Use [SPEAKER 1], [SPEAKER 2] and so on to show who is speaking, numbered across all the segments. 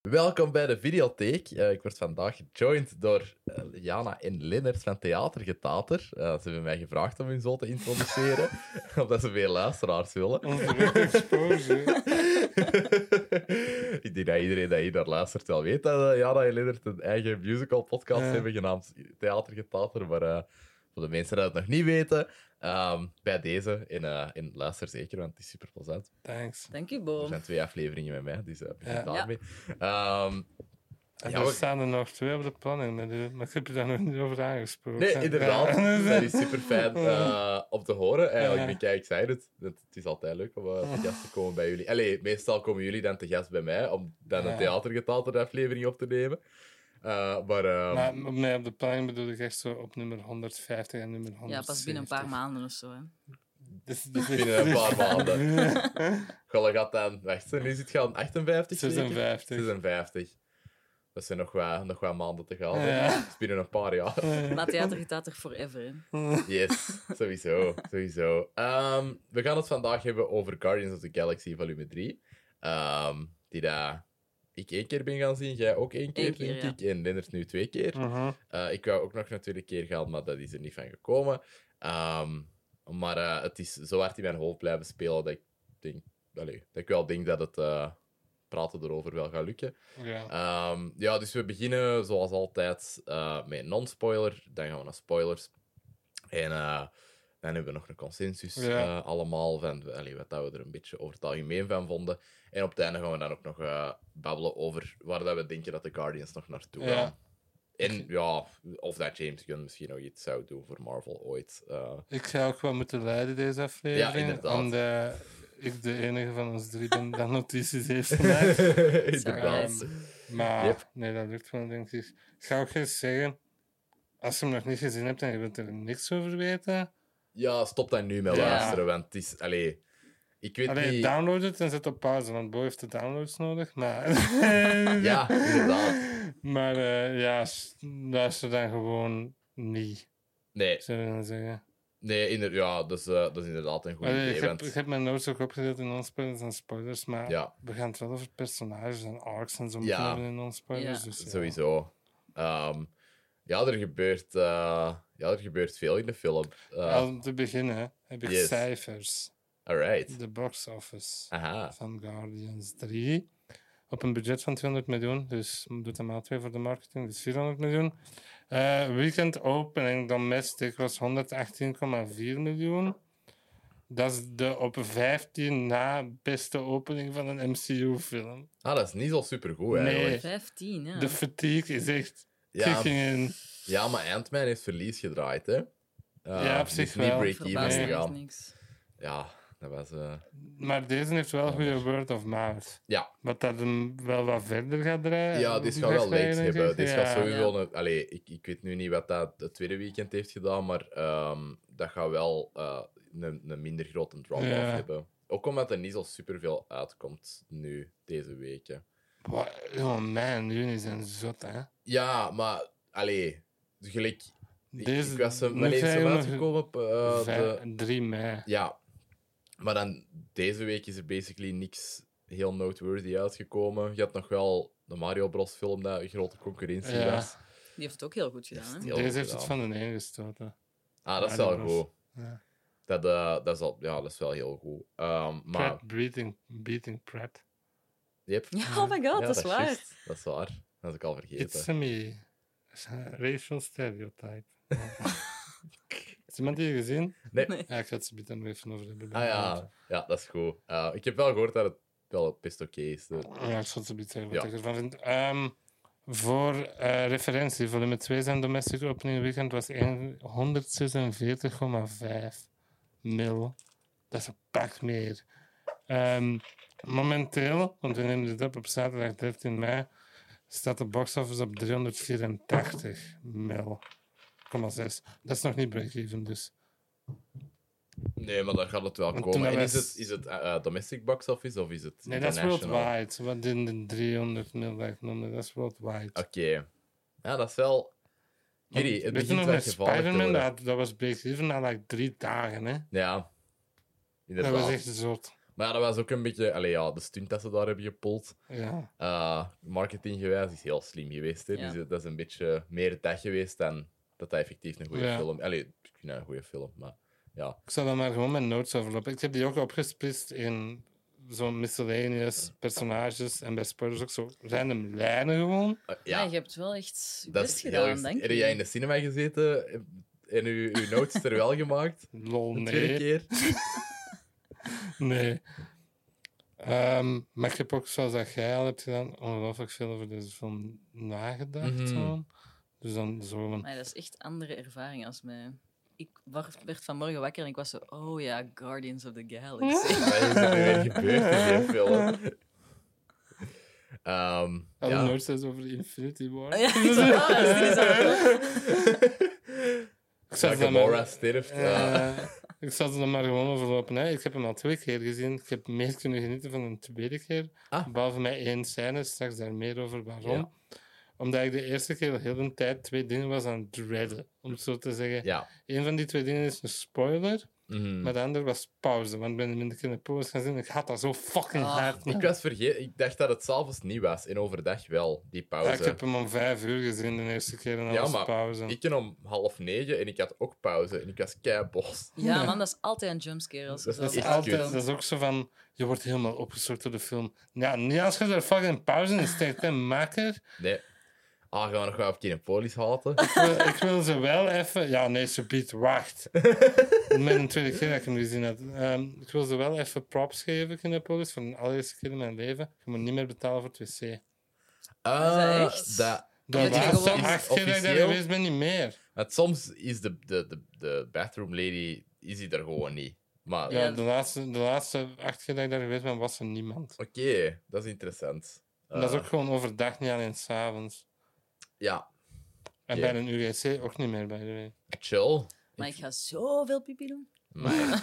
[SPEAKER 1] Welkom bij de videotheek. Eh, ik word vandaag gejoind door eh, Jana en Lennart van Theatergetater. Eh ze hebben mij gevraagd om hun zo te introduceren, omdat ze meer luisteraars willen.
[SPEAKER 2] Onze recht exposure.
[SPEAKER 1] ik denk dat iedereen die hier naar luistert wel weet dat eh, Jana en Lennart een eigen musical podcast
[SPEAKER 2] Ja.
[SPEAKER 1] hebben genaamd Theatergetater. Maar eh, voor de mensen die het nog niet weten, ehm, bij deze, en, eh, en luister zeker, want het is super plezant.
[SPEAKER 2] Thanks.
[SPEAKER 3] Dank u,
[SPEAKER 1] Er
[SPEAKER 3] Boom.
[SPEAKER 1] zijn twee afleveringen met mij, dus eh, begin
[SPEAKER 2] Ja.
[SPEAKER 1] daarmee. Ehm,
[SPEAKER 2] En
[SPEAKER 1] Ja,
[SPEAKER 2] er
[SPEAKER 1] we-
[SPEAKER 2] staan er nog twee op de planning, natuurlijk. maar ik heb je daar nog niet over aangesproken.
[SPEAKER 1] nee, inderdaad.
[SPEAKER 2] Ja.
[SPEAKER 1] Dat is super fijn om te horen. Eigenlijk,
[SPEAKER 2] Dus, eh, Ja.
[SPEAKER 1] ben ik eigenlijk zei het. dat- Het is altijd leuk om eh, te gast te komen bij jullie. Allee, meestal komen jullie dan te gast bij mij om dan een
[SPEAKER 2] Ja.
[SPEAKER 1] theatergetalte aflevering op te nemen. Eh, maar, ehm,
[SPEAKER 2] Maar op mij op de planning bedoel ik echt zo op nummer 150 en nummer 100.
[SPEAKER 3] Ja, pas binnen een paar maanden of zo. Hè.
[SPEAKER 2] Dus, dus
[SPEAKER 1] binnen een paar maanden. Goh, gaat dan. Wacht, nu zit je aan 58. zeker?
[SPEAKER 2] 56.
[SPEAKER 1] 56. Dat zijn nog wat, nog wat maanden te gaan. hè.
[SPEAKER 2] Ja.
[SPEAKER 1] Dat is binnen een paar jaar.
[SPEAKER 3] Maar theater gaat er forever. hè.
[SPEAKER 1] Yes, sowieso. sowieso. Ehm, we gaan het vandaag hebben over Guardians of the Galaxy volume 3. Ehm, die daar ik één keer ben gaan zien, jij ook één keer,
[SPEAKER 3] Eén keer,
[SPEAKER 1] denk
[SPEAKER 3] ja.
[SPEAKER 1] ik. En Lennart nu twee keer.
[SPEAKER 2] Mhm.
[SPEAKER 1] Eh, ik wou ook nog natuurlijk een keer gaan, maar dat is er niet van gekomen. Ehm, maar eh, het is zo hard in mijn hoofd blijven spelen dat ik, denk, allee, dat ik wel denk dat het eh, praten erover wel gaat lukken.
[SPEAKER 2] Ja.
[SPEAKER 1] Ehm, ja, dus we beginnen zoals altijd eh, met een non-spoiler. Dan gaan we naar spoilers. En eh, dan hebben we nog een consensus
[SPEAKER 2] Ja.
[SPEAKER 1] eh, allemaal van allee, wat dat we er een beetje over het algemeen van vonden. En op het einde gaan we dan ook nog eh, babbelen over waar dat we denken dat de Guardians nog naartoe
[SPEAKER 2] Ja.
[SPEAKER 1] gaan. En ja, of dat James Gunn misschien nog iets zou doen voor Marvel ooit. Eh,
[SPEAKER 2] Ik ga ook wel moeten leiden deze aflevering.
[SPEAKER 1] Ja, inderdaad.
[SPEAKER 2] Omdat ik de enige van ons drie ben dat notities heeft gemaakt.
[SPEAKER 1] Inderdaad.
[SPEAKER 3] Sorry.
[SPEAKER 2] Maar
[SPEAKER 1] Yep.
[SPEAKER 2] nee, dat lukt wel, denk ik. Ik ga ook eens zeggen, als je hem nog niet gezien hebt en je wilt er niks over weten,
[SPEAKER 1] Ja, stop daar nu mee
[SPEAKER 2] Ja.
[SPEAKER 1] luisteren, want het is... Allee, ik weet
[SPEAKER 2] alleen
[SPEAKER 1] niet...
[SPEAKER 2] download het en zet op pauze, want Bo heeft de downloads nodig. Maar...
[SPEAKER 1] Ja, inderdaad.
[SPEAKER 2] Maar eh, ja, s- luister dan gewoon niet,
[SPEAKER 1] Nee,
[SPEAKER 2] zullen we dan zeggen.
[SPEAKER 1] Nee, inder ja, dat is, eh, dat is inderdaad een goed
[SPEAKER 2] Allee,
[SPEAKER 1] idee.
[SPEAKER 2] ik, heb,
[SPEAKER 1] want-
[SPEAKER 2] ik heb mijn notes ook opgedeeld in non-spoilers en spoilers, maar
[SPEAKER 1] Ja,
[SPEAKER 2] we gaan het wel over personages en arcs en zo
[SPEAKER 1] Ja.
[SPEAKER 2] moeten hebben in non-spoilers.
[SPEAKER 3] Ja.
[SPEAKER 2] Dus, ja.
[SPEAKER 1] sowieso. Ehm, ja, er gebeurt, eh, ja, er gebeurt veel in de film. Eh,
[SPEAKER 2] Al te beginnen heb ik
[SPEAKER 1] Yes.
[SPEAKER 2] cijfers.
[SPEAKER 1] Alright.
[SPEAKER 2] De box office.
[SPEAKER 1] Aha.
[SPEAKER 2] van Guardians 3. Op een budget van 200 miljoen, dus doet hem maal 2 voor de marketing, dus 400 miljoen. Eh, weekend opening domestic was 118,4 miljoen. Dat is de op 15 na beste opening van een MCU-film.
[SPEAKER 1] Ah, dat is niet zo supergoed
[SPEAKER 2] Nee.
[SPEAKER 1] eigenlijk.
[SPEAKER 3] 15, ja.
[SPEAKER 2] De fatigue is echt
[SPEAKER 1] Ja,
[SPEAKER 2] kicking in.
[SPEAKER 1] ja, maar Ant-Man heeft verlies gedraaid, hè? Eh,
[SPEAKER 2] Ja, op
[SPEAKER 1] die
[SPEAKER 2] zich
[SPEAKER 1] is niet
[SPEAKER 2] wel.
[SPEAKER 1] break-even
[SPEAKER 3] Verbaast
[SPEAKER 2] Nee.
[SPEAKER 3] me echt
[SPEAKER 1] gegaan.
[SPEAKER 3] niks.
[SPEAKER 1] Ja, dat was... eh,
[SPEAKER 2] Maar deze heeft wel goede word of mouth.
[SPEAKER 1] Ja.
[SPEAKER 2] Wat dat hem wel wat verder gaat draaien.
[SPEAKER 1] Ja, dit gaat wel legs
[SPEAKER 2] wegdraaien,
[SPEAKER 1] hebben.
[SPEAKER 2] denk ik.
[SPEAKER 1] Dit
[SPEAKER 2] Ja.
[SPEAKER 1] gaat sowieso...
[SPEAKER 3] Ja.
[SPEAKER 1] Een, allee, ik, ik weet nu niet wat dat het tweede weekend heeft gedaan, maar ehm, dat gaat wel eh, een, een minder grote drop-off
[SPEAKER 2] Ja.
[SPEAKER 1] hebben. Ook omdat er niet zo superveel uitkomt nu, deze weken.
[SPEAKER 2] Wa- Oh man, jullie zijn zot, hè?
[SPEAKER 1] Ja, maar... Allee, gelijk... Ik,
[SPEAKER 2] Deze
[SPEAKER 1] ik was hem...
[SPEAKER 2] moet
[SPEAKER 1] Wanneer is hem
[SPEAKER 2] eigenlijk
[SPEAKER 1] uitgekomen op eh,
[SPEAKER 2] vij-
[SPEAKER 1] de...
[SPEAKER 2] 3 mei.
[SPEAKER 1] Ja. Maar dan, deze week is er basically niks heel noteworthy uitgekomen. Je had nog wel de Mario Bros film, dat een grote concurrentie
[SPEAKER 2] Ja.
[SPEAKER 1] was.
[SPEAKER 3] Die heeft het ook heel goed gedaan. Hè?
[SPEAKER 1] Heel
[SPEAKER 2] Deze
[SPEAKER 1] goed
[SPEAKER 2] heeft het
[SPEAKER 1] gedaan.
[SPEAKER 2] van de een gestoten.
[SPEAKER 1] Ah, dat is
[SPEAKER 2] Ja,
[SPEAKER 1] wel
[SPEAKER 2] dat was-
[SPEAKER 1] goed.
[SPEAKER 2] Ja.
[SPEAKER 1] Dat, eh, dat, is al, ja, dat is wel heel goed. Ehm, maar,
[SPEAKER 2] Pret, beating, beating Pret.
[SPEAKER 1] yep.
[SPEAKER 3] Ja, oh my
[SPEAKER 1] Ja,
[SPEAKER 3] god, dat is waar.
[SPEAKER 1] juist. Dat is waar. Dat had ik al vergeten.
[SPEAKER 2] It's a me. Racial stereotype. Is iemand die je gezien?
[SPEAKER 1] Nee.
[SPEAKER 3] Nee.
[SPEAKER 2] Ja, ik ga het ze bieden nog even over hebben.
[SPEAKER 1] Ah ja. ja, dat is goed. Eh, ik heb wel gehoord dat het wel best oké is. Eh,
[SPEAKER 2] Ja, ik zal ze bieden zeggen wat
[SPEAKER 1] Ja.
[SPEAKER 2] ik ervan vind. Ehm, voor eh, referentie, volume 2 zijn domestic opening weekend was 146,5 mil. Dat is een pak meer. Ehm, momenteel, want we nemen dit op op zaterdag 13 mei, staat de box office op 384 mil. 6. Dat is nog niet break-even, dus.
[SPEAKER 1] Nee, maar daar gaat het wel
[SPEAKER 2] Want
[SPEAKER 1] komen.
[SPEAKER 2] toen
[SPEAKER 1] En
[SPEAKER 2] dat
[SPEAKER 1] is
[SPEAKER 2] wij-
[SPEAKER 1] het, is het eh, eh, domestic box office of is het
[SPEAKER 2] Nee, dat is
[SPEAKER 1] international?
[SPEAKER 2] worldwide. Wat in de 300 mil dat ik noemde, dat is worldwide.
[SPEAKER 1] Oké. Ja, dat is wel...
[SPEAKER 2] Want
[SPEAKER 1] Jullie, het
[SPEAKER 2] weet je
[SPEAKER 1] begint
[SPEAKER 2] nog
[SPEAKER 1] wel
[SPEAKER 2] met
[SPEAKER 1] gevaarlijk te
[SPEAKER 2] Spider-Man?
[SPEAKER 1] worden.
[SPEAKER 2] Dat, dat was break-even na like drie dagen, hè?
[SPEAKER 1] Ja,
[SPEAKER 2] Dat
[SPEAKER 1] inderdaad.
[SPEAKER 2] was echt zot.
[SPEAKER 1] Maar ja, dat was ook een beetje... Allee, ja, de stunt dat ze daar hebben gepoeld,
[SPEAKER 2] Ja.
[SPEAKER 1] eh, marketinggewijs, is heel slim geweest. Hè?
[SPEAKER 3] Ja.
[SPEAKER 1] Dus eh, dat is een beetje meer dat geweest dan dat dat effectief een goede
[SPEAKER 2] Ja.
[SPEAKER 1] film... Allee, ik vind dat een goede film, maar ja.
[SPEAKER 2] Ik zal dan maar gewoon mijn notes overlopen. Ik heb die ook opgesplitst in zo'n miscellaneous personages en bij spoilers ook zo random lijnen gewoon.
[SPEAKER 1] Eh,
[SPEAKER 3] Ja.
[SPEAKER 1] ja.
[SPEAKER 3] je hebt wel echt je
[SPEAKER 1] Dat
[SPEAKER 3] best
[SPEAKER 1] is heel
[SPEAKER 3] gedaan,
[SPEAKER 1] eens-
[SPEAKER 3] denk ik.
[SPEAKER 1] Heb jij in de cinema gezeten en uw, uw notes er wel gemaakt?
[SPEAKER 2] Lol,
[SPEAKER 1] De tweede
[SPEAKER 2] nee.
[SPEAKER 1] keer?
[SPEAKER 2] nee. Ehm, maar ik heb ook, zoals dat jij al hebt gedaan, ongelooflijk veel over deze film nagedacht.
[SPEAKER 1] Mhm.
[SPEAKER 2] gewoon. Dus dan zo van...
[SPEAKER 3] Maar dat is echt andere ervaring als mij. Ik wa- werd vanmorgen wakker en ik was zo, oh ja, Guardians of the Galaxy.
[SPEAKER 1] Wat is er nu weer gebeurd in die film? Ehm,
[SPEAKER 2] Alle
[SPEAKER 1] ja. Ah
[SPEAKER 2] notes is over Infinity War.
[SPEAKER 3] Oh ja, ik zo, oh, dat is dit is al-
[SPEAKER 2] Ik zal
[SPEAKER 1] Dat
[SPEAKER 2] ze dan maar-
[SPEAKER 1] Gamora sterft. ja.
[SPEAKER 2] Eh, ik zal ze dan maar gewoon overlopen. Hè. Ik heb hem al twee keer gezien. Ik heb meer kunnen genieten van een tweede keer.
[SPEAKER 1] Ah.
[SPEAKER 2] Behalve mij één scène, straks daar meer over waarom.
[SPEAKER 1] Ja.
[SPEAKER 2] Omdat ik de eerste keer de hele tijd twee dingen was aan het dreaden. Om het zo te zeggen.
[SPEAKER 1] ja.
[SPEAKER 2] Eén van die twee dingen is een spoiler,
[SPEAKER 1] Mhm.
[SPEAKER 2] maar de ander was pauze. Want ik ben hem in de kinderpolis gaan zien. Ik had dat zo fucking
[SPEAKER 3] Ah,
[SPEAKER 2] hard.
[SPEAKER 1] Ik was vergeten, ik dacht dat het s'avonds niet was en overdag wel, die pauze.
[SPEAKER 2] Ja, ik heb hem om vijf uur gezien de eerste keer en dan
[SPEAKER 1] Ja,
[SPEAKER 2] was
[SPEAKER 1] maar
[SPEAKER 2] pauze.
[SPEAKER 1] Ik ken om half negen en ik had ook pauze en ik was keibos.
[SPEAKER 3] Ja, man, dat is altijd een jumpscare als je
[SPEAKER 1] Dat
[SPEAKER 2] Dat
[SPEAKER 1] is
[SPEAKER 2] is,
[SPEAKER 1] echt
[SPEAKER 2] altijd,
[SPEAKER 1] kut.
[SPEAKER 2] dat is ook zo van, je wordt helemaal opgestort door de film. Ja, niet als je er fucking pauze in steekt, hè, makker.
[SPEAKER 1] Nee. Ah, gaan we nog wel op Kinepolis haten?
[SPEAKER 2] Ik wil, ik wil ze wel even... Ja, nee, subiet, wacht. Met een tweede keer dat ik hem gezien had. Ehm, ik wil ze wel even props geven, Kinepolis, voor de allereerste keer in mijn leven. Je moet niet meer betalen voor het wc.
[SPEAKER 1] Ah,
[SPEAKER 3] echt?
[SPEAKER 1] dat-
[SPEAKER 2] Dat
[SPEAKER 3] Omdat je
[SPEAKER 2] was de
[SPEAKER 3] gewoon-
[SPEAKER 2] acht keer dat ik daar
[SPEAKER 1] Officieel?
[SPEAKER 2] geweest ben, niet meer.
[SPEAKER 1] Want soms is de, de, de, de bathroom lady is die er gewoon niet. Maar
[SPEAKER 2] Ja,
[SPEAKER 3] Ja.
[SPEAKER 2] de laatste, de laatste acht keer dat ik daar geweest ben, was er niemand.
[SPEAKER 1] oké, dat is interessant.
[SPEAKER 2] En dat is
[SPEAKER 1] Eh,
[SPEAKER 2] ook gewoon overdag, niet alleen s'avonds.
[SPEAKER 1] Ja,
[SPEAKER 2] En
[SPEAKER 1] Ja.
[SPEAKER 2] bij een UGC ook niet meer, bij de way.
[SPEAKER 1] chill.
[SPEAKER 3] Maar ik ga zoveel pipi doen.
[SPEAKER 1] Maar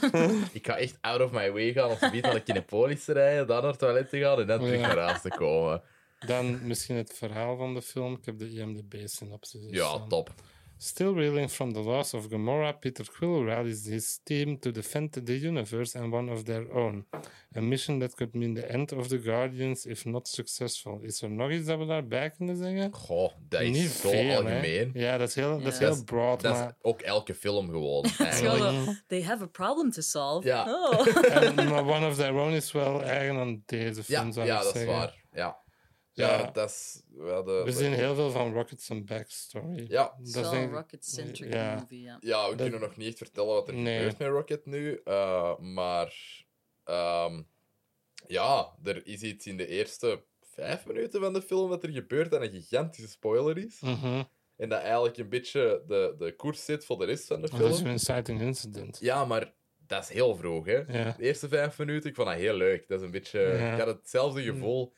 [SPEAKER 1] ik ga echt out of my way gaan om te naar de Kinepolis te rijden, dan naar het toilet te gaan en dan terug
[SPEAKER 2] Ja.
[SPEAKER 1] naar huis te komen.
[SPEAKER 2] Dan misschien het verhaal van de film. Ik heb de IMDb-synopsis.
[SPEAKER 1] Ja, top.
[SPEAKER 2] eh, Still reeling from the loss of Gamora, Peter Quill rallies his team to defend the universe and one of their own. A mission that could mean the end of the Guardians if not successful. Is er nog iets dat we daarbij kunnen zeggen?
[SPEAKER 1] Goh, dat is
[SPEAKER 2] Niet
[SPEAKER 1] zo
[SPEAKER 2] veel, hè.
[SPEAKER 1] algemeen.
[SPEAKER 2] Ja, dat is heel, Dat is
[SPEAKER 3] Ja.
[SPEAKER 2] heel
[SPEAKER 1] Dat is-
[SPEAKER 2] broad,
[SPEAKER 1] Dat is
[SPEAKER 2] maar...
[SPEAKER 1] ook elke film gewoon.
[SPEAKER 3] Het is
[SPEAKER 1] eigenlijk.
[SPEAKER 3] gewoon zo, they have a problem to solve.
[SPEAKER 1] Ja.
[SPEAKER 3] Oh.
[SPEAKER 2] en- maar One of Their Own is wel eigen aan deze film,
[SPEAKER 1] Ja,
[SPEAKER 2] zou
[SPEAKER 1] ja
[SPEAKER 2] ik
[SPEAKER 1] dat is
[SPEAKER 2] zeggen.
[SPEAKER 1] waar. Ja,
[SPEAKER 2] Ja.
[SPEAKER 1] ja, dat is wel de.
[SPEAKER 2] We zien heel veel van Rockets en Backstory.
[SPEAKER 1] Ja,
[SPEAKER 2] Dat
[SPEAKER 3] Het
[SPEAKER 2] is
[SPEAKER 3] is wel een
[SPEAKER 2] denk ik-
[SPEAKER 3] rocket-centric
[SPEAKER 2] Ja.
[SPEAKER 3] movie, ja.
[SPEAKER 1] Ja, we
[SPEAKER 2] Dat-
[SPEAKER 1] kunnen nog niet echt vertellen wat er
[SPEAKER 2] Nee.
[SPEAKER 1] gebeurt met Rocket nu. eh, maar ehm, ja, er is iets in de eerste vijf minuten van de film dat er gebeurt dat een gigantische spoiler is.
[SPEAKER 2] Mhm.
[SPEAKER 1] En dat eigenlijk een beetje de, de koers zit voor de rest van de
[SPEAKER 2] Want Dat is
[SPEAKER 1] film.
[SPEAKER 2] een inciting incident.
[SPEAKER 1] Ja, maar dat is heel vroeg, hè.
[SPEAKER 2] Ja.
[SPEAKER 1] De eerste vijf minuten, ik vond dat heel leuk. Dat is een beetje...
[SPEAKER 2] Ja.
[SPEAKER 1] Ik had hetzelfde gevoel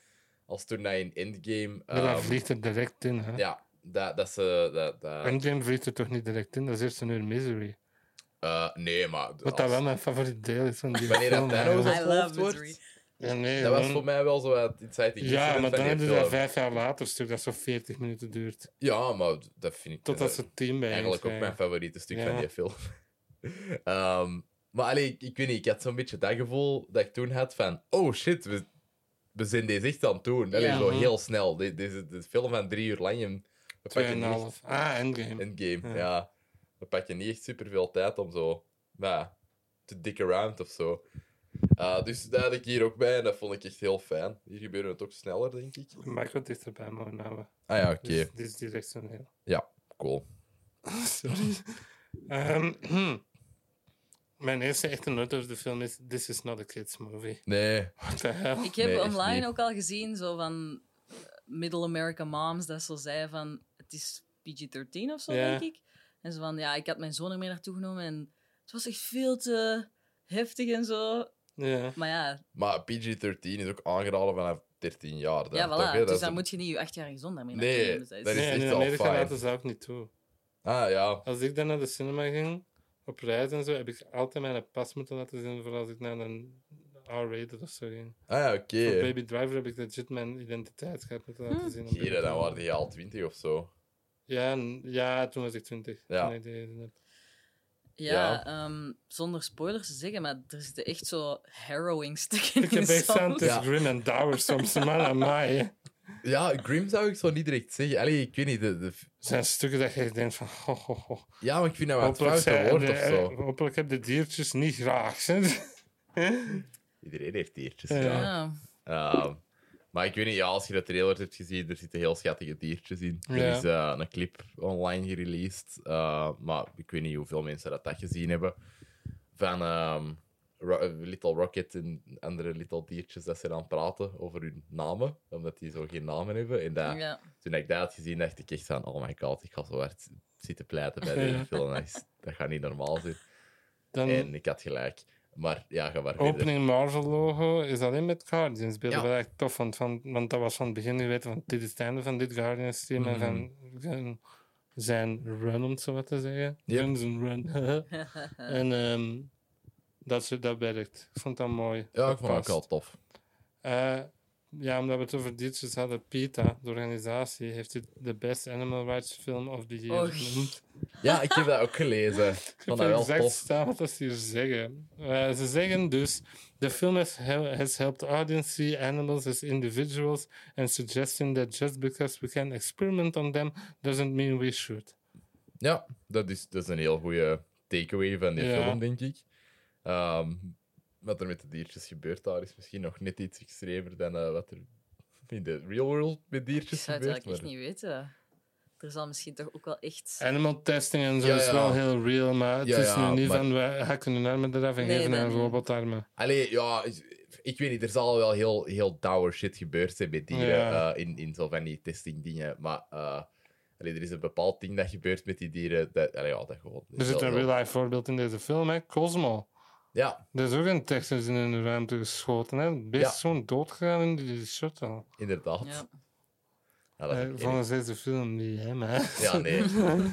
[SPEAKER 1] als toen hij in Endgame...
[SPEAKER 2] Maar dat
[SPEAKER 1] ehm,
[SPEAKER 2] vliegt er direct in, hè?
[SPEAKER 1] ja, dat, dat ze... Dat, dat,
[SPEAKER 2] Endgame vliegt er toch niet direct in? Dat is eerst een uur Misery.
[SPEAKER 1] eh, nee, maar...
[SPEAKER 2] Wat dat
[SPEAKER 1] als-
[SPEAKER 2] wel mijn favoriet deel is van die
[SPEAKER 1] Wanneer dat
[SPEAKER 2] film.
[SPEAKER 1] Thanos
[SPEAKER 2] eigenlijk.
[SPEAKER 3] I love
[SPEAKER 1] onthoofd wordt...
[SPEAKER 3] misery.
[SPEAKER 2] Ja, nee,
[SPEAKER 1] Dat was
[SPEAKER 2] gewoon-
[SPEAKER 1] voor mij wel zo wat insight incident
[SPEAKER 2] Ja, maar dan
[SPEAKER 1] van
[SPEAKER 2] hebben
[SPEAKER 1] die
[SPEAKER 2] ze dat
[SPEAKER 1] film.
[SPEAKER 2] vijf jaar later stuk dat zo 40 minuten duurt.
[SPEAKER 1] Ja, maar dat vind ik
[SPEAKER 2] Totdat
[SPEAKER 1] eh,
[SPEAKER 2] ze het team bij
[SPEAKER 1] eigenlijk ook mijn
[SPEAKER 2] krijgen.
[SPEAKER 1] favoriete stuk van
[SPEAKER 2] Ja.
[SPEAKER 1] die film. Ehm, maar allee, ik, ik weet niet, ik had zo'n beetje dat gevoel dat ik toen had van... Oh shit, we, we zijn deze echt aan het doen. Allee,
[SPEAKER 3] Ja.
[SPEAKER 1] zo heel snel. De- Deze de film van drie uur lang. en We pakken niet echt
[SPEAKER 2] 2,5. Ah, Endgame.
[SPEAKER 1] Endgame,
[SPEAKER 2] Ja.
[SPEAKER 1] ja. We pakken niet echt superveel tijd om zo nou, ja, te dick around of zo. Eh, dus daar had ik hier ook bij en dat vond ik echt heel fijn. Hier gebeurde het ook sneller, denk ik.
[SPEAKER 2] Maar ik wil dichterbij mogen houden.
[SPEAKER 1] Ah ja, oké.
[SPEAKER 2] Dus dit is directioneel.
[SPEAKER 1] Cool.
[SPEAKER 2] Sorry. Ehm, mijn eerste echte noot over de film is This is not a kids movie.
[SPEAKER 1] Nee.
[SPEAKER 2] What the hell?
[SPEAKER 3] Ik heb
[SPEAKER 1] Nee, echt niet.
[SPEAKER 3] online ook al gezien, zo van eh, Middle America Moms, dat zo zei van het is PG-13 of zo,
[SPEAKER 2] Ja.
[SPEAKER 3] denk ik. En zo van ja, ik had mijn zoon ermee naartoe genomen en het was echt veel te heftig en zo.
[SPEAKER 2] Ja.
[SPEAKER 3] Maar ja,
[SPEAKER 1] Maar PG-13 is ook aangeraden vanaf 13 jaar. Dan,
[SPEAKER 3] ja
[SPEAKER 1] toch,
[SPEAKER 3] voilà.
[SPEAKER 1] hè? Dat
[SPEAKER 3] dus
[SPEAKER 1] is
[SPEAKER 3] dan
[SPEAKER 1] een-
[SPEAKER 3] moet je niet je achtjarige zoon daarmee
[SPEAKER 1] Nee,
[SPEAKER 3] naartoe nemen. Dus dat
[SPEAKER 1] dat
[SPEAKER 3] is-
[SPEAKER 2] Nee, en
[SPEAKER 1] echt
[SPEAKER 2] in
[SPEAKER 1] wel
[SPEAKER 2] Amerika
[SPEAKER 1] fijn.
[SPEAKER 2] laten ze ook niet toe.
[SPEAKER 1] Ah ja.
[SPEAKER 2] Als ik dan naar de cinema ging, op reis en zo, heb ik altijd mijn pas moeten laten zien voor als ik naar een R-rated of zo ging.
[SPEAKER 1] Ah ja, oké.
[SPEAKER 2] Voor Baby Driver heb ik legit mijn identiteit gehad moeten laten zien. om
[SPEAKER 1] Hier,
[SPEAKER 2] binnen te
[SPEAKER 1] dan
[SPEAKER 2] komen.
[SPEAKER 1] waren die al 20 of zo.
[SPEAKER 2] Ja, n- ja, toen was ik 20.
[SPEAKER 1] Ja.
[SPEAKER 2] toen ik die gezien heb.
[SPEAKER 3] Ja, ehm, zonder spoilers te zeggen, maar er zitten echt zo harrowing stukken
[SPEAKER 2] Ik
[SPEAKER 3] in
[SPEAKER 2] heb echt staan
[SPEAKER 3] soms.
[SPEAKER 2] tussen
[SPEAKER 1] Ja.
[SPEAKER 2] Grin en Dower soms. Man aan mij.
[SPEAKER 1] Ja, Grim zou ik zo niet direct zeggen. Allee, ik weet niet. De, de-
[SPEAKER 2] zijn stukken dat je denkt van... Ho, ho, ho.
[SPEAKER 1] Ja, maar ik vind dat wel het
[SPEAKER 2] Hopelijk,
[SPEAKER 1] foute
[SPEAKER 2] zijn eh,
[SPEAKER 1] woord
[SPEAKER 2] de-
[SPEAKER 1] of zo.
[SPEAKER 2] hopelijk heb de diertjes niet graag. hè.
[SPEAKER 1] Iedereen heeft diertjes,
[SPEAKER 2] Ja.
[SPEAKER 1] ja.
[SPEAKER 3] Ja.
[SPEAKER 1] Ehm, maar ik weet niet, ja, als je de trailer hebt gezien, er zitten heel schattige diertjes in. Er
[SPEAKER 2] Ja.
[SPEAKER 1] is eh, een clip online gereleased, eh, maar ik weet niet hoeveel mensen dat, dat gezien hebben. Van ehm, Ro- eh, Little Rocket en andere Little Diertjes dat ze aan het praten over hun namen, omdat die zo geen namen hebben. En dat,
[SPEAKER 3] Ja.
[SPEAKER 1] toen ik dat had gezien, dacht ik echt van, oh my god, ik ga zo hard zitten pleiten bij deze
[SPEAKER 2] Ja.
[SPEAKER 1] film. Dat, is- dat gaat niet normaal zijn.
[SPEAKER 2] Dan
[SPEAKER 1] En ik had gelijk. Maar ja, ga maar verder.
[SPEAKER 2] opening Marvel logo is alleen met Guardians beelden.
[SPEAKER 1] dus- Ja.
[SPEAKER 2] Wat echt tof vond. Want, want dat was van het begin nu weten van dit is het einde van dit Guardians team. En
[SPEAKER 1] Mhm.
[SPEAKER 2] van zijn, zijn run, om het zo wat te zeggen.
[SPEAKER 1] Ja.
[SPEAKER 2] Guns and run. en ehm, dat, ze- dat werkt. Ik vond dat mooi.
[SPEAKER 1] Ja,
[SPEAKER 2] Dat
[SPEAKER 1] ik vond het ook
[SPEAKER 2] past.
[SPEAKER 1] wel tof.
[SPEAKER 2] Eh, ja, omdat we het over diertjes hadden, PETA, de organisatie, heeft dit de best animal rights film of the year
[SPEAKER 1] Oh,
[SPEAKER 3] Och.
[SPEAKER 2] genoemd.
[SPEAKER 1] Ja, ik heb dat ook gelezen. Ik
[SPEAKER 2] Ik
[SPEAKER 1] vond dat
[SPEAKER 2] heb
[SPEAKER 1] wel
[SPEAKER 2] exact
[SPEAKER 1] tof.
[SPEAKER 2] staan wat dat ze hier zeggen. Eh, ze zeggen dus, the film has, hel- has helped audience see animals as individuals and suggesting that just because we can experiment on them doesn't mean we should.
[SPEAKER 1] Ja, dat is, dat is een heel goede takeaway van die
[SPEAKER 2] Ja.
[SPEAKER 1] film, denk ik. Ehm, wat er met de diertjes gebeurt daar is misschien nog net iets extremer dan eh, wat er in de real world met
[SPEAKER 3] Ik
[SPEAKER 1] diertjes
[SPEAKER 3] zou het
[SPEAKER 1] gebeurt.
[SPEAKER 3] eigenlijk echt
[SPEAKER 1] Maar...
[SPEAKER 3] niet weten. Er zal misschien toch ook wel echt...
[SPEAKER 2] Animal testing en zo
[SPEAKER 1] Ja,
[SPEAKER 2] is
[SPEAKER 1] ja.
[SPEAKER 2] wel heel real, maar het
[SPEAKER 1] Ja,
[SPEAKER 2] is
[SPEAKER 1] ja,
[SPEAKER 2] nu niet
[SPEAKER 1] maar-
[SPEAKER 2] van, we hakken hun armen eraf en
[SPEAKER 3] Nee,
[SPEAKER 2] geven
[SPEAKER 3] dat
[SPEAKER 2] een
[SPEAKER 3] niet.
[SPEAKER 2] robotarmen.
[SPEAKER 1] Allee, ja, ik- ik weet niet, er zal wel heel, heel dour shit gebeurd zijn bij dieren
[SPEAKER 2] Ja.
[SPEAKER 1] eh, in, in zo van die testing dingen. Maar eh, allee, er is een bepaald ding dat gebeurt met die dieren. Dat, allee, ja, dat gewoon.
[SPEAKER 2] Er zit een real-life voorbeeld in deze film, hè, Cosmo.
[SPEAKER 1] Ja,
[SPEAKER 2] Er is ook een Texas in een ruimte geschoten. Hè? Het beest
[SPEAKER 1] Ja.
[SPEAKER 2] is gewoon doodgegaan in die shuttle.
[SPEAKER 1] inderdaad.
[SPEAKER 3] Ja.
[SPEAKER 1] Ja, dat is
[SPEAKER 2] Eh,
[SPEAKER 1] ook
[SPEAKER 2] volgens deze film niet, hè, maar...
[SPEAKER 1] erg. ja nee.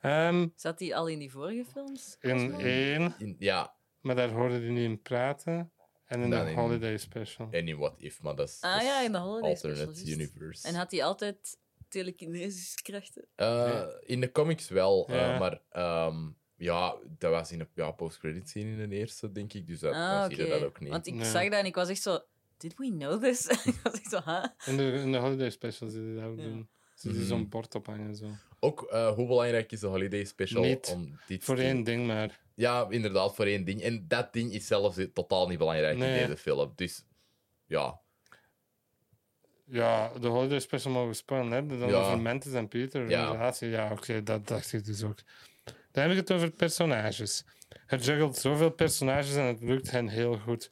[SPEAKER 2] Ehm,
[SPEAKER 3] Zat die al in die vorige films?
[SPEAKER 2] in één,
[SPEAKER 1] In- ja,
[SPEAKER 2] maar daar hoorde hij niet in praten. En in
[SPEAKER 1] Dan
[SPEAKER 2] de
[SPEAKER 1] in-
[SPEAKER 2] Holiday Special.
[SPEAKER 1] En in What If, maar dat is
[SPEAKER 3] Ah
[SPEAKER 1] dat
[SPEAKER 3] ja,
[SPEAKER 1] is
[SPEAKER 3] in de Holiday
[SPEAKER 1] alternate
[SPEAKER 3] Special, juist.
[SPEAKER 1] universe.
[SPEAKER 3] En had hij altijd telekinesische krachten?
[SPEAKER 1] Eh,
[SPEAKER 2] Ja.
[SPEAKER 1] In de comics wel, eh,
[SPEAKER 2] Ja.
[SPEAKER 1] maar ehm, ja, dat was in de ja, post-credit scene in de eerste, denk ik. Dus dat,
[SPEAKER 3] ah,
[SPEAKER 1] dan
[SPEAKER 3] oké.
[SPEAKER 1] zie je dat ook niet.
[SPEAKER 3] Want ik
[SPEAKER 2] Nee.
[SPEAKER 3] zag dat en ik was echt zo... Did we know this? ik was echt zo,
[SPEAKER 1] Ah,
[SPEAKER 3] huh?
[SPEAKER 2] In de, in de Holiday Special zit hij dat ook
[SPEAKER 3] Ja.
[SPEAKER 2] doen. Zit hij
[SPEAKER 1] Mhm.
[SPEAKER 2] zo'n bord op hangen en zo.
[SPEAKER 1] Ook eh, hoe belangrijk is de Holiday Special
[SPEAKER 2] Niet.
[SPEAKER 1] om dit
[SPEAKER 2] Voor
[SPEAKER 1] te-
[SPEAKER 2] één ding maar.
[SPEAKER 1] Ja, inderdaad, voor één ding. En dat ding is zelfs eh, totaal niet belangrijk
[SPEAKER 2] Nee.
[SPEAKER 1] in deze film. Dus ja,
[SPEAKER 2] Ja, de Holiday Special mogen we spelen. Hè? Dan
[SPEAKER 1] Ja.
[SPEAKER 2] over Mantis en Peter.
[SPEAKER 1] Ja.
[SPEAKER 2] Relatie. Ja, oké, dat dacht ik dus ook. Dan heb ik het over personages. Het juggelt zoveel personages en het lukt hen heel goed.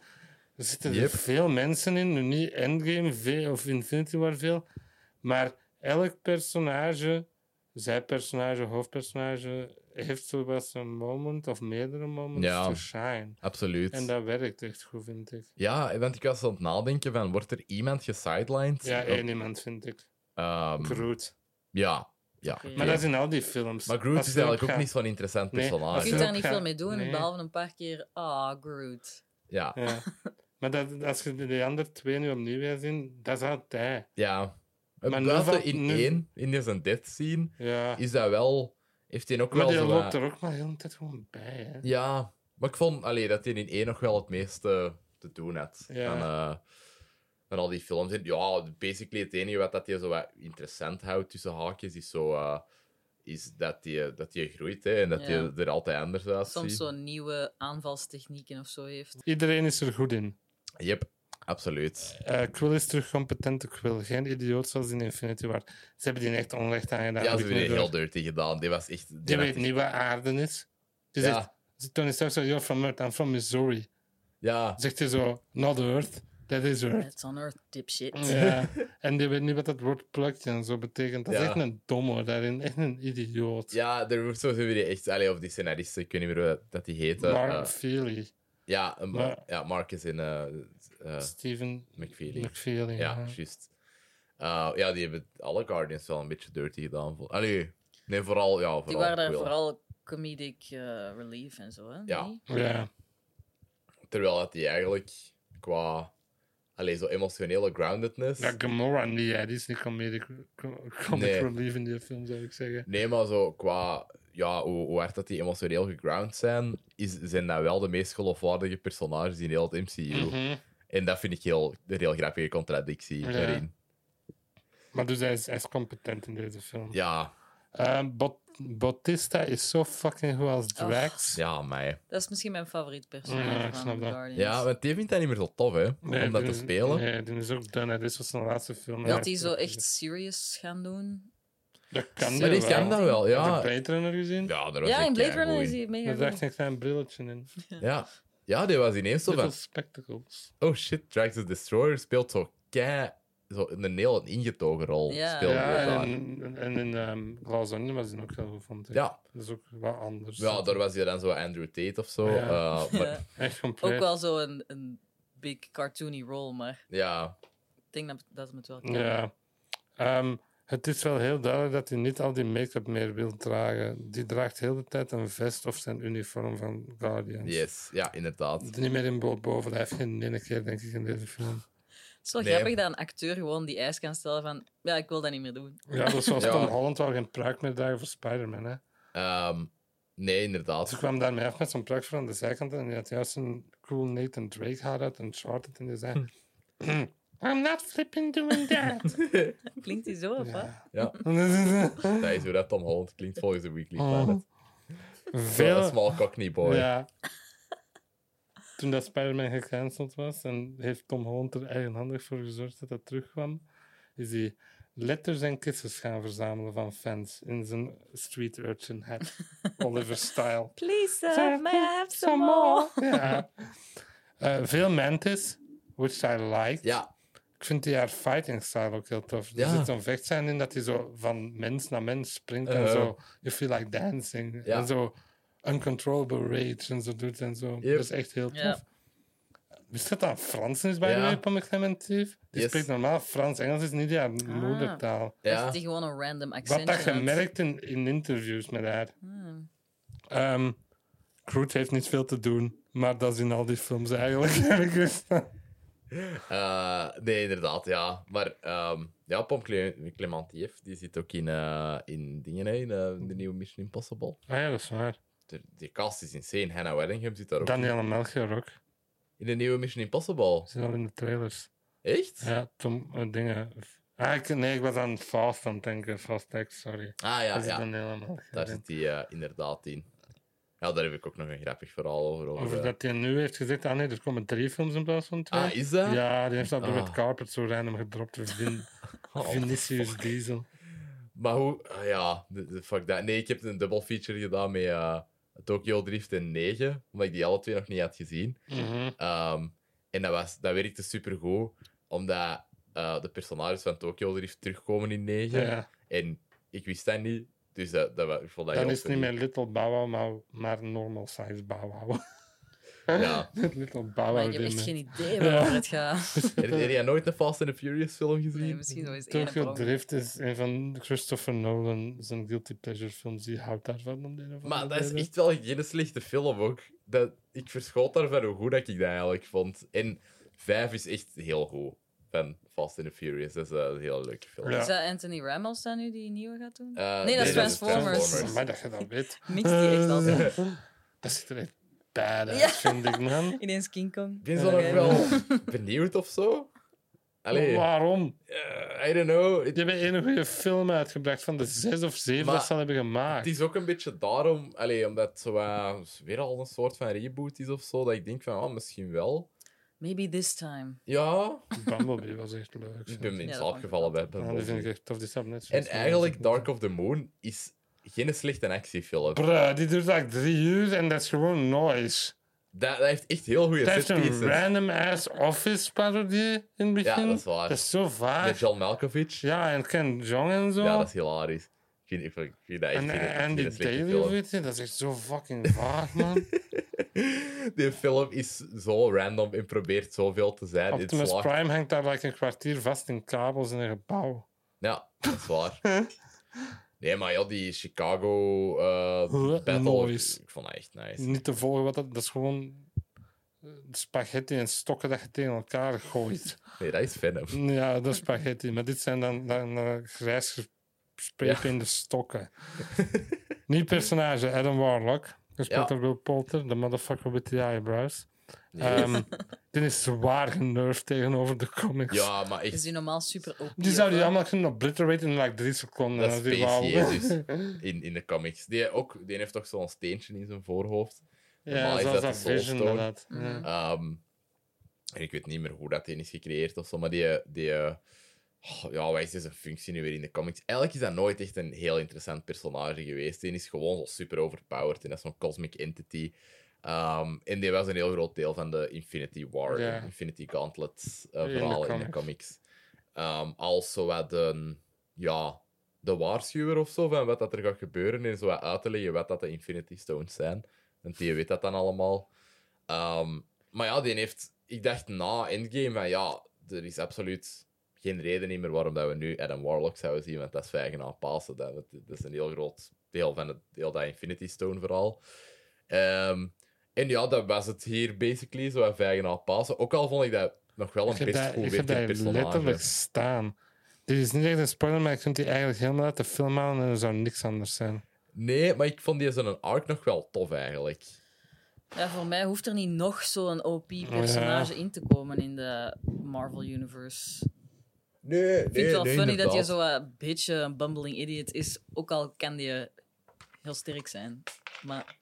[SPEAKER 2] Er zitten
[SPEAKER 1] Yep.
[SPEAKER 2] er veel mensen in, nu niet Endgame veel, of Infinity War veel, maar elk personage, zijpersonage, hoofdpersonage, heeft zo wel zijn moment of meerdere moments
[SPEAKER 1] Ja.
[SPEAKER 2] to shine.
[SPEAKER 1] absoluut.
[SPEAKER 2] En dat werkt echt goed, vind ik.
[SPEAKER 1] Ja, want ik was aan het nadenken van, wordt er iemand gesidelined? Ehm,
[SPEAKER 2] Ja,
[SPEAKER 1] Op-
[SPEAKER 2] één iemand vind ik.
[SPEAKER 1] ehm,
[SPEAKER 2] Groot.
[SPEAKER 1] ja, ja.
[SPEAKER 3] Oké.
[SPEAKER 1] oké.
[SPEAKER 2] Maar dat is in al die films.
[SPEAKER 1] Maar Groot
[SPEAKER 2] Als
[SPEAKER 1] is
[SPEAKER 2] je erop
[SPEAKER 1] eigenlijk ook
[SPEAKER 2] gaat-
[SPEAKER 1] niet zo'n interessant
[SPEAKER 2] Nee,
[SPEAKER 1] personage.
[SPEAKER 2] als
[SPEAKER 3] Je
[SPEAKER 2] je
[SPEAKER 3] kunt daar
[SPEAKER 2] ook
[SPEAKER 3] niet
[SPEAKER 2] gaat-
[SPEAKER 3] veel mee doen,
[SPEAKER 2] Nee.
[SPEAKER 3] behalve een paar keer... Ah, Groot.
[SPEAKER 1] Ja,
[SPEAKER 2] Ja. Maar dat, als je die andere twee nu opnieuw wil zien, dat is altijd.
[SPEAKER 1] ja.
[SPEAKER 2] Maar
[SPEAKER 1] Maar
[SPEAKER 2] nu
[SPEAKER 1] Buiten
[SPEAKER 2] valt-
[SPEAKER 1] in
[SPEAKER 2] nu-
[SPEAKER 1] één, in deze death scene,
[SPEAKER 2] Ja.
[SPEAKER 1] is dat wel... Heeft hij ook
[SPEAKER 2] Maar
[SPEAKER 1] wel
[SPEAKER 2] die
[SPEAKER 1] zo
[SPEAKER 2] loopt
[SPEAKER 1] wat-
[SPEAKER 2] er ook maar de hele tijd gewoon bij. Hè.
[SPEAKER 1] Ja, maar ik vond allee, dat hij in één nog wel het meeste te doen had.
[SPEAKER 2] Ja.
[SPEAKER 1] Van, eh, van al die films. En ja, basically het enige wat dat hij zo wat interessant houdt tussen haakjes, is zo... eh, is dat hij dat die groeit, hè. En dat
[SPEAKER 3] Ja.
[SPEAKER 1] hij er altijd anders uitziet.
[SPEAKER 3] Soms zo'n nieuwe aanvalstechnieken of zo heeft.
[SPEAKER 2] Iedereen is er goed in.
[SPEAKER 1] Yep, absoluut.
[SPEAKER 2] Eh, Quill is terug competente Quill. Geen idioot zoals in Infinity War. Ze hebben die echt onrecht aangedaan.
[SPEAKER 1] Ja,
[SPEAKER 2] heb
[SPEAKER 1] ze
[SPEAKER 2] ik
[SPEAKER 1] hebben die
[SPEAKER 2] niet
[SPEAKER 1] heel
[SPEAKER 2] door.
[SPEAKER 1] dirty gedaan. Die was echt... Die
[SPEAKER 2] Die
[SPEAKER 1] had
[SPEAKER 2] weet
[SPEAKER 1] echt-
[SPEAKER 2] niet waar aarde is. Die
[SPEAKER 1] Ja.
[SPEAKER 2] zegt, Tony Stark zegt, you're from Earth, I'm from Missouri.
[SPEAKER 1] Ja,
[SPEAKER 2] Zegt hij zo, not Earth, that is Earth.
[SPEAKER 3] It's on Earth, dipshit.
[SPEAKER 2] Ja. en die weet niet wat dat woord plukje en zo betekent. Dat is
[SPEAKER 1] Ja.
[SPEAKER 2] echt een domme daarin, echt een idioot.
[SPEAKER 1] ja er wordt zo die echt... Allee, of die scenaristen, ik weet niet meer hoe dat die heette.
[SPEAKER 2] Mark
[SPEAKER 1] Eh,
[SPEAKER 2] Feely,
[SPEAKER 1] ja, een-
[SPEAKER 2] Maar-
[SPEAKER 1] ja, Marcus in eh eh,
[SPEAKER 2] Steven
[SPEAKER 1] McFeely.
[SPEAKER 2] McFeely.
[SPEAKER 1] Ja,
[SPEAKER 2] ja.
[SPEAKER 1] juist. Eh, ja, die hebben alle Guardians wel een beetje dirty gedaan. vol- Allee, nee, vooral... Ja, vooral
[SPEAKER 3] Die waren daar
[SPEAKER 1] Quill.
[SPEAKER 3] vooral comedic eh, relief en zo, hè?
[SPEAKER 1] Ja.
[SPEAKER 3] niet?
[SPEAKER 2] Ja.
[SPEAKER 1] Terwijl dat die eigenlijk qua... Allee, zo emotionele groundedness...
[SPEAKER 2] Ja, Gamora niet, hè. die is niet comedic, com- comic
[SPEAKER 1] Nee.
[SPEAKER 2] relief in die film, zou ik zeggen.
[SPEAKER 1] Nee, maar zo qua ja, hoe, hoe hard dat die emotioneel geground zijn, is, zijn dat wel de meest geloofwaardige personages in heel het MCU.
[SPEAKER 2] Mhm.
[SPEAKER 1] En dat vind ik heel, een heel grappige contradictie
[SPEAKER 2] Ja.
[SPEAKER 1] daarin.
[SPEAKER 2] Maar dus hij is echt competent in deze film.
[SPEAKER 1] Ja,
[SPEAKER 2] Eh, Bot- Bautista is zo fucking goed als
[SPEAKER 3] Oh.
[SPEAKER 2] Drax.
[SPEAKER 1] ja, mij.
[SPEAKER 3] Dat is misschien mijn favoriet
[SPEAKER 2] Ja,
[SPEAKER 3] personage
[SPEAKER 2] ik snap
[SPEAKER 3] van
[SPEAKER 2] dat.
[SPEAKER 3] Guardians.
[SPEAKER 1] Ja, want die vindt dat niet meer zo tof, hè?
[SPEAKER 2] Nee,
[SPEAKER 1] om dat
[SPEAKER 2] die
[SPEAKER 1] te
[SPEAKER 2] is-
[SPEAKER 1] spelen.
[SPEAKER 2] Nee, die is ook done. hè. Dit was zijn laatste film.
[SPEAKER 3] Dat die zo echt serious gaan doen.
[SPEAKER 2] Dat kan
[SPEAKER 1] Maar
[SPEAKER 2] die
[SPEAKER 1] die
[SPEAKER 2] wel.
[SPEAKER 1] kan dat wel,
[SPEAKER 2] Heb je
[SPEAKER 1] ja.
[SPEAKER 2] Blade Runner gezien?
[SPEAKER 1] Ja, daar was
[SPEAKER 3] Ja,
[SPEAKER 1] hij
[SPEAKER 3] in Blade Runner
[SPEAKER 1] keigoed
[SPEAKER 3] is
[SPEAKER 1] in.
[SPEAKER 3] hij mega
[SPEAKER 2] Daar zag
[SPEAKER 3] goed.
[SPEAKER 2] ik een klein brilletje in.
[SPEAKER 1] Ja. ja, die was ineens zo
[SPEAKER 2] Little
[SPEAKER 1] van...
[SPEAKER 2] spectacles.
[SPEAKER 1] Oh shit, Drax the Destroyer speelt zo kei... Zo een heel ingetogen rol
[SPEAKER 3] Ja.
[SPEAKER 1] speelde hij
[SPEAKER 2] ja,
[SPEAKER 1] daar.
[SPEAKER 2] en, en in ehm Glass Onion was die ook heel goed, vond ik.
[SPEAKER 1] Ja.
[SPEAKER 2] Dat is ook wel anders.
[SPEAKER 1] ja, daar was hij dan zo Andrew Tate of zo.
[SPEAKER 2] Ja.
[SPEAKER 1] eh, maar,
[SPEAKER 2] Echt compleet.
[SPEAKER 3] Ook wel zo'n een big cartoony rol, maar
[SPEAKER 1] ja,
[SPEAKER 3] ik denk dat, dat hem het wel kan.
[SPEAKER 2] Ja. Ehm, het is wel heel duidelijk dat hij niet al die make-up meer wil dragen. Die draagt heel de tijd een vest of zijn uniform van Guardians.
[SPEAKER 1] yes. Ja, inderdaad.
[SPEAKER 2] Niet meer in boot boven, dat heeft geen ene keer, denk ik, in deze film.
[SPEAKER 3] Het is wel
[SPEAKER 1] Nee.
[SPEAKER 3] grappig dat een acteur gewoon die eis kan stellen van ja, ik wil dat niet meer doen.
[SPEAKER 2] Ja, dat is zoals
[SPEAKER 1] Ja.
[SPEAKER 2] Tom Holland wou geen pruik meer dragen voor Spider-Man. Hè.
[SPEAKER 1] Ehm, nee,
[SPEAKER 2] Ze
[SPEAKER 1] inderdaad.
[SPEAKER 2] kwam daarmee af met zo'n pruik voor aan de zijkant en die had juist een cool Nathan Drake haar uit en shorted en die zei... I'm not flipping doing that.
[SPEAKER 3] Klinkt die zo of wat?
[SPEAKER 2] Ja.
[SPEAKER 1] Ja, dat is hoe dat Tom Holland klinkt volgens de Weekly
[SPEAKER 2] Oh.
[SPEAKER 1] Planet. Veel... Een
[SPEAKER 2] Veel,
[SPEAKER 1] small cockney boy.
[SPEAKER 2] Ja. Toen dat Spider-Man gecanceld was en heeft Tom Holland er eigenhandig voor gezorgd dat dat terugkwam, is hij letters en kisses gaan verzamelen van fans in zijn street urchin hat, Oliver style.
[SPEAKER 3] Please
[SPEAKER 2] Sir,
[SPEAKER 3] sir, may I have
[SPEAKER 2] Some
[SPEAKER 3] some more?
[SPEAKER 2] Ja. Eh, veel Mantis, which I like.
[SPEAKER 1] Ja,
[SPEAKER 2] Ik vind die haar fighting style ook heel tof. Er
[SPEAKER 1] Ja.
[SPEAKER 2] zit zo'n vechtscène in dat hij zo van mens naar mens springt en
[SPEAKER 1] Uh-huh.
[SPEAKER 2] zo. You feel like dancing.
[SPEAKER 1] Ja.
[SPEAKER 2] En zo uncontrollable rage en zo doet en zo.
[SPEAKER 1] Yep.
[SPEAKER 2] Dat is echt heel tof.
[SPEAKER 3] Ja.
[SPEAKER 2] Wist je dat dat Frans is bij
[SPEAKER 1] Ja.
[SPEAKER 2] de Pamela Clementief? Die
[SPEAKER 1] Yes.
[SPEAKER 2] spreekt normaal Frans. Engels is niet haar
[SPEAKER 3] Ah.
[SPEAKER 2] moedertaal.
[SPEAKER 1] ja.
[SPEAKER 3] Heeft die gewoon een random accent?
[SPEAKER 2] Wat dat gemerkt in, in interviews met haar. Ehm Groot heeft niet veel te doen, maar dat is in al die films eigenlijk. Ah heb ik gezien.
[SPEAKER 1] Eh, nee, inderdaad, ja. Maar ehm, ja, Pom Cle- Clementief, die zit ook in, eh, in dingen, hè, in eh, de nieuwe Mission Impossible.
[SPEAKER 2] ah ja, dat is waar.
[SPEAKER 1] De, die cast is insane. Hannah Waddingham zit daar ook in.
[SPEAKER 2] Danielle Melchior ook.
[SPEAKER 1] in de nieuwe Mission Impossible.
[SPEAKER 2] Zit al in de trailers.
[SPEAKER 1] Echt?
[SPEAKER 2] Ja, Tom, eh, dingen. Ah, ik, nee, ik was aan Fast aan het denken. Fast X, sorry.
[SPEAKER 1] Ah
[SPEAKER 2] dat
[SPEAKER 1] ja,
[SPEAKER 2] is
[SPEAKER 1] ja.
[SPEAKER 2] dan helemaal
[SPEAKER 1] daar zit hij eh, inderdaad in. Ja, daar heb ik ook nog een grappig verhaal over. over,
[SPEAKER 2] Over
[SPEAKER 1] eh.
[SPEAKER 2] dat hij nu heeft gezegd, ah nee, er komen drie films in plaats van twee.
[SPEAKER 1] Ah, is dat?
[SPEAKER 2] Ja, die heeft dat door het
[SPEAKER 1] Ah.
[SPEAKER 2] carpet zo random gedropt. Vin
[SPEAKER 1] Oh,
[SPEAKER 2] Vinicius Diesel.
[SPEAKER 1] Maar hoe... ah, ja, de- de- fuck dat. Nee, ik heb een dubbel feature gedaan met eh, Tokyo Drift en 9, omdat ik die alle twee nog niet had gezien.
[SPEAKER 2] Mhm.
[SPEAKER 1] Ehm, en dat, was, dat werkte supergoed, omdat eh, de personages van Tokyo Drift terugkomen in 9.
[SPEAKER 2] Ja.
[SPEAKER 1] En ik wist dat niet, dus dat, dat, wa- ik vond dat
[SPEAKER 2] Dan
[SPEAKER 1] heel
[SPEAKER 2] is het niet
[SPEAKER 1] funny.
[SPEAKER 2] meer Little Bow Wow, maar, maar normal size Bow Wow.
[SPEAKER 1] Ja.
[SPEAKER 2] Little Bow
[SPEAKER 3] Maar
[SPEAKER 2] Wow.
[SPEAKER 3] ik heb
[SPEAKER 2] die
[SPEAKER 3] echt geen
[SPEAKER 2] met-
[SPEAKER 3] idee
[SPEAKER 2] Ja.
[SPEAKER 3] waarover het gaat.
[SPEAKER 1] Heb, heb jij nooit een Fast and the Furious film gezien?
[SPEAKER 3] Nee, misschien wel eens één
[SPEAKER 2] Tokyo
[SPEAKER 3] per ongeluk.
[SPEAKER 2] Drift is een van Christopher Nolan zijn guilty pleasure films. Die houdt daarvan om de een of
[SPEAKER 1] Maar
[SPEAKER 2] andere
[SPEAKER 1] dat is
[SPEAKER 2] reden.
[SPEAKER 1] echt wel geen slechte film ook. Dat, ik verschoot daarvan hoe goed dat ik dat eigenlijk vond. En 5 is echt heel goed. Van Fast and the Furious. Dat is eh, een heel leuke film.
[SPEAKER 2] Ja.
[SPEAKER 3] Is dat Anthony Ramos dan nu die nieuwe gaat doen?
[SPEAKER 1] Eh,
[SPEAKER 3] nee, dat is Transformers.
[SPEAKER 2] Maar dat je dat weet.
[SPEAKER 3] Mixt die echt
[SPEAKER 2] Eh,
[SPEAKER 3] altijd.
[SPEAKER 2] Dat ziet er echt badass,
[SPEAKER 3] Ja.
[SPEAKER 2] vind ik, man.
[SPEAKER 3] Ineens King Kong.
[SPEAKER 1] Ik ben zo nog
[SPEAKER 3] Oké.
[SPEAKER 1] wel benieuwd of zo. Allee,
[SPEAKER 2] Waarom?
[SPEAKER 1] eh, I don't know. Het,
[SPEAKER 2] Je hebt één goede film uitgebracht van de zes of zeven
[SPEAKER 1] Maar-
[SPEAKER 2] dat ze al hebben
[SPEAKER 1] het
[SPEAKER 2] gemaakt.
[SPEAKER 1] is ook een beetje daarom, allee, omdat het zo, eh, weer al een soort van reboot is of zo, dat ik denk van, oh, misschien wel.
[SPEAKER 3] Maybe this time.
[SPEAKER 1] Ja, Dus
[SPEAKER 2] Bumblebee was echt leuk.
[SPEAKER 1] ik ben in
[SPEAKER 3] Ja, dat
[SPEAKER 1] slaap
[SPEAKER 3] vond ik
[SPEAKER 1] gevallen bij
[SPEAKER 2] Ja, die vind ik echt tof. Die staat op Netflix.
[SPEAKER 1] En eigenlijk, Dark of the Moon is geen slechte actiefilm.
[SPEAKER 2] Bruh, die duurt like drie uur en dat is gewoon noise.
[SPEAKER 1] Dat, dat heeft echt heel goede
[SPEAKER 2] Dat is een
[SPEAKER 1] setpieces.
[SPEAKER 2] random ass office parodie in het begin.
[SPEAKER 1] Ja, dat is waar.
[SPEAKER 2] Dat is zo vaag.
[SPEAKER 1] Met John Malkovich. Ja,
[SPEAKER 2] Ja, en Ken Jong en zo.
[SPEAKER 1] dat is hilarisch. Ik vind, ik vind, ik vind dat echt
[SPEAKER 2] en eh,
[SPEAKER 1] geen,
[SPEAKER 2] en
[SPEAKER 1] geen
[SPEAKER 2] die
[SPEAKER 1] slechte
[SPEAKER 2] Daily,
[SPEAKER 1] film.
[SPEAKER 2] weet je, dat is echt zo fucking vaag, man.
[SPEAKER 1] Die film is zo random en probeert zoveel te zijn. Het
[SPEAKER 2] Optimus
[SPEAKER 1] slaagt-
[SPEAKER 2] Prime hangt daar like een kwartier vast in kabels in een gebouw.
[SPEAKER 1] Ja, dat is waar. nee, maar ja, die Chicago eh,
[SPEAKER 2] Huh,
[SPEAKER 1] battle,
[SPEAKER 2] noise.
[SPEAKER 1] ik vond dat echt nice.
[SPEAKER 2] Niet te volgen, wat dat, dat is gewoon eh, spaghetti en stokken dat je tegen elkaar gooit.
[SPEAKER 1] Nee, dat is Venom.
[SPEAKER 2] ja, dat is spaghetti. Maar dit zijn dan, dan eh, grijs gespreepende stokken. Nieuw personage, Adam Warlock. Gespeeld
[SPEAKER 1] Ja.
[SPEAKER 2] door Will Poulter, de motherfucker with the eyebrows.
[SPEAKER 1] Ja.
[SPEAKER 2] Ehm, dit is zwaar genervd tegenover de comics.
[SPEAKER 1] ja, maar
[SPEAKER 3] Is
[SPEAKER 1] echt
[SPEAKER 3] die normaal super OP?
[SPEAKER 2] Die zou die
[SPEAKER 3] of wat?
[SPEAKER 2] allemaal kunnen obliteraten in like drie seconden.
[SPEAKER 1] Dat is dus.
[SPEAKER 2] En dan die
[SPEAKER 1] Space
[SPEAKER 2] wou-
[SPEAKER 1] Jezus. in, in de comics. Die, ook, die heeft toch zo'n steentje in zijn voorhoofd. Normaal
[SPEAKER 2] ja,
[SPEAKER 1] is
[SPEAKER 2] zoals
[SPEAKER 1] dat
[SPEAKER 2] dat
[SPEAKER 1] de
[SPEAKER 2] Vision
[SPEAKER 1] Soulstone.
[SPEAKER 2] inderdaad. Ja.
[SPEAKER 3] Mhm.
[SPEAKER 1] Ehm, en ik weet niet meer hoe dat die is gecreëerd of zo, maar die... die eh, oh, ja, wat is deze functie nu weer in de comics? Eigenlijk is dat nooit echt een heel interessant personage geweest. Die is gewoon zo super overpowered en dat is zo'n cosmic entity. Ehm, en die was een heel groot deel van de Infinity War,
[SPEAKER 2] Ja.
[SPEAKER 1] en Infinity Gauntlet eh,
[SPEAKER 2] In de
[SPEAKER 1] verhalen in de comics. Ehm als zo wat een... Ja, de waarschuwer of zo van wat dat er gaat gebeuren en zo wat uit te leggen wat dat de Infinity Stones zijn. Want die weet dat dan allemaal. Ehm, maar ja, die heeft... Ik dacht na Endgame van ja, er is absoluut geen reden niet meer waarom dat we nu Adam Warlock zouden zien, want dat is vijgen aan Pasen. Dat, dat is een heel groot deel van het heel dat Infinity Stone verhaal. Ehm, en ja, dat was het hier basically, zo vijgen aan Pasen. Ook al vond ik dat nog wel
[SPEAKER 2] Ik
[SPEAKER 1] een
[SPEAKER 2] heb
[SPEAKER 1] best
[SPEAKER 2] daar-
[SPEAKER 1] goed
[SPEAKER 2] ik heb
[SPEAKER 1] werkend
[SPEAKER 2] daar
[SPEAKER 1] personage.
[SPEAKER 2] letterlijk staan. Dit is niet echt een spoiler, maar je kunt die eigenlijk helemaal uit de film halen en er zou niks anders zijn.
[SPEAKER 1] Nee, maar ik vond die zijn arc nog wel tof eigenlijk.
[SPEAKER 3] Ja, voor mij hoeft er niet nog zo'n OP-personage in te komen in de Marvel Universe.
[SPEAKER 1] Nee,
[SPEAKER 3] Ik vind het wel funny dat je zo'n eh, beetje een bumbling idiot is, ook al kan die heel sterk zijn. Maar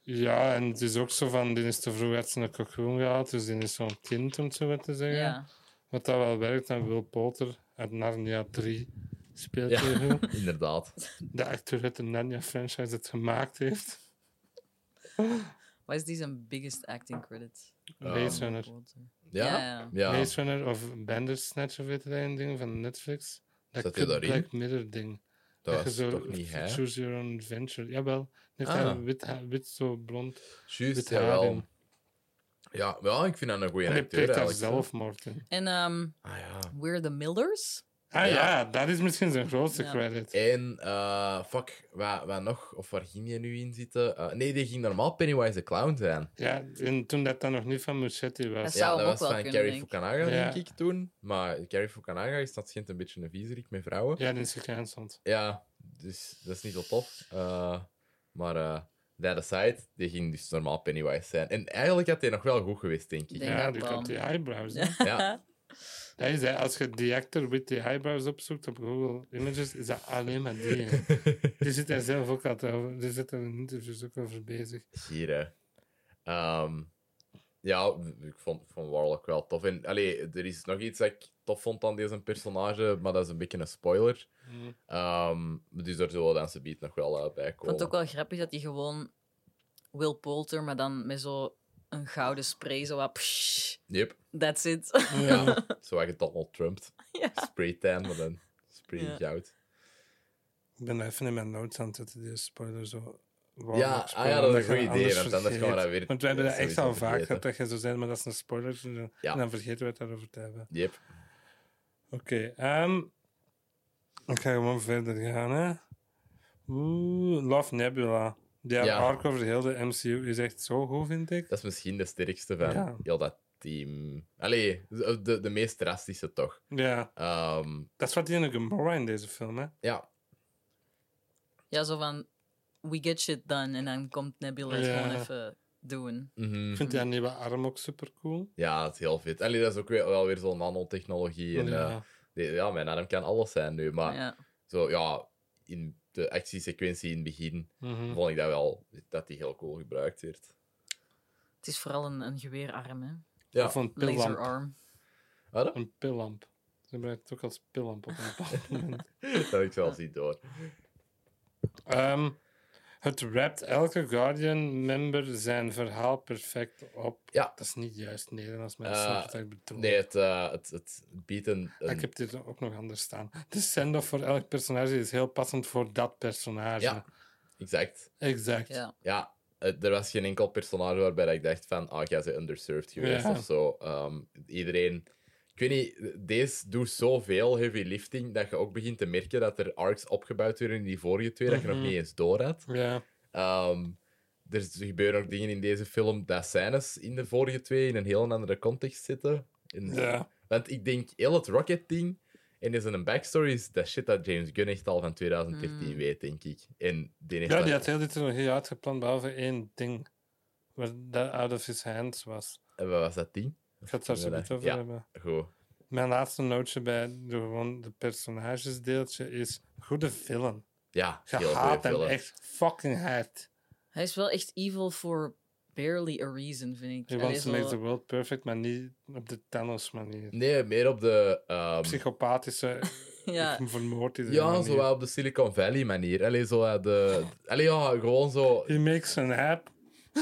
[SPEAKER 2] Ja, en het is ook zo van, die is te vroeg uit zijn cocoon gehaald, dus die is zo'n kind, om het zo maar te
[SPEAKER 3] ja,
[SPEAKER 2] zeggen. Wat dat wel werkt, en Will Potter uit Narnia 3 speelt
[SPEAKER 1] Ja.
[SPEAKER 2] heel goed.
[SPEAKER 1] Inderdaad.
[SPEAKER 2] De acteur uit de Narnia-franchise dat gemaakt heeft.
[SPEAKER 3] wat is die zijn biggest acting credit?
[SPEAKER 2] Maze
[SPEAKER 1] Ehm,
[SPEAKER 2] Runner.
[SPEAKER 1] Ja?
[SPEAKER 3] ja.
[SPEAKER 1] Ja.
[SPEAKER 2] Maze Runner of Bandersnatch of weet je dat een ding van Netflix? Dat
[SPEAKER 1] Zat
[SPEAKER 2] is
[SPEAKER 1] hij
[SPEAKER 2] een
[SPEAKER 1] daarin?
[SPEAKER 2] Black Mirror ding.
[SPEAKER 1] dat
[SPEAKER 2] je
[SPEAKER 1] was
[SPEAKER 2] zo
[SPEAKER 1] toch niet hij?
[SPEAKER 2] Choose your own adventure. Jawel. Net
[SPEAKER 1] Ah.
[SPEAKER 2] hij wit, ha- wit zo blond.
[SPEAKER 1] Juist,
[SPEAKER 2] Met
[SPEAKER 1] jawel.
[SPEAKER 2] Haring.
[SPEAKER 1] Ja, wel, ik vind dat een goede
[SPEAKER 2] En hij
[SPEAKER 1] acteur
[SPEAKER 2] pleegt daar
[SPEAKER 1] eigenlijk.
[SPEAKER 2] zelf moord in.
[SPEAKER 3] En ehm,
[SPEAKER 1] Ah ja.
[SPEAKER 3] We're the Millers?
[SPEAKER 2] Ah ja.
[SPEAKER 1] Ja.
[SPEAKER 2] dat is misschien zijn grootste
[SPEAKER 3] Ja.
[SPEAKER 2] credit.
[SPEAKER 1] En, eh, fuck, waar, waar nog? Of waar ging je nu in zitten? Eh, nee, die ging normaal Pennywise de Clown zijn.
[SPEAKER 2] Ja, en toen dat dan nog niet van Muschetti was.
[SPEAKER 3] Dat zou
[SPEAKER 1] ja,
[SPEAKER 3] hem
[SPEAKER 1] dat
[SPEAKER 3] ook
[SPEAKER 1] was
[SPEAKER 3] wel
[SPEAKER 1] van
[SPEAKER 3] kunnen,
[SPEAKER 1] Carrie
[SPEAKER 3] denk ik.
[SPEAKER 1] Fukunaga,
[SPEAKER 2] Ja.
[SPEAKER 1] denk ik, toen. Maar Carrie Fukunaga is dat schijnt een beetje een viezerik met vrouwen.
[SPEAKER 2] Ja, die is gecanceld.
[SPEAKER 1] Ja, dus dat is niet zo tof. Eh, maar eh that aside, die ging dus normaal Pennywise zijn. En eigenlijk had hij nog wel goed geweest, denk ik.
[SPEAKER 3] Denk
[SPEAKER 2] ja,
[SPEAKER 3] dat
[SPEAKER 2] die
[SPEAKER 3] wel.
[SPEAKER 2] komt die eyebrows. hè.
[SPEAKER 1] Ja,
[SPEAKER 2] Dat is, hij. als je die actor with the eyebrows opzoekt op Google Images, is dat alleen maar die. hè. die zit daar zelf ook altijd over. Die zit er in interviews ook over bezig.
[SPEAKER 1] hier, hè. Ehm, ja, ik vond, ik vond Warlock wel tof. En allee, er is nog iets dat ik tof vond aan deze personage, maar dat is een beetje een spoiler.
[SPEAKER 2] Mm.
[SPEAKER 1] Ehm, dus daar zullen we dan beat nog wel eh, bij
[SPEAKER 3] Ik vond
[SPEAKER 1] komen.
[SPEAKER 3] het ook wel grappig dat hij gewoon Will Poulter, maar dan met zo een gouden spray, zo wat... psh,
[SPEAKER 1] Yep.
[SPEAKER 3] that's it.
[SPEAKER 1] Ja, zo je Donald Trump.
[SPEAKER 3] Ja.
[SPEAKER 1] Spray tan, maar dan spray
[SPEAKER 3] Ja.
[SPEAKER 1] goud.
[SPEAKER 2] Ik ben even in mijn notes aan het zetten, die spoiler zo. warm
[SPEAKER 1] Ja,
[SPEAKER 2] op
[SPEAKER 1] ah
[SPEAKER 2] spoiler,
[SPEAKER 1] ja, dat is
[SPEAKER 2] omdat
[SPEAKER 1] een
[SPEAKER 2] je
[SPEAKER 1] goed idee,
[SPEAKER 2] anders
[SPEAKER 1] want anders gaan we dat
[SPEAKER 2] vergeet.
[SPEAKER 1] weer-
[SPEAKER 2] Want we hebben dat echt
[SPEAKER 1] sowieso
[SPEAKER 2] al vaak
[SPEAKER 1] vergeten.
[SPEAKER 2] gehad, dat je zo zei, maar dat is een spoiler. En dan,
[SPEAKER 1] Ja.
[SPEAKER 2] en dan vergeten we het daarover te hebben.
[SPEAKER 1] Yep.
[SPEAKER 2] Oké, ehm, ik ga gewoon verder gaan, hè. Oeh, Love Nebula. Die
[SPEAKER 1] Ja.
[SPEAKER 2] arc over heel de MCU is echt zo goed, vind ik.
[SPEAKER 1] Dat is misschien de sterkste van
[SPEAKER 2] Ja.
[SPEAKER 1] heel dat team. Allee, de, de- de meest drastische toch.
[SPEAKER 2] Ja,
[SPEAKER 1] Ehm,
[SPEAKER 2] dat is wat die in de Gamora in deze film, hè.
[SPEAKER 1] ja,
[SPEAKER 3] Ja, zo van, we get shit done. En dan komt Nebula het
[SPEAKER 2] Ja.
[SPEAKER 3] gewoon even doen.
[SPEAKER 1] mhm.
[SPEAKER 2] Ik vind die nieuwe arm ook super cool.
[SPEAKER 1] ja, dat is heel vet. Allee, dat is ook weer, wel weer zo'n nanotechnologie. En, eh, ja. ja, mijn arm kan alles zijn nu. Maar
[SPEAKER 3] Ja.
[SPEAKER 1] zo, ja, in de actiesequentie in het begin
[SPEAKER 2] Mhm.
[SPEAKER 1] vond ik dat wel, dat die heel cool gebruikt werd.
[SPEAKER 3] Het is vooral een, een geweerarm, hè.
[SPEAKER 1] Ja,
[SPEAKER 2] Of een pillamp.
[SPEAKER 3] Laserarm.
[SPEAKER 1] Wat?
[SPEAKER 2] Een pillamp. Ze gebruiken het ook als pillamp op een bepaald moment.
[SPEAKER 1] dat heb ik zelfs niet door.
[SPEAKER 2] Ehm, het rapt elke Guardian-member zijn verhaal perfect op.
[SPEAKER 1] Ja.
[SPEAKER 2] Dat is niet juist Nederlands, maar
[SPEAKER 1] Eh,
[SPEAKER 2] dat is wat ik bedoel.
[SPEAKER 1] Nee, het, eh, het, het biedt een...
[SPEAKER 2] Ah,
[SPEAKER 1] een-
[SPEAKER 2] Ik heb dit ook nog anders staan. De send-off voor elk personage is heel passend voor dat personage.
[SPEAKER 1] Ja. Exact.
[SPEAKER 2] Exact.
[SPEAKER 3] Ja.
[SPEAKER 1] Ja, eh, er was geen enkel personage waarbij ik dacht van, ah, jij bent underserved geweest
[SPEAKER 2] Ja.
[SPEAKER 1] of zo. Ehm, iedereen... Ik weet niet, deze doet zoveel heavy lifting dat je ook begint te merken dat er arcs opgebouwd werden in die vorige twee, dat je
[SPEAKER 2] Mhm.
[SPEAKER 1] nog niet eens door had.
[SPEAKER 2] Ja.
[SPEAKER 1] Ehm, er z- gebeuren ook dingen in deze film dat scènes in de vorige twee in een heel andere context zitten. In-
[SPEAKER 2] Ja.
[SPEAKER 1] Want ik denk, heel het Rocket-ding En is een backstory is dat shit dat James Gunn echt al van 2013
[SPEAKER 3] Mm.
[SPEAKER 1] weet, denk ik. En die heeft
[SPEAKER 2] Ja,
[SPEAKER 1] dat-
[SPEAKER 2] die had heel die trilogie uitgepland, behalve één ding. Waar dat out of his hands was.
[SPEAKER 1] en wat was dat ding?
[SPEAKER 2] Ik ga het daar zo
[SPEAKER 1] Ja.
[SPEAKER 2] meteen over
[SPEAKER 1] Ja.
[SPEAKER 2] hebben.
[SPEAKER 1] Goed.
[SPEAKER 2] Mijn laatste nootje bij de, gewoon de personagesdeeltje is goede film.
[SPEAKER 1] Ja,
[SPEAKER 2] Je
[SPEAKER 1] heel goede
[SPEAKER 2] haat hem
[SPEAKER 1] film.
[SPEAKER 2] echt fucking hard.
[SPEAKER 3] Hij is wel echt evil for barely a reason, vind ik.
[SPEAKER 2] He
[SPEAKER 3] Hij
[SPEAKER 2] wants
[SPEAKER 3] is
[SPEAKER 2] to make
[SPEAKER 3] wel-
[SPEAKER 2] the world perfect, maar niet op de Thanos manier.
[SPEAKER 1] Nee, meer op de... ehm,
[SPEAKER 2] Psychopathische,
[SPEAKER 3] ja,
[SPEAKER 2] ik vermoord iedereen
[SPEAKER 1] ja,
[SPEAKER 2] manier.
[SPEAKER 1] zo wel op de Silicon Valley manier. Allee, zo eh, de... Allee, ja, gewoon zo...
[SPEAKER 2] He makes an app.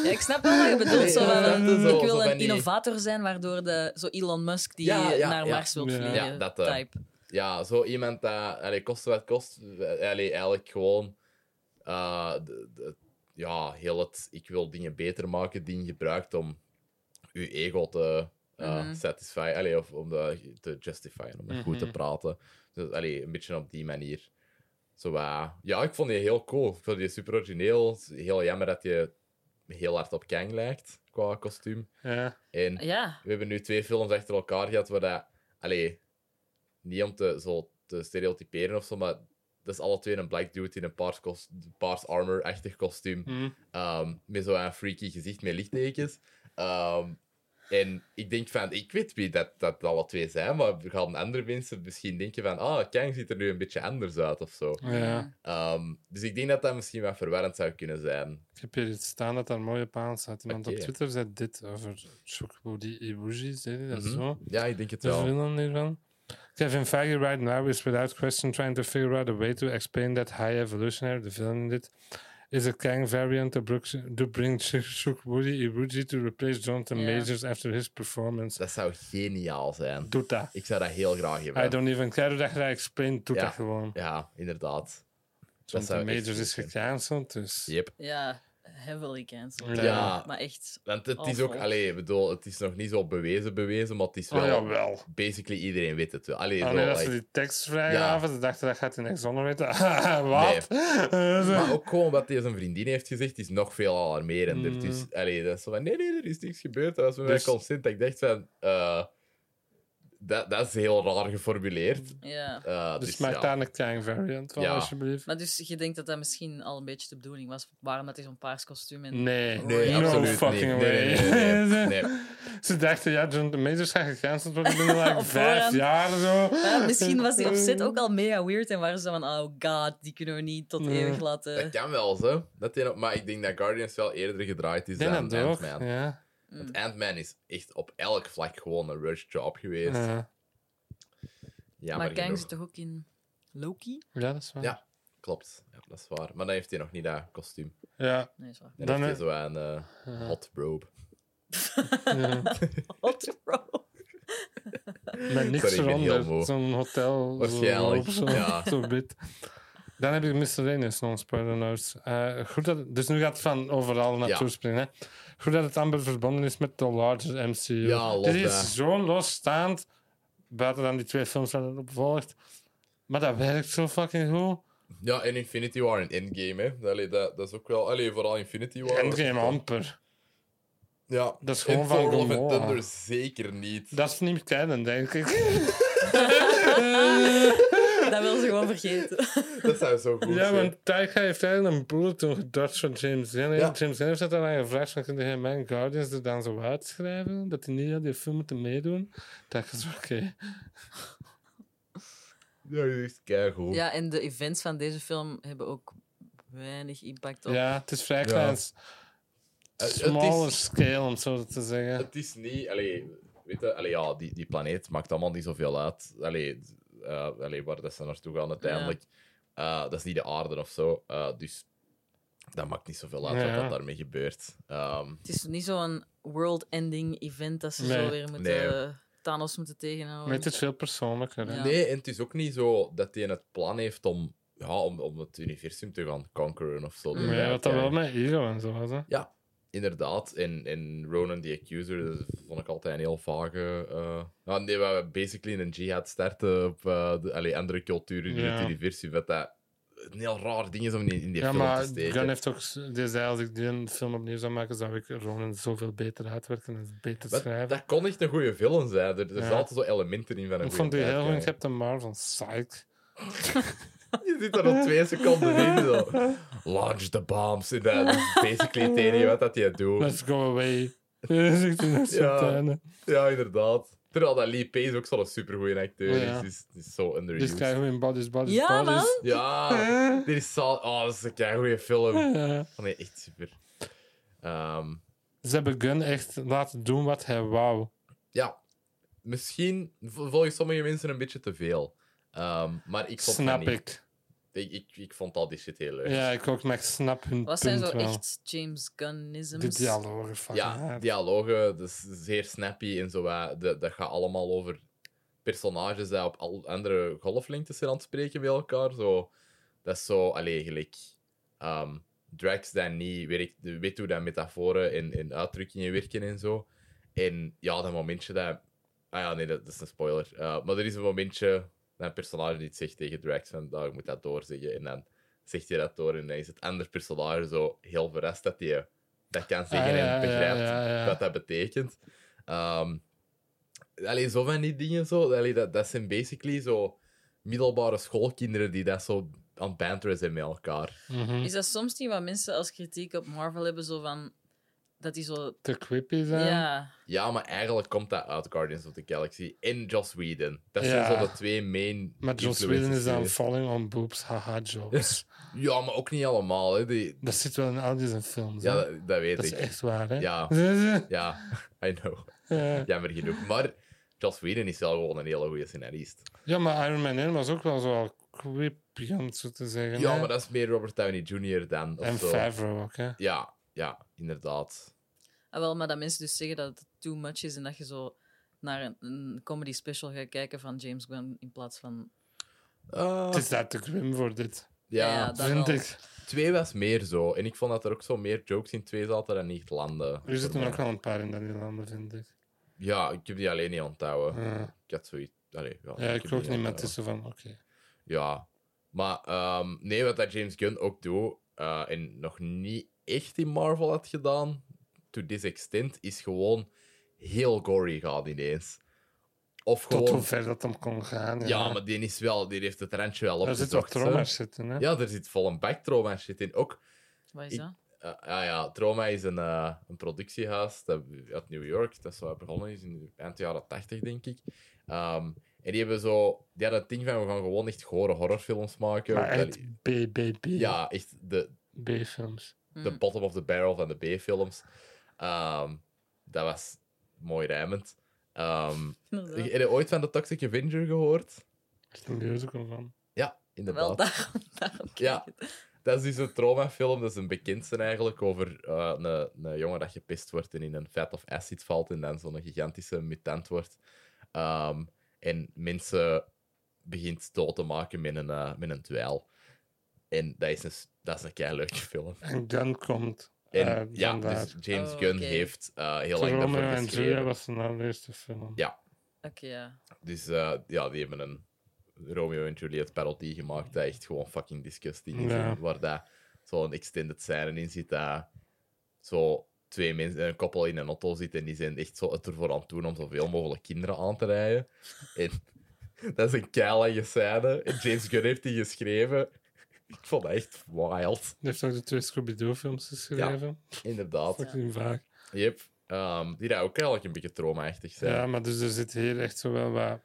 [SPEAKER 3] Ja, ik snap wel wat je bedoelt. Zo
[SPEAKER 1] Ja,
[SPEAKER 3] van,
[SPEAKER 1] dat is
[SPEAKER 3] ik
[SPEAKER 1] wel zo
[SPEAKER 3] wil
[SPEAKER 1] van
[SPEAKER 3] een
[SPEAKER 1] die-
[SPEAKER 3] innovator zijn, waardoor de, zo Elon Musk die
[SPEAKER 1] Ja, ja,
[SPEAKER 3] naar
[SPEAKER 1] ja.
[SPEAKER 3] Mars wil
[SPEAKER 2] Ja.
[SPEAKER 3] vliegen.
[SPEAKER 1] Ja, dat, eh,
[SPEAKER 3] type.
[SPEAKER 1] Ja, zo iemand dat... Allee, kost wat kost. eh, Allee, eigenlijk gewoon... eh, de- de- ja, heel het ik wil dingen beter maken ding gebruikt om uw ego te eh
[SPEAKER 3] Mhm.
[SPEAKER 1] satisfy. Allee, of om de, te justifyen, om dat goed te
[SPEAKER 2] Mhm.
[SPEAKER 1] praten. Dus allee, een beetje op die manier. Zo, eh, ja, ik vond die heel cool. Ik vond die super origineel. Heel jammer dat je heel hard op Kang lijkt qua kostuum.
[SPEAKER 2] Ja.
[SPEAKER 1] En
[SPEAKER 3] Ja,
[SPEAKER 1] we hebben nu twee films achter elkaar gehad waar dat... Allee, niet om te, zo, te stereotyperen of zo, maar dat is alle twee een black dude in een paars, kos- paars armor-achtig kostuum.
[SPEAKER 2] Hm.
[SPEAKER 1] ehm, met zo'n freaky gezicht met lichttekens. Ehm, en ik denk van, ik weet wie dat, dat alle twee zijn, maar we gaan andere mensen misschien denken van, ah, Kang ziet er nu een beetje anders uit of zo.
[SPEAKER 2] ja.
[SPEAKER 1] Ehm, dus ik denk dat dat misschien wat verwarrend zou kunnen zijn.
[SPEAKER 2] Ik heb hier iets staan dat daar mooi op aan staat. Iemand op
[SPEAKER 1] Oké.
[SPEAKER 2] Twitter zei dit over Chocobody Iwuji, zei hij dat
[SPEAKER 1] Mhm.
[SPEAKER 2] zo?
[SPEAKER 1] Ja, ik denk het
[SPEAKER 2] The
[SPEAKER 1] wel.
[SPEAKER 2] villain hiervan. Kevin Feige right now is without question trying to figure out a way to explain that high evolutionary, the villain in it, is a Kang variant to, brook, to bring Shukburi Ibuji to replace Jonathan
[SPEAKER 3] Ja.
[SPEAKER 2] Majors after his performance.
[SPEAKER 1] Dat zou geniaal zijn.
[SPEAKER 2] Doet dat.
[SPEAKER 1] Ik zou dat heel graag
[SPEAKER 2] I
[SPEAKER 1] hebben.
[SPEAKER 2] don't even care hoe dat je dat explaint, doet
[SPEAKER 1] Ja.
[SPEAKER 2] dat gewoon.
[SPEAKER 1] Ja, inderdaad.
[SPEAKER 2] Jonathan
[SPEAKER 1] zou echt
[SPEAKER 2] Majors
[SPEAKER 1] goed
[SPEAKER 2] is
[SPEAKER 1] zijn.
[SPEAKER 2] gecanceld, dus...
[SPEAKER 1] Yep.
[SPEAKER 3] ja, heavily cancelled.
[SPEAKER 2] Ja.
[SPEAKER 1] Ja.
[SPEAKER 3] Maar echt,
[SPEAKER 1] Want het is
[SPEAKER 3] Awful.
[SPEAKER 1] ook, allee, ik bedoel, het is nog niet zo bewezen, bewezen, maar het is
[SPEAKER 2] Oh,
[SPEAKER 1] wel,
[SPEAKER 2] jawel.
[SPEAKER 1] basically iedereen weet het wel. Allee,
[SPEAKER 2] Ah,
[SPEAKER 1] zo,
[SPEAKER 2] nee, dat ze
[SPEAKER 1] like-
[SPEAKER 2] die tekst vrijgaven, ze dachten dat gaat in niks zonder weten. Wat?
[SPEAKER 1] maar ook gewoon wat hij zijn vriendin heeft gezegd, is nog veel alarmerender.
[SPEAKER 2] Mm.
[SPEAKER 1] Dus, allee, dat is zo van, nee, nee, er is niks gebeurd. Dat was met
[SPEAKER 2] Dus-
[SPEAKER 1] mijn consent. Dat ik dacht van, eh, dat, dat is heel raar geformuleerd.
[SPEAKER 3] ja.
[SPEAKER 1] Eh,
[SPEAKER 2] dus
[SPEAKER 1] dus
[SPEAKER 2] maak
[SPEAKER 1] ja.
[SPEAKER 2] daar een Kang variant van,
[SPEAKER 1] Ja.
[SPEAKER 2] alsjeblieft.
[SPEAKER 3] Maar dus je denkt dat dat misschien al een beetje de bedoeling was, waarom dat is zo'n paars kostuum en...
[SPEAKER 2] Nee,
[SPEAKER 1] Nee,
[SPEAKER 3] No
[SPEAKER 1] absoluut niet.
[SPEAKER 2] fucking
[SPEAKER 1] Nee,
[SPEAKER 2] way.
[SPEAKER 1] nee, nee, nee, nee. Nee.
[SPEAKER 2] Ze dachten, ja, John de Majors gaat gecanceld worden binnen like
[SPEAKER 3] Op
[SPEAKER 2] vijf
[SPEAKER 3] voorhand.
[SPEAKER 2] jaar zo.
[SPEAKER 3] Ja, misschien was die opzet ook al mega weird en waren ze van, oh god, die kunnen we niet tot
[SPEAKER 2] Nee.
[SPEAKER 3] eeuwig laten.
[SPEAKER 1] Dat kan wel, zo. Dat die nog- maar ik denk dat Guardians wel eerder gedraaid is
[SPEAKER 2] Ik denk
[SPEAKER 1] dan
[SPEAKER 2] dat ook,
[SPEAKER 1] Ant-Man.
[SPEAKER 2] ja.
[SPEAKER 3] Mm.
[SPEAKER 1] Want Ant-Man is echt op elk vlak gewoon een rush job geweest.
[SPEAKER 2] Ja.
[SPEAKER 1] Ja,
[SPEAKER 3] maar Kang
[SPEAKER 1] genoeg.
[SPEAKER 3] zit toch ook in Loki?
[SPEAKER 2] Ja, dat is waar.
[SPEAKER 1] Ja. Klopt, ja, dat is waar. Maar dan heeft hij nog niet dat kostuum.
[SPEAKER 2] Ja.
[SPEAKER 3] Nee, is waar.
[SPEAKER 1] Dan,
[SPEAKER 2] Dan
[SPEAKER 1] heeft
[SPEAKER 2] he-
[SPEAKER 1] hij zo een eh,
[SPEAKER 2] Ja.
[SPEAKER 1] hot robe.
[SPEAKER 2] Ja.
[SPEAKER 3] Hot bro.
[SPEAKER 2] Met niks
[SPEAKER 1] Sorry, ik ben heel moe.
[SPEAKER 2] veranderd. Zo'n hotel.
[SPEAKER 1] Waarschijnlijk,
[SPEAKER 2] Zo,
[SPEAKER 1] ja.
[SPEAKER 2] zo wit. Dan heb ik miscellaneous non-spoiler notes. Eh, goed dat, dus nu gaat het van overal naartoe
[SPEAKER 1] Ja.
[SPEAKER 2] springen. Hè. Goed dat het amper verbonden is met de larger MCU.
[SPEAKER 1] Ja, love
[SPEAKER 2] Dit
[SPEAKER 1] that.
[SPEAKER 2] is zo losstaand. Buiten dan die twee films waar het op volgt. Maar dat werkt zo fucking goed.
[SPEAKER 1] Ja, en Infinity War en Endgame, hè. Allee, dat, dat is ook wel... Allee, vooral Infinity War.
[SPEAKER 2] En geen amper.
[SPEAKER 1] Ja.
[SPEAKER 2] Dat is gewoon
[SPEAKER 1] en
[SPEAKER 2] van
[SPEAKER 1] Thor Love and
[SPEAKER 2] Gomorra.
[SPEAKER 1] Thunder zeker niet.
[SPEAKER 2] Dat is niet kennen, denk ik.
[SPEAKER 3] Dat wil ze gewoon vergeten.
[SPEAKER 1] Dat zou zo goed
[SPEAKER 2] Ja,
[SPEAKER 1] zijn.
[SPEAKER 2] want Taika heeft eigenlijk een broer toen gedacht van James Gunn.
[SPEAKER 1] Ja.
[SPEAKER 2] James Gunn heeft dat aan gevraagd van, kun je mijn Guardians er dan zo uitschrijven? Dat hij niet aan die film moeten meedoen? Taika is oké.
[SPEAKER 1] Ja, dat is
[SPEAKER 2] Oh.
[SPEAKER 1] keigoed.
[SPEAKER 3] Ja, en de events van deze film hebben ook weinig impact op.
[SPEAKER 2] Ja, het is vrij
[SPEAKER 1] Ja.
[SPEAKER 2] klein. s-
[SPEAKER 1] Eh, het
[SPEAKER 2] Smaller
[SPEAKER 1] is-
[SPEAKER 2] scale, om het zo te zeggen.
[SPEAKER 1] Het is niet... Allee, weet je, allee, ja, die, die planeet maakt allemaal niet zoveel uit. Allee, eh, allee waar dat ze naartoe gaan uiteindelijk. Eh, dat is niet de aarde of zo. Eh, dus dat maakt niet zoveel uit
[SPEAKER 2] Ja.
[SPEAKER 1] wat dat daarmee gebeurt. Ehm,
[SPEAKER 3] Het is niet zo'n world-ending event dat ze
[SPEAKER 2] Nee.
[SPEAKER 3] zo weer moeten
[SPEAKER 1] Nee.
[SPEAKER 3] Thanos moeten
[SPEAKER 2] Maar
[SPEAKER 3] tegenhouden.
[SPEAKER 2] het is veel persoonlijker. hè.
[SPEAKER 3] Ja.
[SPEAKER 1] Nee, en het is ook niet zo dat hij het plan heeft om, ja, om, om het universum te gaan conqueren of zo.
[SPEAKER 3] Mm.
[SPEAKER 2] Maar ja, wat dat
[SPEAKER 1] Ja,
[SPEAKER 2] wel met ego en zo was. Hè.
[SPEAKER 1] Ja, inderdaad. En, en Ronan the Accuser, dat vond ik altijd een heel vage... eh, nou, nee, waar we basically een jihad starten op eh, de allee, andere culturen in
[SPEAKER 2] Ja.
[SPEAKER 1] het universum, wat dat een heel raar ding is om in, in die
[SPEAKER 2] Ja,
[SPEAKER 1] film
[SPEAKER 2] maar
[SPEAKER 1] te steken.
[SPEAKER 2] Gunn heeft ook... s- Die zei, als ik die een film opnieuw zou maken, zou ik Ronan zoveel beter uitwerken en beter
[SPEAKER 1] Maar
[SPEAKER 2] schrijven.
[SPEAKER 1] dat kon echt een goede film zijn. Er, er
[SPEAKER 2] Ja.
[SPEAKER 1] zaten altijd zo elementen in van een
[SPEAKER 2] Ik vond die
[SPEAKER 1] goeie
[SPEAKER 2] heel goed
[SPEAKER 1] uitgang.
[SPEAKER 2] Captain Marvel. Psych.
[SPEAKER 1] Je zit er nog twee seconden in. Zo. Launch the bombs. En dat is basically het enige wat dat je doet.
[SPEAKER 2] Let's go away. Zegt hij naar zijn
[SPEAKER 1] Ja.
[SPEAKER 2] tuinen.
[SPEAKER 1] Ja, inderdaad. Terwijl dat Lee Pace ook zo'n supergoeie acteur
[SPEAKER 2] Ja.
[SPEAKER 1] is. Die is, die is zo
[SPEAKER 2] Dus
[SPEAKER 1] underused.
[SPEAKER 2] krijgen we in Bodies, Bodies,
[SPEAKER 3] Ja, man.
[SPEAKER 2] Bodies.
[SPEAKER 1] Ja,
[SPEAKER 2] Eh,
[SPEAKER 1] dit is zal... Oh, dat is een keigoeie film. Oh,
[SPEAKER 2] ja.
[SPEAKER 1] nee, echt super. Ehm,
[SPEAKER 2] Eh. Ze hebben Gunn echt laten doen wat hij wou.
[SPEAKER 1] ja, misschien vol- volgens sommige mensen een beetje te veel. Ehm, maar ik vond
[SPEAKER 2] Snap
[SPEAKER 1] dat niet.
[SPEAKER 2] ik.
[SPEAKER 1] Ik, ik, ik vond al die shit heel leuk.
[SPEAKER 2] Ja, ik ook, maar ik snap hun
[SPEAKER 3] Wat zijn
[SPEAKER 2] punt
[SPEAKER 3] zo
[SPEAKER 2] wel.
[SPEAKER 3] echt James
[SPEAKER 2] De
[SPEAKER 3] Gunnisms?
[SPEAKER 2] dialogen van
[SPEAKER 1] Ja, dialogen, dus zeer snappy en zo. eh, Dat, dat gaat allemaal over personages die op al andere golflengtes zijn aan het spreken met elkaar. Zo, dat is zo, allee, gelijk. ehm, Drax dan niet weet, weet hoe dat metaforen en, en uitdrukkingen werken en zo. En ja, dat momentje dat... Ah ja, nee, dat, dat is een spoiler. Eh, maar er is een momentje dat een personage iets zegt tegen Drax, van nou, ik moet dat doorzeggen. En dan zegt hij dat door en dan is het andere personage zo heel verrast dat hij dat kan zeggen
[SPEAKER 2] Ah, ja, ja,
[SPEAKER 1] en begrijpt
[SPEAKER 2] ja, ja.
[SPEAKER 1] wat dat betekent. Ehm allee, zo van die dingen zo, allee, dat, dat zijn basically zo middelbare schoolkinderen die dat zo aan het banteren zijn met elkaar.
[SPEAKER 2] Mhm.
[SPEAKER 3] Is dat soms niet wat mensen als kritiek op Marvel hebben, zo van... Dat die zo...
[SPEAKER 2] Te quippy zijn.
[SPEAKER 3] Ja.
[SPEAKER 1] Ja, maar eigenlijk komt dat uit Guardians of the Galaxy en Joss Whedon. Dat zijn
[SPEAKER 2] Ja.
[SPEAKER 1] zo de twee main
[SPEAKER 2] Maar Joss
[SPEAKER 1] influences
[SPEAKER 2] Whedon is dan
[SPEAKER 1] geweest.
[SPEAKER 2] falling on boobs, haha jokes.
[SPEAKER 1] Ja, maar ook niet allemaal. Hè. Die...
[SPEAKER 2] dat zit wel in al deze films.
[SPEAKER 1] Ja,
[SPEAKER 2] hè.
[SPEAKER 1] dat, dat weet
[SPEAKER 2] dat is
[SPEAKER 1] ik.
[SPEAKER 2] echt waar, hè?
[SPEAKER 1] Ja.
[SPEAKER 2] Ja.
[SPEAKER 1] Ja, I know. Jammer genoeg. Maar Joss Whedon is wel gewoon een hele goede scenarist.
[SPEAKER 2] Ja, maar Iron Man 1 was ook wel zo al quippy, om het zo te zeggen.
[SPEAKER 1] Ja,
[SPEAKER 2] hè.
[SPEAKER 1] maar dat is meer Robert Downey Jr. dan. Of
[SPEAKER 2] eh, En
[SPEAKER 1] zo.
[SPEAKER 2] Favreau ook, hè?
[SPEAKER 1] Ja, ja, inderdaad.
[SPEAKER 3] Ah, wel, maar dat mensen dus zeggen dat het too much is en dat je zo naar een, een comedy special gaat kijken van James Gunn in plaats van...
[SPEAKER 2] Het is daar te grim voor dit.
[SPEAKER 1] Ah, ja,
[SPEAKER 3] Ja, dat
[SPEAKER 2] Vind
[SPEAKER 3] wel.
[SPEAKER 2] ik.
[SPEAKER 1] twee was meer zo. En ik vond dat er ook zo meer jokes in twee zaten dan niet landen.
[SPEAKER 2] Er
[SPEAKER 1] Voor
[SPEAKER 2] zitten
[SPEAKER 1] mij.
[SPEAKER 2] ook wel een paar in dat die landen, vind ik.
[SPEAKER 1] Ja, ik heb die alleen niet onthouden.
[SPEAKER 2] Ja,
[SPEAKER 1] Ik had zoiets... Allee, ja,
[SPEAKER 2] ja
[SPEAKER 1] heb
[SPEAKER 2] ik
[SPEAKER 1] die
[SPEAKER 2] ook niet, maar
[SPEAKER 1] onthouden.
[SPEAKER 2] het is zo van, oké.
[SPEAKER 1] Ja, maar ehm, nee, wat dat James Gunn ook doet eh, en nog niet echt in Marvel had gedaan, to this extent, is gewoon heel gory gaan ineens. Of
[SPEAKER 2] Tot
[SPEAKER 1] gewoon.
[SPEAKER 2] hoe ver dat hem kon gaan. Ja,
[SPEAKER 1] Ja, maar die, is wel, die heeft het randje wel
[SPEAKER 2] Daar zit wat
[SPEAKER 1] opgezocht. hè.
[SPEAKER 2] trauma zitten, hè?
[SPEAKER 1] Ja, er zit vol een back trauma shit in. Ook
[SPEAKER 3] Wat is
[SPEAKER 1] Ik-
[SPEAKER 3] dat?
[SPEAKER 1] eh, ah ja, Trauma is een, eh, een productiehuis dat, uit New York, dat zo begonnen is in eind jaren 80, denk ik. Ehm, en die hebben zo, die hadden het ding van we gaan gewoon echt gore horrorfilms maken.
[SPEAKER 2] Maar
[SPEAKER 1] Dat-
[SPEAKER 2] echt BBB.
[SPEAKER 1] ja, echt de,
[SPEAKER 2] B-films.
[SPEAKER 1] de
[SPEAKER 3] Mm.
[SPEAKER 1] bottom of the barrel van de B-films. Ehm, dat was mooi rijmend. Ehm,
[SPEAKER 3] Inderdaad.
[SPEAKER 1] heb je ooit van de Toxic Avenger gehoord?
[SPEAKER 2] Echt een musical van.
[SPEAKER 1] Ja,
[SPEAKER 3] Wel,
[SPEAKER 1] inderdaad.
[SPEAKER 3] daarom, daarom kijk
[SPEAKER 1] Ja.
[SPEAKER 3] ik het.
[SPEAKER 1] Dat is dus een traumafilm, dat is een bekendste eigenlijk, over eh, een, een jongen dat gepist wordt en in een vat of acid valt en dan zo'n gigantische mutant wordt. Ehm, en mensen begint dood te maken met een, eh, met een dweil. En dat is een, s- dat is een keileuke film.
[SPEAKER 2] En Gun komt.
[SPEAKER 1] En
[SPEAKER 2] eh,
[SPEAKER 1] ja,
[SPEAKER 2] vandaar.
[SPEAKER 1] dus James
[SPEAKER 3] Oh,
[SPEAKER 1] Gunn
[SPEAKER 3] oké.
[SPEAKER 1] heeft eh, heel lang
[SPEAKER 2] Romeo
[SPEAKER 1] daarvoor
[SPEAKER 2] en Julia
[SPEAKER 1] geschreven.
[SPEAKER 2] was zijn allereerste film.
[SPEAKER 1] Ja.
[SPEAKER 3] Oké, ja.
[SPEAKER 1] Dus eh, ja, die hebben een Romeo en Juliet parodie gemaakt dat echt gewoon fucking disgusting is.
[SPEAKER 2] Ja.
[SPEAKER 1] En Waar dat zo'n extended scène in zit dat zo twee mensen, een koppel in een auto zitten en die zijn echt zo het ervoor aan het doen om zoveel mogelijk kinderen aan te rijden. En dat is een keilige scène. En James Gunn heeft die geschreven. Ik vond dat echt wild.
[SPEAKER 2] Hij heeft ook de twee Scooby-Doo-films geschreven.
[SPEAKER 1] Inderdaad.
[SPEAKER 2] Fucking vaak.
[SPEAKER 1] Yep. Ehm, die daar ook eigenlijk een beetje trauma-achtig
[SPEAKER 2] Ja.
[SPEAKER 1] zijn.
[SPEAKER 2] maar dus er zit hier echt zo wel wat...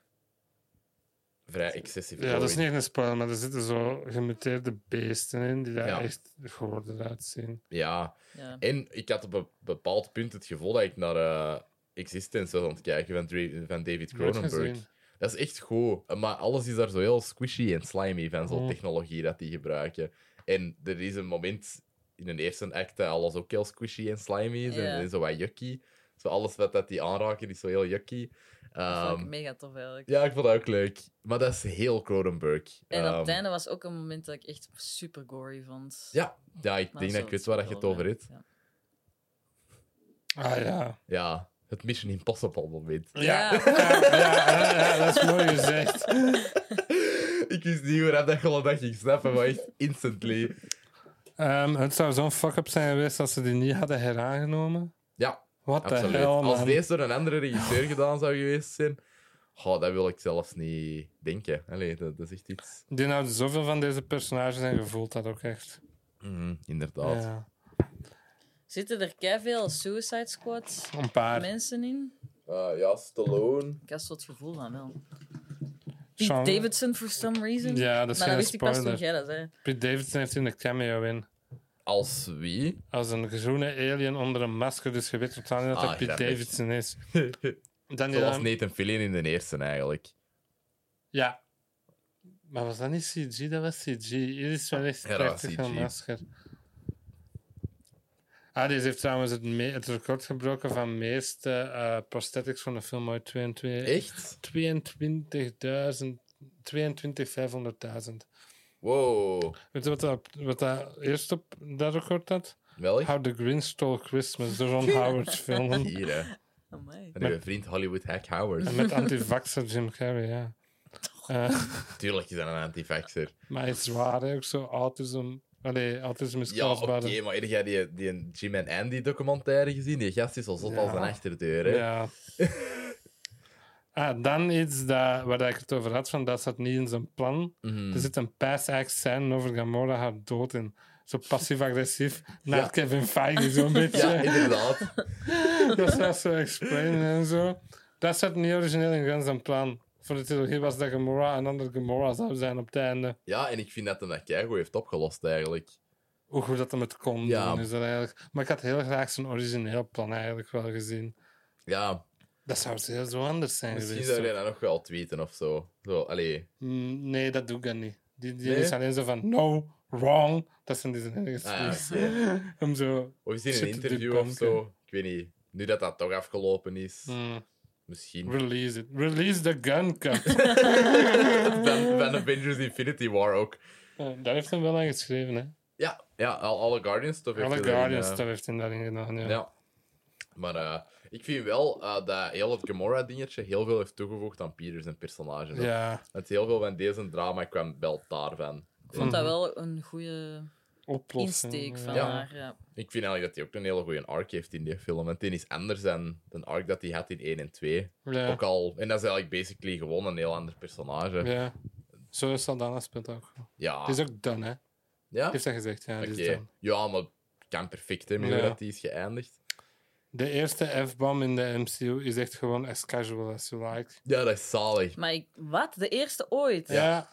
[SPEAKER 1] Vrij excessief.
[SPEAKER 2] Ja, dat is
[SPEAKER 1] gore.
[SPEAKER 2] niet echt een spoiler, maar er zitten zo gemuteerde beesten in die daar
[SPEAKER 1] Ja.
[SPEAKER 2] echt gehoord uitzien.
[SPEAKER 1] Ja.
[SPEAKER 3] ja.
[SPEAKER 1] En ik had op een bepaald punt het gevoel dat ik naar eh, Existence was aan het kijken van, Dra- van David
[SPEAKER 2] Nooit
[SPEAKER 1] Cronenberg.
[SPEAKER 2] gezien.
[SPEAKER 1] Dat is echt goed. Maar alles is daar zo heel squishy en slimy van zo'n
[SPEAKER 2] Mm.
[SPEAKER 1] technologie dat die gebruiken. En er is een moment in een eerste act dat alles ook heel squishy en slimy is. en-
[SPEAKER 3] Ja.
[SPEAKER 1] En, zo wat yucky. Zo alles wat dat die aanraken is zo heel yucky.
[SPEAKER 3] Dat vond ik
[SPEAKER 1] Ehm,
[SPEAKER 3] mega tof eigenlijk.
[SPEAKER 1] ja, ik vond dat ook leuk. Maar dat is heel Cronenberg.
[SPEAKER 3] En op het
[SPEAKER 1] Ehm,
[SPEAKER 3] einde was ook een moment dat ik echt super gory vond.
[SPEAKER 1] ja, ja, ik
[SPEAKER 3] Maar
[SPEAKER 1] denk dat
[SPEAKER 3] zo-
[SPEAKER 1] ik weet waar dat je het over
[SPEAKER 3] ja,
[SPEAKER 1] hebt.
[SPEAKER 3] ja.
[SPEAKER 2] Ah ja.
[SPEAKER 1] Ja, het Mission Impossible moment.
[SPEAKER 2] Ja.
[SPEAKER 3] Ja.
[SPEAKER 2] Ja, ja, ja, ja, dat is mooi gezegd.
[SPEAKER 1] ik Ik wist niet hoe dat gewoon dat ging snappen, maar echt instantly.
[SPEAKER 2] Ehm, het zou zo'n fuck-up zijn geweest als ze die niet hadden heraangenomen.
[SPEAKER 1] Ja,
[SPEAKER 2] Wat de
[SPEAKER 1] absoluut.
[SPEAKER 2] hel,
[SPEAKER 1] Als
[SPEAKER 2] man.
[SPEAKER 1] deze door een andere regisseur gedaan zou geweest zijn, oh, dat wil ik zelfs niet denken. Allee, dat, dat is echt iets.
[SPEAKER 2] Die nou zoveel van deze personages en je voelt dat ook echt.
[SPEAKER 1] Mhm, inderdaad.
[SPEAKER 2] Ja,
[SPEAKER 3] Zitten er keiveel Suicide Squad
[SPEAKER 2] een paar.
[SPEAKER 3] mensen in?
[SPEAKER 1] Eh, ja, Stallone.
[SPEAKER 3] Ik had zo het gevoel van wel. Pete
[SPEAKER 2] Sean-
[SPEAKER 3] Davidson for some reason?
[SPEAKER 2] Ja, dat is
[SPEAKER 3] maar dat
[SPEAKER 2] geen
[SPEAKER 3] wist ik pas toen
[SPEAKER 2] spoiler.
[SPEAKER 3] jij dat zei.
[SPEAKER 2] Pete Davidson heeft in de cameo in.
[SPEAKER 1] Als wie?
[SPEAKER 2] Als een groene alien onder een masker, dus je weet totaal niet dat
[SPEAKER 1] Ah,
[SPEAKER 2] dat Pete
[SPEAKER 1] grappig.
[SPEAKER 2] Davidson is. Dan die
[SPEAKER 1] Zoals
[SPEAKER 2] dan-
[SPEAKER 1] Nathan Fillion in de eerste eigenlijk.
[SPEAKER 2] Ja. Maar was dat niet CG? Dat was CG. Hier is wel echt
[SPEAKER 1] Ja, dat was
[SPEAKER 2] prachtig
[SPEAKER 1] CG.
[SPEAKER 2] van masker. Ah, deze heeft trouwens het, me- het record gebroken van meeste eh, prosthetics van de film uit 22
[SPEAKER 1] Echt?
[SPEAKER 2] 22.000. 22.500.000.
[SPEAKER 1] Wow.
[SPEAKER 2] Weet je wat dat, wat dat eerst op dat record had?
[SPEAKER 1] Welk?
[SPEAKER 2] How the Grinch Stole Christmas, de Ron Howard film.
[SPEAKER 1] Hier, hè.
[SPEAKER 3] Amai.
[SPEAKER 1] Van uw vriend Hollywood Hack Howard.
[SPEAKER 2] En met anti-vaxxer Jim Carrey, ja. Eh,
[SPEAKER 1] Tuurlijk is dat een antifaxer.
[SPEAKER 2] maar het is waar, hè, ook zo autism. Allee, autism is
[SPEAKER 1] Ja, oké,
[SPEAKER 2] kwetsbaar.
[SPEAKER 1] maar heb jij die, die Jim en Andy documentaire gezien? Die gast is al zot
[SPEAKER 2] Ja.
[SPEAKER 1] als een achterdeur, hè?
[SPEAKER 2] Ja. Ah, dan iets dat, waar ik het over had, van dat zat niet in zijn plan.
[SPEAKER 1] Mhm.
[SPEAKER 2] Er zit een pass-act scène over Gamora haar dood in. Zo passief-agressief naar
[SPEAKER 1] Ja.
[SPEAKER 2] Kevin Feige, zo'n beetje.
[SPEAKER 1] Ja, inderdaad.
[SPEAKER 2] Dat was zo explainen en zo. Dat zat niet origineel in Guns en Plan. Voor de trilogie was dat Gamora een ander Gamora zou zijn op het einde.
[SPEAKER 1] Ja, en ik vind dat hem dat keigoed heeft opgelost, eigenlijk.
[SPEAKER 2] Hoe goed dat hem het kon
[SPEAKER 1] Ja.
[SPEAKER 2] doen, is dat eigenlijk. Maar ik had heel graag zijn origineel plan eigenlijk wel gezien.
[SPEAKER 1] Ja,
[SPEAKER 2] Dat zou heel zo anders zijn
[SPEAKER 1] misschien
[SPEAKER 2] geweest.
[SPEAKER 1] zou
[SPEAKER 2] hoor.
[SPEAKER 1] je dat nog wel tweeten of zo. zo allee.
[SPEAKER 2] Mm, nee, dat doe ik dan niet. Die, die
[SPEAKER 1] Nee?
[SPEAKER 2] is alleen zo van, no, wrong. Dat zijn die zijn ergens
[SPEAKER 1] Ah, ja,
[SPEAKER 2] vies.
[SPEAKER 1] oké.
[SPEAKER 2] Om zo...
[SPEAKER 1] Of misschien in een
[SPEAKER 2] Zitten die
[SPEAKER 1] interview of
[SPEAKER 2] banken?
[SPEAKER 1] zo. Ik weet niet. Nu dat dat toch afgelopen is,
[SPEAKER 2] mm,
[SPEAKER 1] misschien.
[SPEAKER 2] release it. Release the gun cup.
[SPEAKER 1] Van, van Avengers Infinity War ook.
[SPEAKER 2] Eh, Daar heeft hem wel aan geschreven, hè.
[SPEAKER 1] Ja, ja al- alle Guardians stuff heeft
[SPEAKER 2] Alle
[SPEAKER 1] hij daarin,
[SPEAKER 2] Guardians
[SPEAKER 1] eh,
[SPEAKER 2] stuff heeft hij daarin gedaan, ja.
[SPEAKER 1] Ja. Maar eh, ik vind wel eh, dat heel het Gamora-dingetje heel veel heeft toegevoegd aan Peters en personage. hoor.
[SPEAKER 2] Ja,
[SPEAKER 1] Want heel veel van deze drama kwam wel daarvan.
[SPEAKER 3] Ik
[SPEAKER 2] Mhm.
[SPEAKER 3] vond dat wel een goede
[SPEAKER 2] oplossing.
[SPEAKER 3] insteek van
[SPEAKER 1] Ja.
[SPEAKER 3] haar. eh, Ja.
[SPEAKER 1] Ik vind eigenlijk dat hij ook een hele goede arc heeft in die film. Want die is anders dan de arc dat hij had in 1 en 2.
[SPEAKER 2] Ja.
[SPEAKER 1] Ook al, en dat is eigenlijk basically gewoon een heel ander personage. Ja.
[SPEAKER 2] Ja. Zo is Saldana speelt ook.
[SPEAKER 1] Ja?
[SPEAKER 2] Die is ook done, hè? Die heeft dat gezegd, ja. die
[SPEAKER 1] Oké.
[SPEAKER 2] is done.
[SPEAKER 1] Ja, maar het kan perfect, hè, met hoe
[SPEAKER 2] Ja.
[SPEAKER 1] dat die is geëindigd.
[SPEAKER 2] De eerste F-bomb in de MCU is echt gewoon as casual as you like.
[SPEAKER 1] Ja, dat is zalig.
[SPEAKER 3] Maar ik, wat? De eerste ooit?
[SPEAKER 2] Ja,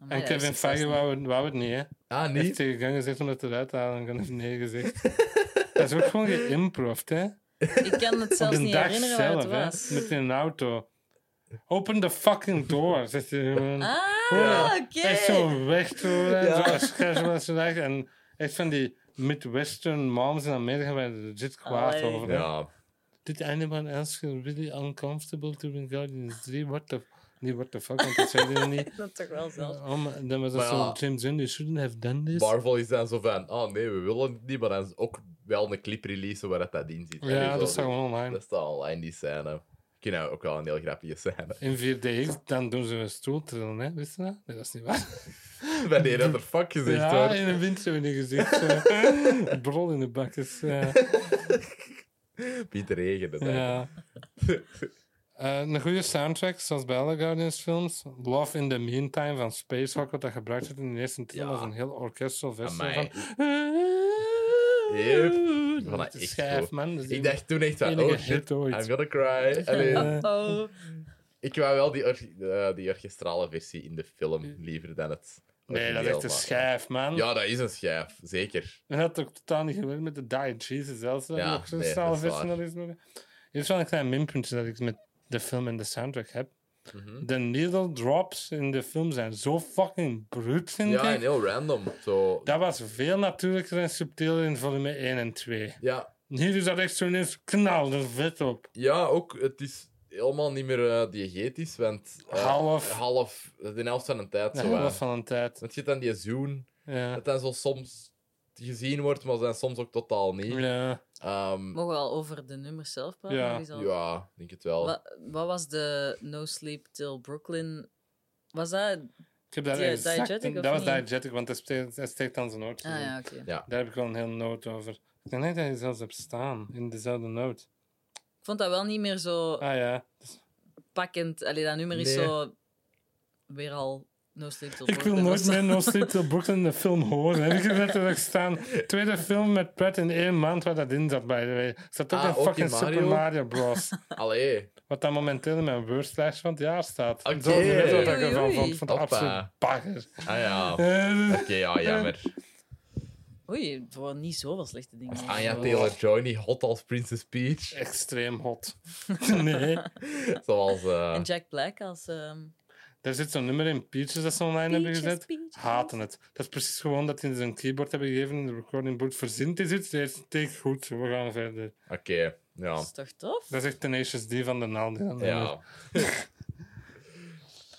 [SPEAKER 3] Amai,
[SPEAKER 2] en
[SPEAKER 3] dat
[SPEAKER 2] Kevin
[SPEAKER 3] is succes,
[SPEAKER 2] Feige
[SPEAKER 3] hè.
[SPEAKER 2] wou, het- wou het niet, hè?
[SPEAKER 1] Ah,
[SPEAKER 2] Heeft
[SPEAKER 1] niet?
[SPEAKER 2] tegen Gang gezegd om dat eruit te halen en Gang heeft nee gezegd. dat is ook gewoon geïmprovd, hè?
[SPEAKER 3] Ik kan het
[SPEAKER 2] Op
[SPEAKER 3] zelfs
[SPEAKER 2] de
[SPEAKER 3] niet
[SPEAKER 2] dag
[SPEAKER 3] herinneren waar
[SPEAKER 2] zelf,
[SPEAKER 3] het
[SPEAKER 2] hè?
[SPEAKER 3] was.
[SPEAKER 2] Met een auto. Open the fucking door, zegt hij gewoon.
[SPEAKER 3] Ah,
[SPEAKER 2] Ja.
[SPEAKER 3] oké.
[SPEAKER 2] Echt zo weg toe, hè,
[SPEAKER 1] Ja.
[SPEAKER 2] zo als casual als je dacht. En echt van die Midwestern moms in Amerika waar er legit kwaad
[SPEAKER 3] Allee.
[SPEAKER 2] over. hè.
[SPEAKER 1] Ja.
[SPEAKER 2] Did anyone else feel really uncomfortable during Guardians 3? What the... Nee, what the fuck, want dat zei hij niet.
[SPEAKER 3] Dat toch wel zelf.
[SPEAKER 2] Oh, maar dan was dat
[SPEAKER 1] Maar
[SPEAKER 2] zo,
[SPEAKER 1] ja.
[SPEAKER 2] James Gunn, you shouldn't have done this.
[SPEAKER 1] Marvel is dan zo van, oh nee, we willen het niet, maar dan is ook wel een clip releasen waar dat, dat in zit. Allee,
[SPEAKER 2] ja,
[SPEAKER 1] zo,
[SPEAKER 2] dat staat gewoon online.
[SPEAKER 1] Dat staat online, die scène. Ik vind dat ook wel een heel grappige scène.
[SPEAKER 2] In 4DX, dan doen ze een stoel trillen, hè? Wist je dat? Nee, dat is niet waar.
[SPEAKER 1] Wanneer dat er fuck gezegd
[SPEAKER 2] Ja,
[SPEAKER 1] wordt.
[SPEAKER 2] in een windstel in je gezicht. eh, Brol in de bak is. eh,
[SPEAKER 1] Piet regende. Ja.
[SPEAKER 2] ja. Eh, een goede soundtrack, zoals bij alle Guardians films. Love in the Meantime van Spacehawk, wat dat gebruikt werd in de eerste film,
[SPEAKER 1] Ja.
[SPEAKER 2] was een heel orkestral versie
[SPEAKER 1] Amai.
[SPEAKER 2] van...
[SPEAKER 1] Yep. Ik vond dat
[SPEAKER 2] Dat is
[SPEAKER 1] echt
[SPEAKER 2] schijf,
[SPEAKER 1] goed.
[SPEAKER 2] man. Dat is
[SPEAKER 1] Ik dacht toen echt van,
[SPEAKER 2] enige
[SPEAKER 1] oh shit,
[SPEAKER 2] hit ooit.
[SPEAKER 1] I'm gonna cry. Allee,
[SPEAKER 2] Ja.
[SPEAKER 3] Oh,
[SPEAKER 1] ik wou wel die, or- eh, die orchestrale versie in de film liever dan het
[SPEAKER 2] Nee, dat is
[SPEAKER 1] origineel,
[SPEAKER 2] echt een
[SPEAKER 1] maar-
[SPEAKER 2] schijf, man.
[SPEAKER 1] Ja, dat is een schijf, zeker.
[SPEAKER 2] En dat had ook totaal niet gewerkt met de Die Jesus zelfs. Dat
[SPEAKER 1] Ja,
[SPEAKER 2] nog zo'n
[SPEAKER 1] nee,
[SPEAKER 2] snelle
[SPEAKER 1] dat is waar.
[SPEAKER 2] versie is. nog. Hier is wel een klein minpuntje dat ik met de film en de soundtrack heb.
[SPEAKER 1] Mhm.
[SPEAKER 2] De needle drops in de film zijn zo fucking bruut, vind
[SPEAKER 1] Ja, en
[SPEAKER 2] ik.
[SPEAKER 1] heel random. Zo,
[SPEAKER 2] Dat was veel natuurlijker en subtieler in volume 1 en 2.
[SPEAKER 1] ja,
[SPEAKER 2] Hier is dat echt zo ineens knal, er vet op.
[SPEAKER 1] ja, ook, het is helemaal niet meer eh, diegetisch, want... eh,
[SPEAKER 2] Half.
[SPEAKER 1] Half, de helft van een tijd.
[SPEAKER 2] De
[SPEAKER 1] zo, hè.
[SPEAKER 2] helft van een tijd.
[SPEAKER 1] Want je hebt dan die zoen,
[SPEAKER 2] Ja.
[SPEAKER 1] dat dan zo soms gezien wordt, maar dan soms ook totaal niet.
[SPEAKER 2] Ja.
[SPEAKER 1] Ehm,
[SPEAKER 3] mogen we al over de nummers zelf praten?
[SPEAKER 2] Ja.
[SPEAKER 3] Of is al-
[SPEAKER 1] ja, ik denk het wel.
[SPEAKER 3] Wa- Wat, was de No Sleep Till Brooklyn? Was dat
[SPEAKER 2] Ik heb daar
[SPEAKER 3] Die-
[SPEAKER 2] exact...
[SPEAKER 3] diegetic of
[SPEAKER 2] dat was
[SPEAKER 3] niet?
[SPEAKER 2] diegetic, want dat steekt, dat steekt aan zijn noot.
[SPEAKER 3] Ah ja, oké.
[SPEAKER 2] Daar heb ik wel een heel noot over. Ik denk niet dat je zelfs hebt staan, in dezelfde noot.
[SPEAKER 3] Ik vond dat wel niet meer zo
[SPEAKER 2] Ah ja. Dus-
[SPEAKER 3] pakkend. Allee, dat nummer is
[SPEAKER 1] Nee.
[SPEAKER 3] zo... Weer al No Sleep Till
[SPEAKER 2] ik wil
[SPEAKER 3] Brooklyn of
[SPEAKER 2] nooit
[SPEAKER 3] zo.
[SPEAKER 2] meer No Sleep Till Brooklyn de film horen. Heb ik gezegd dat ik staan. Tweede film met Pratt in één maand waar dat in zat, by the way. Zat ook
[SPEAKER 1] Ah,
[SPEAKER 2] in
[SPEAKER 1] ook in
[SPEAKER 2] fucking Super
[SPEAKER 1] Mario?
[SPEAKER 2] Mario Bros.
[SPEAKER 1] Allee,
[SPEAKER 2] Wat dan momenteel in mijn worstlijst van het jaar staat.
[SPEAKER 1] Oké.
[SPEAKER 2] Zo net wat ik
[SPEAKER 3] Oei,
[SPEAKER 2] ervan
[SPEAKER 3] oei.
[SPEAKER 2] vond. Ik vond het
[SPEAKER 1] Hoppa.
[SPEAKER 2] absoluut bagger.
[SPEAKER 1] ah ja. Oké,
[SPEAKER 2] Eh,
[SPEAKER 1] ja, jammer.
[SPEAKER 3] Oei, er waren niet zoveel slechte dingen.
[SPEAKER 1] Anja Taylor-Joy, niet hot als Princess Peach.
[SPEAKER 2] Extreem hot. nee.
[SPEAKER 1] Zoals... eh
[SPEAKER 3] En Jack Black als... ehm
[SPEAKER 2] Er zit zo'n nummer in Peaches dat ze online hebben
[SPEAKER 3] Peaches,
[SPEAKER 2] gezet.
[SPEAKER 3] Peaches.
[SPEAKER 2] Haten het. Dat is precies gewoon dat hij zijn keyboard hebben gegeven in de recording board. Verzint is iets. De eerste take goed. We gaan verder.
[SPEAKER 1] Oké, ja.
[SPEAKER 3] Dat is toch tof?
[SPEAKER 2] Dat is echt Tenacious D van de naald. die dat nummer.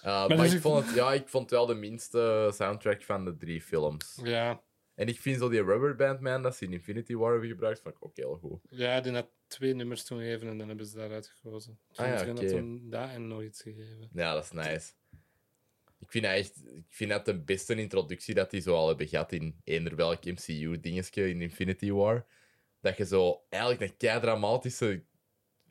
[SPEAKER 1] Ja. Eh, maar
[SPEAKER 2] dus
[SPEAKER 1] ik
[SPEAKER 2] ik-
[SPEAKER 1] vond, het, ja, ik vond het wel de minste soundtrack van de drie films.
[SPEAKER 2] ja.
[SPEAKER 1] En ik vind zo die Rubber Band Man, dat ze in Infinity War hebben gebruikt, vond ik ook heel goed.
[SPEAKER 2] Ja, die had twee nummers toen gegeven en dan hebben ze daaruit gekozen.
[SPEAKER 1] Ah ja,
[SPEAKER 2] Toen had
[SPEAKER 1] oké.
[SPEAKER 2] toen dat en nog iets gegeven.
[SPEAKER 1] Ja, dat is nice. Ik vind, dat echt, ik vind dat de beste introductie dat die zo al hebben gehad in eender welk MCU-dingetje in Infinity War. Dat je zo eigenlijk een kei-dramatische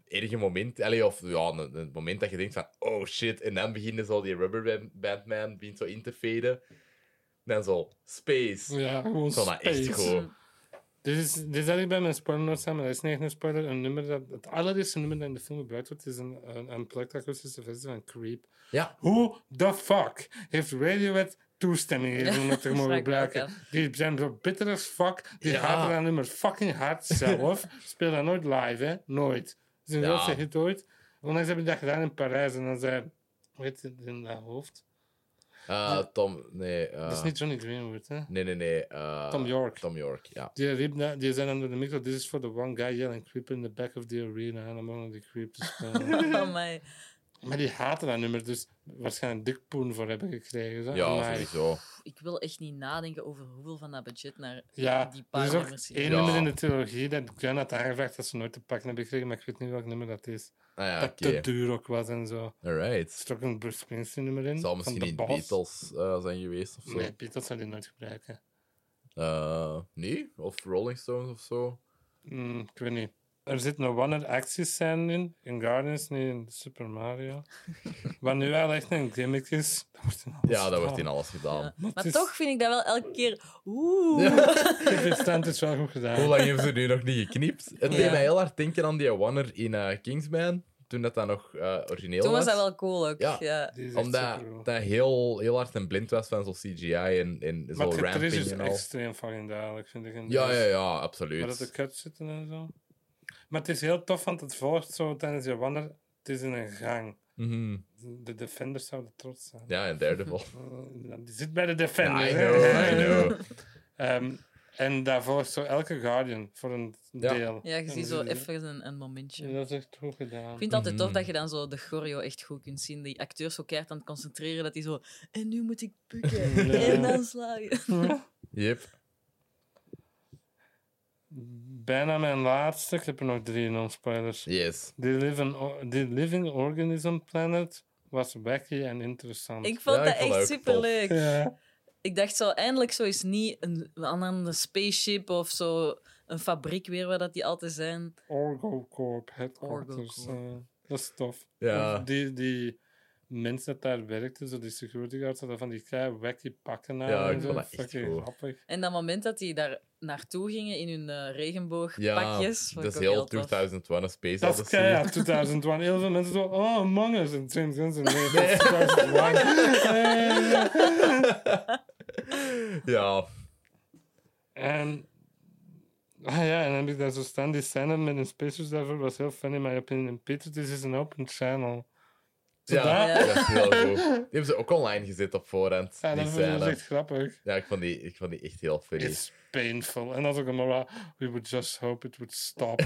[SPEAKER 1] erge moment, allee, of ja, een, een moment dat je denkt van oh shit, en dan beginnen zo die Rubber Band- Band Man begint zo in te faden. Dan zo space. Ik
[SPEAKER 2] Ja, gewoon
[SPEAKER 1] vond dat echt
[SPEAKER 2] space.
[SPEAKER 1] goed.
[SPEAKER 2] Dit Dus, is, dit is eigenlijk bij mijn spoiler notes aan, maar dat is niet echt een spoiler. Een nummer dat, het allereerste nummer dat in de film gebruikt wordt, is een, een, een plek akoestische versie van Creep.
[SPEAKER 1] Ja.
[SPEAKER 2] Hoe the fuck heeft Radiohead toestemming gegeven om dat te
[SPEAKER 3] dat
[SPEAKER 2] mogen
[SPEAKER 3] vraag ik me ook
[SPEAKER 2] gebruiken? Die zijn zo bitter as fuck. Die
[SPEAKER 1] Ja.
[SPEAKER 2] haten dat nummer fucking hard zelf. Speel dat nooit live, hè? Nooit. Dat is een
[SPEAKER 1] Ja.
[SPEAKER 2] grootste hit ooit. Onlangs hebben die dat gedaan in Parijs en dan zei... Weet je, in dat hoofd?
[SPEAKER 1] Eh, Tom, nee. eh,
[SPEAKER 2] Dat is niet Johnny Greenwood, hè?
[SPEAKER 1] Nee, nee, nee. eh,
[SPEAKER 2] Tom York.
[SPEAKER 1] Tom York, ja.
[SPEAKER 2] Die riep na, die zei onder de micro, this is for the one guy yelling creep in the back of the arena. En om onder die creep te spelen.
[SPEAKER 3] Oh my.
[SPEAKER 2] maar die haten dat nummer, dus waarschijnlijk dik poen voor hebben gekregen. Zo.
[SPEAKER 1] Ja,
[SPEAKER 2] Amai.
[SPEAKER 1] sowieso.
[SPEAKER 3] Ik wil echt niet nadenken over hoeveel van dat budget naar
[SPEAKER 2] Ja,
[SPEAKER 3] die
[SPEAKER 2] er
[SPEAKER 3] paar
[SPEAKER 2] is ook
[SPEAKER 3] nummers
[SPEAKER 2] één
[SPEAKER 3] hier.
[SPEAKER 1] Ja.
[SPEAKER 2] nummer in de trilogie dat Glenn had aangevraagd dat ze nooit te pakken hebben gekregen, maar ik weet niet welk nummer dat is.
[SPEAKER 1] Ah ja,
[SPEAKER 2] Dat
[SPEAKER 1] oké.
[SPEAKER 2] te duur ook was en zo.
[SPEAKER 1] Alright.
[SPEAKER 2] Er is ook een Bruce Springsteen nummer in.
[SPEAKER 1] Het zal
[SPEAKER 2] van
[SPEAKER 1] misschien
[SPEAKER 2] The
[SPEAKER 1] in
[SPEAKER 2] Boss.
[SPEAKER 1] Beatles eh, zijn geweest of zo.
[SPEAKER 2] Nee, Beatles zou die nooit gebruiken.
[SPEAKER 1] Eh, nee? Of Rolling Stones of zo.
[SPEAKER 2] Mm, ik weet niet. Er zit een one-act-scène in, in Guardians, niet in Super Mario. Wat nu wel echt een gimmick is, dat wordt in alles
[SPEAKER 1] Ja, dat wordt in
[SPEAKER 2] gedaan.
[SPEAKER 1] alles gedaan.
[SPEAKER 3] Maar,
[SPEAKER 2] het is-
[SPEAKER 3] toch vind ik dat wel elke keer. Oeh.
[SPEAKER 2] Ik vind het is wel goed gedaan.
[SPEAKER 1] Hoe lang hebben ze nu nog niet geknipt? Het deed
[SPEAKER 3] Ja.
[SPEAKER 1] mij heel hard denken aan die Wanner in eh, Kingsman, toen dat, dat nog eh, origineel
[SPEAKER 3] Toen was
[SPEAKER 1] was.
[SPEAKER 3] dat wel cool ook.
[SPEAKER 1] Ja.
[SPEAKER 3] Ja.
[SPEAKER 2] Die is echt supergoed.
[SPEAKER 1] Omdat dat heel, heel hard en blind was van zo'n CGI en, en
[SPEAKER 2] maar
[SPEAKER 1] zo'n
[SPEAKER 2] het getrish
[SPEAKER 1] ramping
[SPEAKER 2] is
[SPEAKER 1] en al.
[SPEAKER 2] extreem fucking duidelijk, vind ik. in
[SPEAKER 1] Ja,
[SPEAKER 2] deze.
[SPEAKER 1] ja, ja,
[SPEAKER 2] Maar dat de
[SPEAKER 1] absoluut.
[SPEAKER 2] cuts zitten en zo. Maar het is heel tof, want het volgt zo tijdens je wander. Het is in een gang.
[SPEAKER 1] Mhm.
[SPEAKER 2] De Defenders zouden trots zijn.
[SPEAKER 1] Ja, en Daredevil.
[SPEAKER 2] Eh, Die zit bij de Defenders.
[SPEAKER 1] I
[SPEAKER 2] hè.
[SPEAKER 1] know, I know.
[SPEAKER 2] Ehm, en daar volgt zo elke Guardian voor een
[SPEAKER 1] Ja.
[SPEAKER 2] deel.
[SPEAKER 3] Ja, je
[SPEAKER 2] En
[SPEAKER 3] ziet zo
[SPEAKER 2] dat is-
[SPEAKER 3] even een, een momentje.
[SPEAKER 2] Ja, Dat is echt goed gedaan.
[SPEAKER 3] Ik vind het altijd tof
[SPEAKER 1] Mhm.
[SPEAKER 3] dat je dan zo de choreo echt goed kunt zien. Die acteurs zo keihard aan het concentreren dat die zo... En nu moet ik bukken.
[SPEAKER 2] Ja.
[SPEAKER 3] En dan slagen.
[SPEAKER 1] Yep.
[SPEAKER 2] Bijna mijn laatste. Ik heb er nog drie non-spoilers.
[SPEAKER 1] Yes.
[SPEAKER 2] The living, o- the living Organism Planet was wacky en interessant.
[SPEAKER 3] Ik vond
[SPEAKER 1] Ja, ik
[SPEAKER 3] dat
[SPEAKER 1] vond dat
[SPEAKER 3] echt
[SPEAKER 1] ook tof.
[SPEAKER 3] superleuk.
[SPEAKER 2] Ja.
[SPEAKER 3] Ik dacht zo, eindelijk zo is niet een, een andere spaceship of zo... Een fabriek weer waar dat die altijd zijn.
[SPEAKER 2] Orgocorp headquarters.
[SPEAKER 3] Orgocorp.
[SPEAKER 2] eh, dat is tof.
[SPEAKER 1] Ja.
[SPEAKER 2] Of Die, die mensen dat daar werkten, zo die security guards, hadden van die kei wacky pakken aan.
[SPEAKER 1] Ja, ik
[SPEAKER 2] en zo.
[SPEAKER 1] vond dat echt
[SPEAKER 2] Fucking
[SPEAKER 1] goed.
[SPEAKER 2] grappig.
[SPEAKER 3] En dat moment dat die daar naartoe gingen in hun eh,
[SPEAKER 1] Ja,
[SPEAKER 3] regenboogpakjes. vond
[SPEAKER 1] dat is
[SPEAKER 3] ik ook
[SPEAKER 1] heel
[SPEAKER 3] tof.
[SPEAKER 1] 2001 A Space
[SPEAKER 2] Dat is
[SPEAKER 1] Odyssey.
[SPEAKER 2] keihard, 2001. Heel veel mensen zo, oh, Among Us. En James Gunn zei, nee, dat is 2001. Eh,
[SPEAKER 1] Ja.
[SPEAKER 2] En... Ah ja, en dan heb ik daar zo staan. Die scène met een spacesuit daarvoor was heel funny, maar op in Peter, this is an open channel. Zo
[SPEAKER 1] Ja,
[SPEAKER 2] daar-
[SPEAKER 3] Ja.
[SPEAKER 1] dat is heel goed. Die hebben ze ook online gezet op voorhand.
[SPEAKER 2] Ja,
[SPEAKER 1] die
[SPEAKER 2] dat vond ik dus
[SPEAKER 1] scène.
[SPEAKER 2] echt grappig.
[SPEAKER 1] Ja, ik vond, die, ik vond die echt heel funny.
[SPEAKER 2] It's painful. En dan zo Gamora, we would just hope it would stop.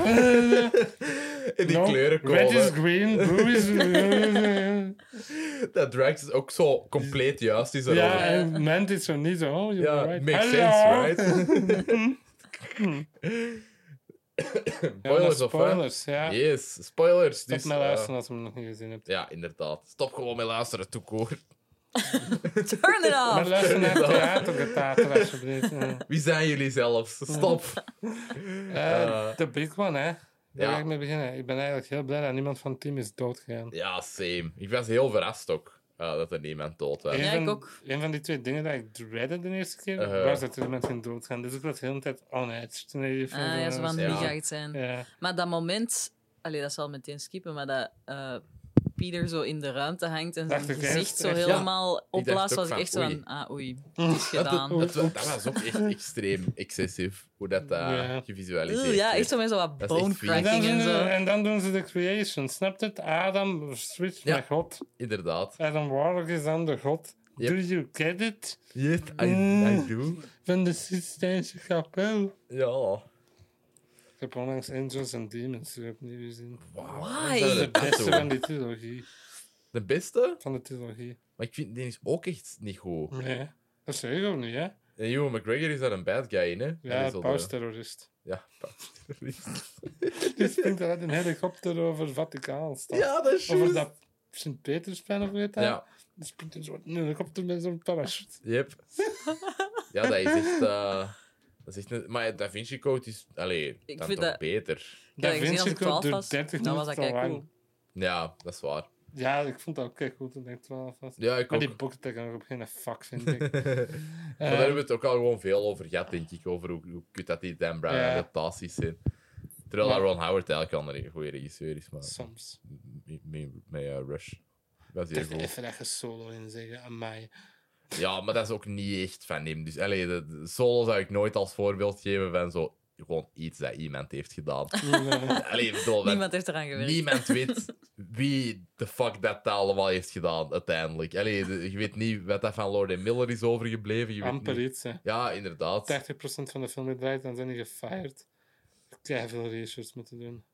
[SPEAKER 1] en die
[SPEAKER 2] No, Red is
[SPEAKER 1] kleurenkolen.
[SPEAKER 2] green, blue is...
[SPEAKER 1] Dat Drax is ook zo compleet juist is erover.
[SPEAKER 2] ja,
[SPEAKER 1] Ja,
[SPEAKER 2] en Mant is zo niet zo, oh, you're right.
[SPEAKER 1] makes
[SPEAKER 2] Hallo.
[SPEAKER 1] sense, right?
[SPEAKER 2] Ja, maar
[SPEAKER 1] spoilers of hè?
[SPEAKER 2] spoilers, ja.
[SPEAKER 1] Yes, spoilers.
[SPEAKER 2] Stop
[SPEAKER 1] dus,
[SPEAKER 2] met
[SPEAKER 1] eh,
[SPEAKER 2] luisteren als je hem nog niet gezien hebt.
[SPEAKER 1] ja, inderdaad. Stop gewoon met luisteren, toekoor.
[SPEAKER 3] Turn it
[SPEAKER 2] Maar
[SPEAKER 3] off!
[SPEAKER 2] luister naar
[SPEAKER 1] Ja.
[SPEAKER 2] theatergetater, alsjeblieft. Eh,
[SPEAKER 1] Wie zijn jullie zelfs? Stop.
[SPEAKER 2] eh, De big one, hè. Daar
[SPEAKER 1] ja.
[SPEAKER 2] ga ik mee beginnen. Ik ben eigenlijk heel blij dat niemand van het team is doodgegaan.
[SPEAKER 1] Ja, same. Ik was heel verrast ook eh, dat er niemand dood was.
[SPEAKER 2] Eén
[SPEAKER 3] Ja, ik
[SPEAKER 2] van-
[SPEAKER 3] ook.
[SPEAKER 2] Een van die twee dingen dat ik dreadde de eerste keer,
[SPEAKER 1] Eh.
[SPEAKER 2] was dat er iemand ging doodgaan. Dus ik was de hele tijd on edge. toen hij die film
[SPEAKER 3] Ah, ja,
[SPEAKER 2] was.
[SPEAKER 3] zo van,
[SPEAKER 1] Ja.
[SPEAKER 3] wie gaat het zijn?
[SPEAKER 2] Ja.
[SPEAKER 3] Maar dat moment... Allee, dat zal meteen skippen, maar dat eh, Peter zo in de ruimte hangt en zijn
[SPEAKER 2] Dacht ik
[SPEAKER 3] gezicht
[SPEAKER 2] echt,
[SPEAKER 3] zo
[SPEAKER 2] echt, ja.
[SPEAKER 3] helemaal opblaast,
[SPEAKER 1] ook
[SPEAKER 3] was ik
[SPEAKER 1] van,
[SPEAKER 3] echt zo
[SPEAKER 1] oei.
[SPEAKER 3] van, ah oei, het is gedaan.
[SPEAKER 1] Dat, wa- dat was ook echt extreem excessief, hoe dat eh,
[SPEAKER 2] Ja.
[SPEAKER 1] gevisualiseerd
[SPEAKER 3] Oeh, ja,
[SPEAKER 1] werd.
[SPEAKER 3] echt zo met zo wat
[SPEAKER 1] dus. Dat is echt
[SPEAKER 3] bone
[SPEAKER 2] En, dan
[SPEAKER 3] cracking
[SPEAKER 2] doen
[SPEAKER 3] en
[SPEAKER 2] ze,
[SPEAKER 3] zo.
[SPEAKER 2] en dan doen ze de creation, snapt het? Adam switcht
[SPEAKER 1] Ja.
[SPEAKER 2] naar God.
[SPEAKER 1] Inderdaad.
[SPEAKER 2] Adam Warlock is dan de God.
[SPEAKER 1] Yep.
[SPEAKER 2] Do you get it?
[SPEAKER 1] Yes, I, I
[SPEAKER 2] Mm.
[SPEAKER 1] do.
[SPEAKER 2] Van de Sistijnse kapel.
[SPEAKER 1] Ja.
[SPEAKER 2] Ik heb onlangs Angels and Demons weer opnieuw gezien.
[SPEAKER 3] Why?
[SPEAKER 2] Dat is
[SPEAKER 1] Hey.
[SPEAKER 2] de beste
[SPEAKER 1] Zo.
[SPEAKER 2] van die trilogie.
[SPEAKER 1] De beste?
[SPEAKER 2] Van de trilogie.
[SPEAKER 1] Maar ik vind die is ook echt niet goed.
[SPEAKER 2] Nee. Dat zeg ik ook niet, hè?
[SPEAKER 1] En Ewan McGregor is daar een bad guy in, hè? Hij
[SPEAKER 2] Ja,
[SPEAKER 1] is zo de-
[SPEAKER 2] pausterrorist.
[SPEAKER 1] Ja, pausterrorist.
[SPEAKER 2] Die springt er uit een helikopter over Vaticaanstad.
[SPEAKER 1] ja, dat is
[SPEAKER 2] Over
[SPEAKER 1] juist.
[SPEAKER 2] dat Sint-Petersplein of weet dat?
[SPEAKER 1] Ja,
[SPEAKER 2] Dan springt hij zo uit een helikopter met zo'n parachute.
[SPEAKER 1] yep. ja, dat is echt... eh, dat is echt een- maar Da Vinci Code is... Allee,
[SPEAKER 3] Ik
[SPEAKER 1] dan
[SPEAKER 3] vind
[SPEAKER 1] toch
[SPEAKER 3] dat-
[SPEAKER 1] beter.
[SPEAKER 3] Ik
[SPEAKER 2] Dat
[SPEAKER 3] had dat gezien als ik
[SPEAKER 2] Vinci Code
[SPEAKER 3] 12
[SPEAKER 2] duurt
[SPEAKER 3] was,
[SPEAKER 2] 30
[SPEAKER 3] dan was dat
[SPEAKER 2] minuten
[SPEAKER 3] kijk
[SPEAKER 2] lang.
[SPEAKER 3] cool.
[SPEAKER 1] Ja, dat is waar.
[SPEAKER 2] Ja, ik vond dat ook kijk goed toen ik 12 was.
[SPEAKER 1] Ja, ik
[SPEAKER 2] Maar
[SPEAKER 1] ook.
[SPEAKER 2] die boeken kan ik op geen fuck vind ik. Eh,
[SPEAKER 1] maar daar hebben we het ook al gewoon veel over gehad, denk ik. Over hoe, hoe kut dat die Dan Brown
[SPEAKER 2] Ja.
[SPEAKER 1] adaptaties zijn. Terwijl
[SPEAKER 2] Maar-
[SPEAKER 1] Ron Howard eigenlijk al een goede regisseur is, maar...
[SPEAKER 2] Soms.
[SPEAKER 1] Met- Met met, eh, Rush. Dat is
[SPEAKER 2] Ik
[SPEAKER 1] heel
[SPEAKER 2] dacht
[SPEAKER 1] goed.
[SPEAKER 2] even dat je solo in zeggen, amai.
[SPEAKER 1] Ja, maar dat is ook niet echt van hem. Dus allee, de, de solo zou ik nooit als voorbeeld geven van zo gewoon iets dat iemand heeft gedaan.
[SPEAKER 2] Eh,
[SPEAKER 1] Allee, ik bedoel, want
[SPEAKER 3] Niemand heeft eraan gewerkt.
[SPEAKER 1] niemand weet wie de fuck dat allemaal heeft gedaan uiteindelijk. Allee, de- je weet niet wat dat van Lord and Miller is overgebleven. Je weet
[SPEAKER 2] Amper
[SPEAKER 1] niet-
[SPEAKER 2] iets, hè. 80%
[SPEAKER 1] Ja, inderdaad.
[SPEAKER 2] van de film die draait, dan zijn die gefired. Ik heb veel research moeten doen.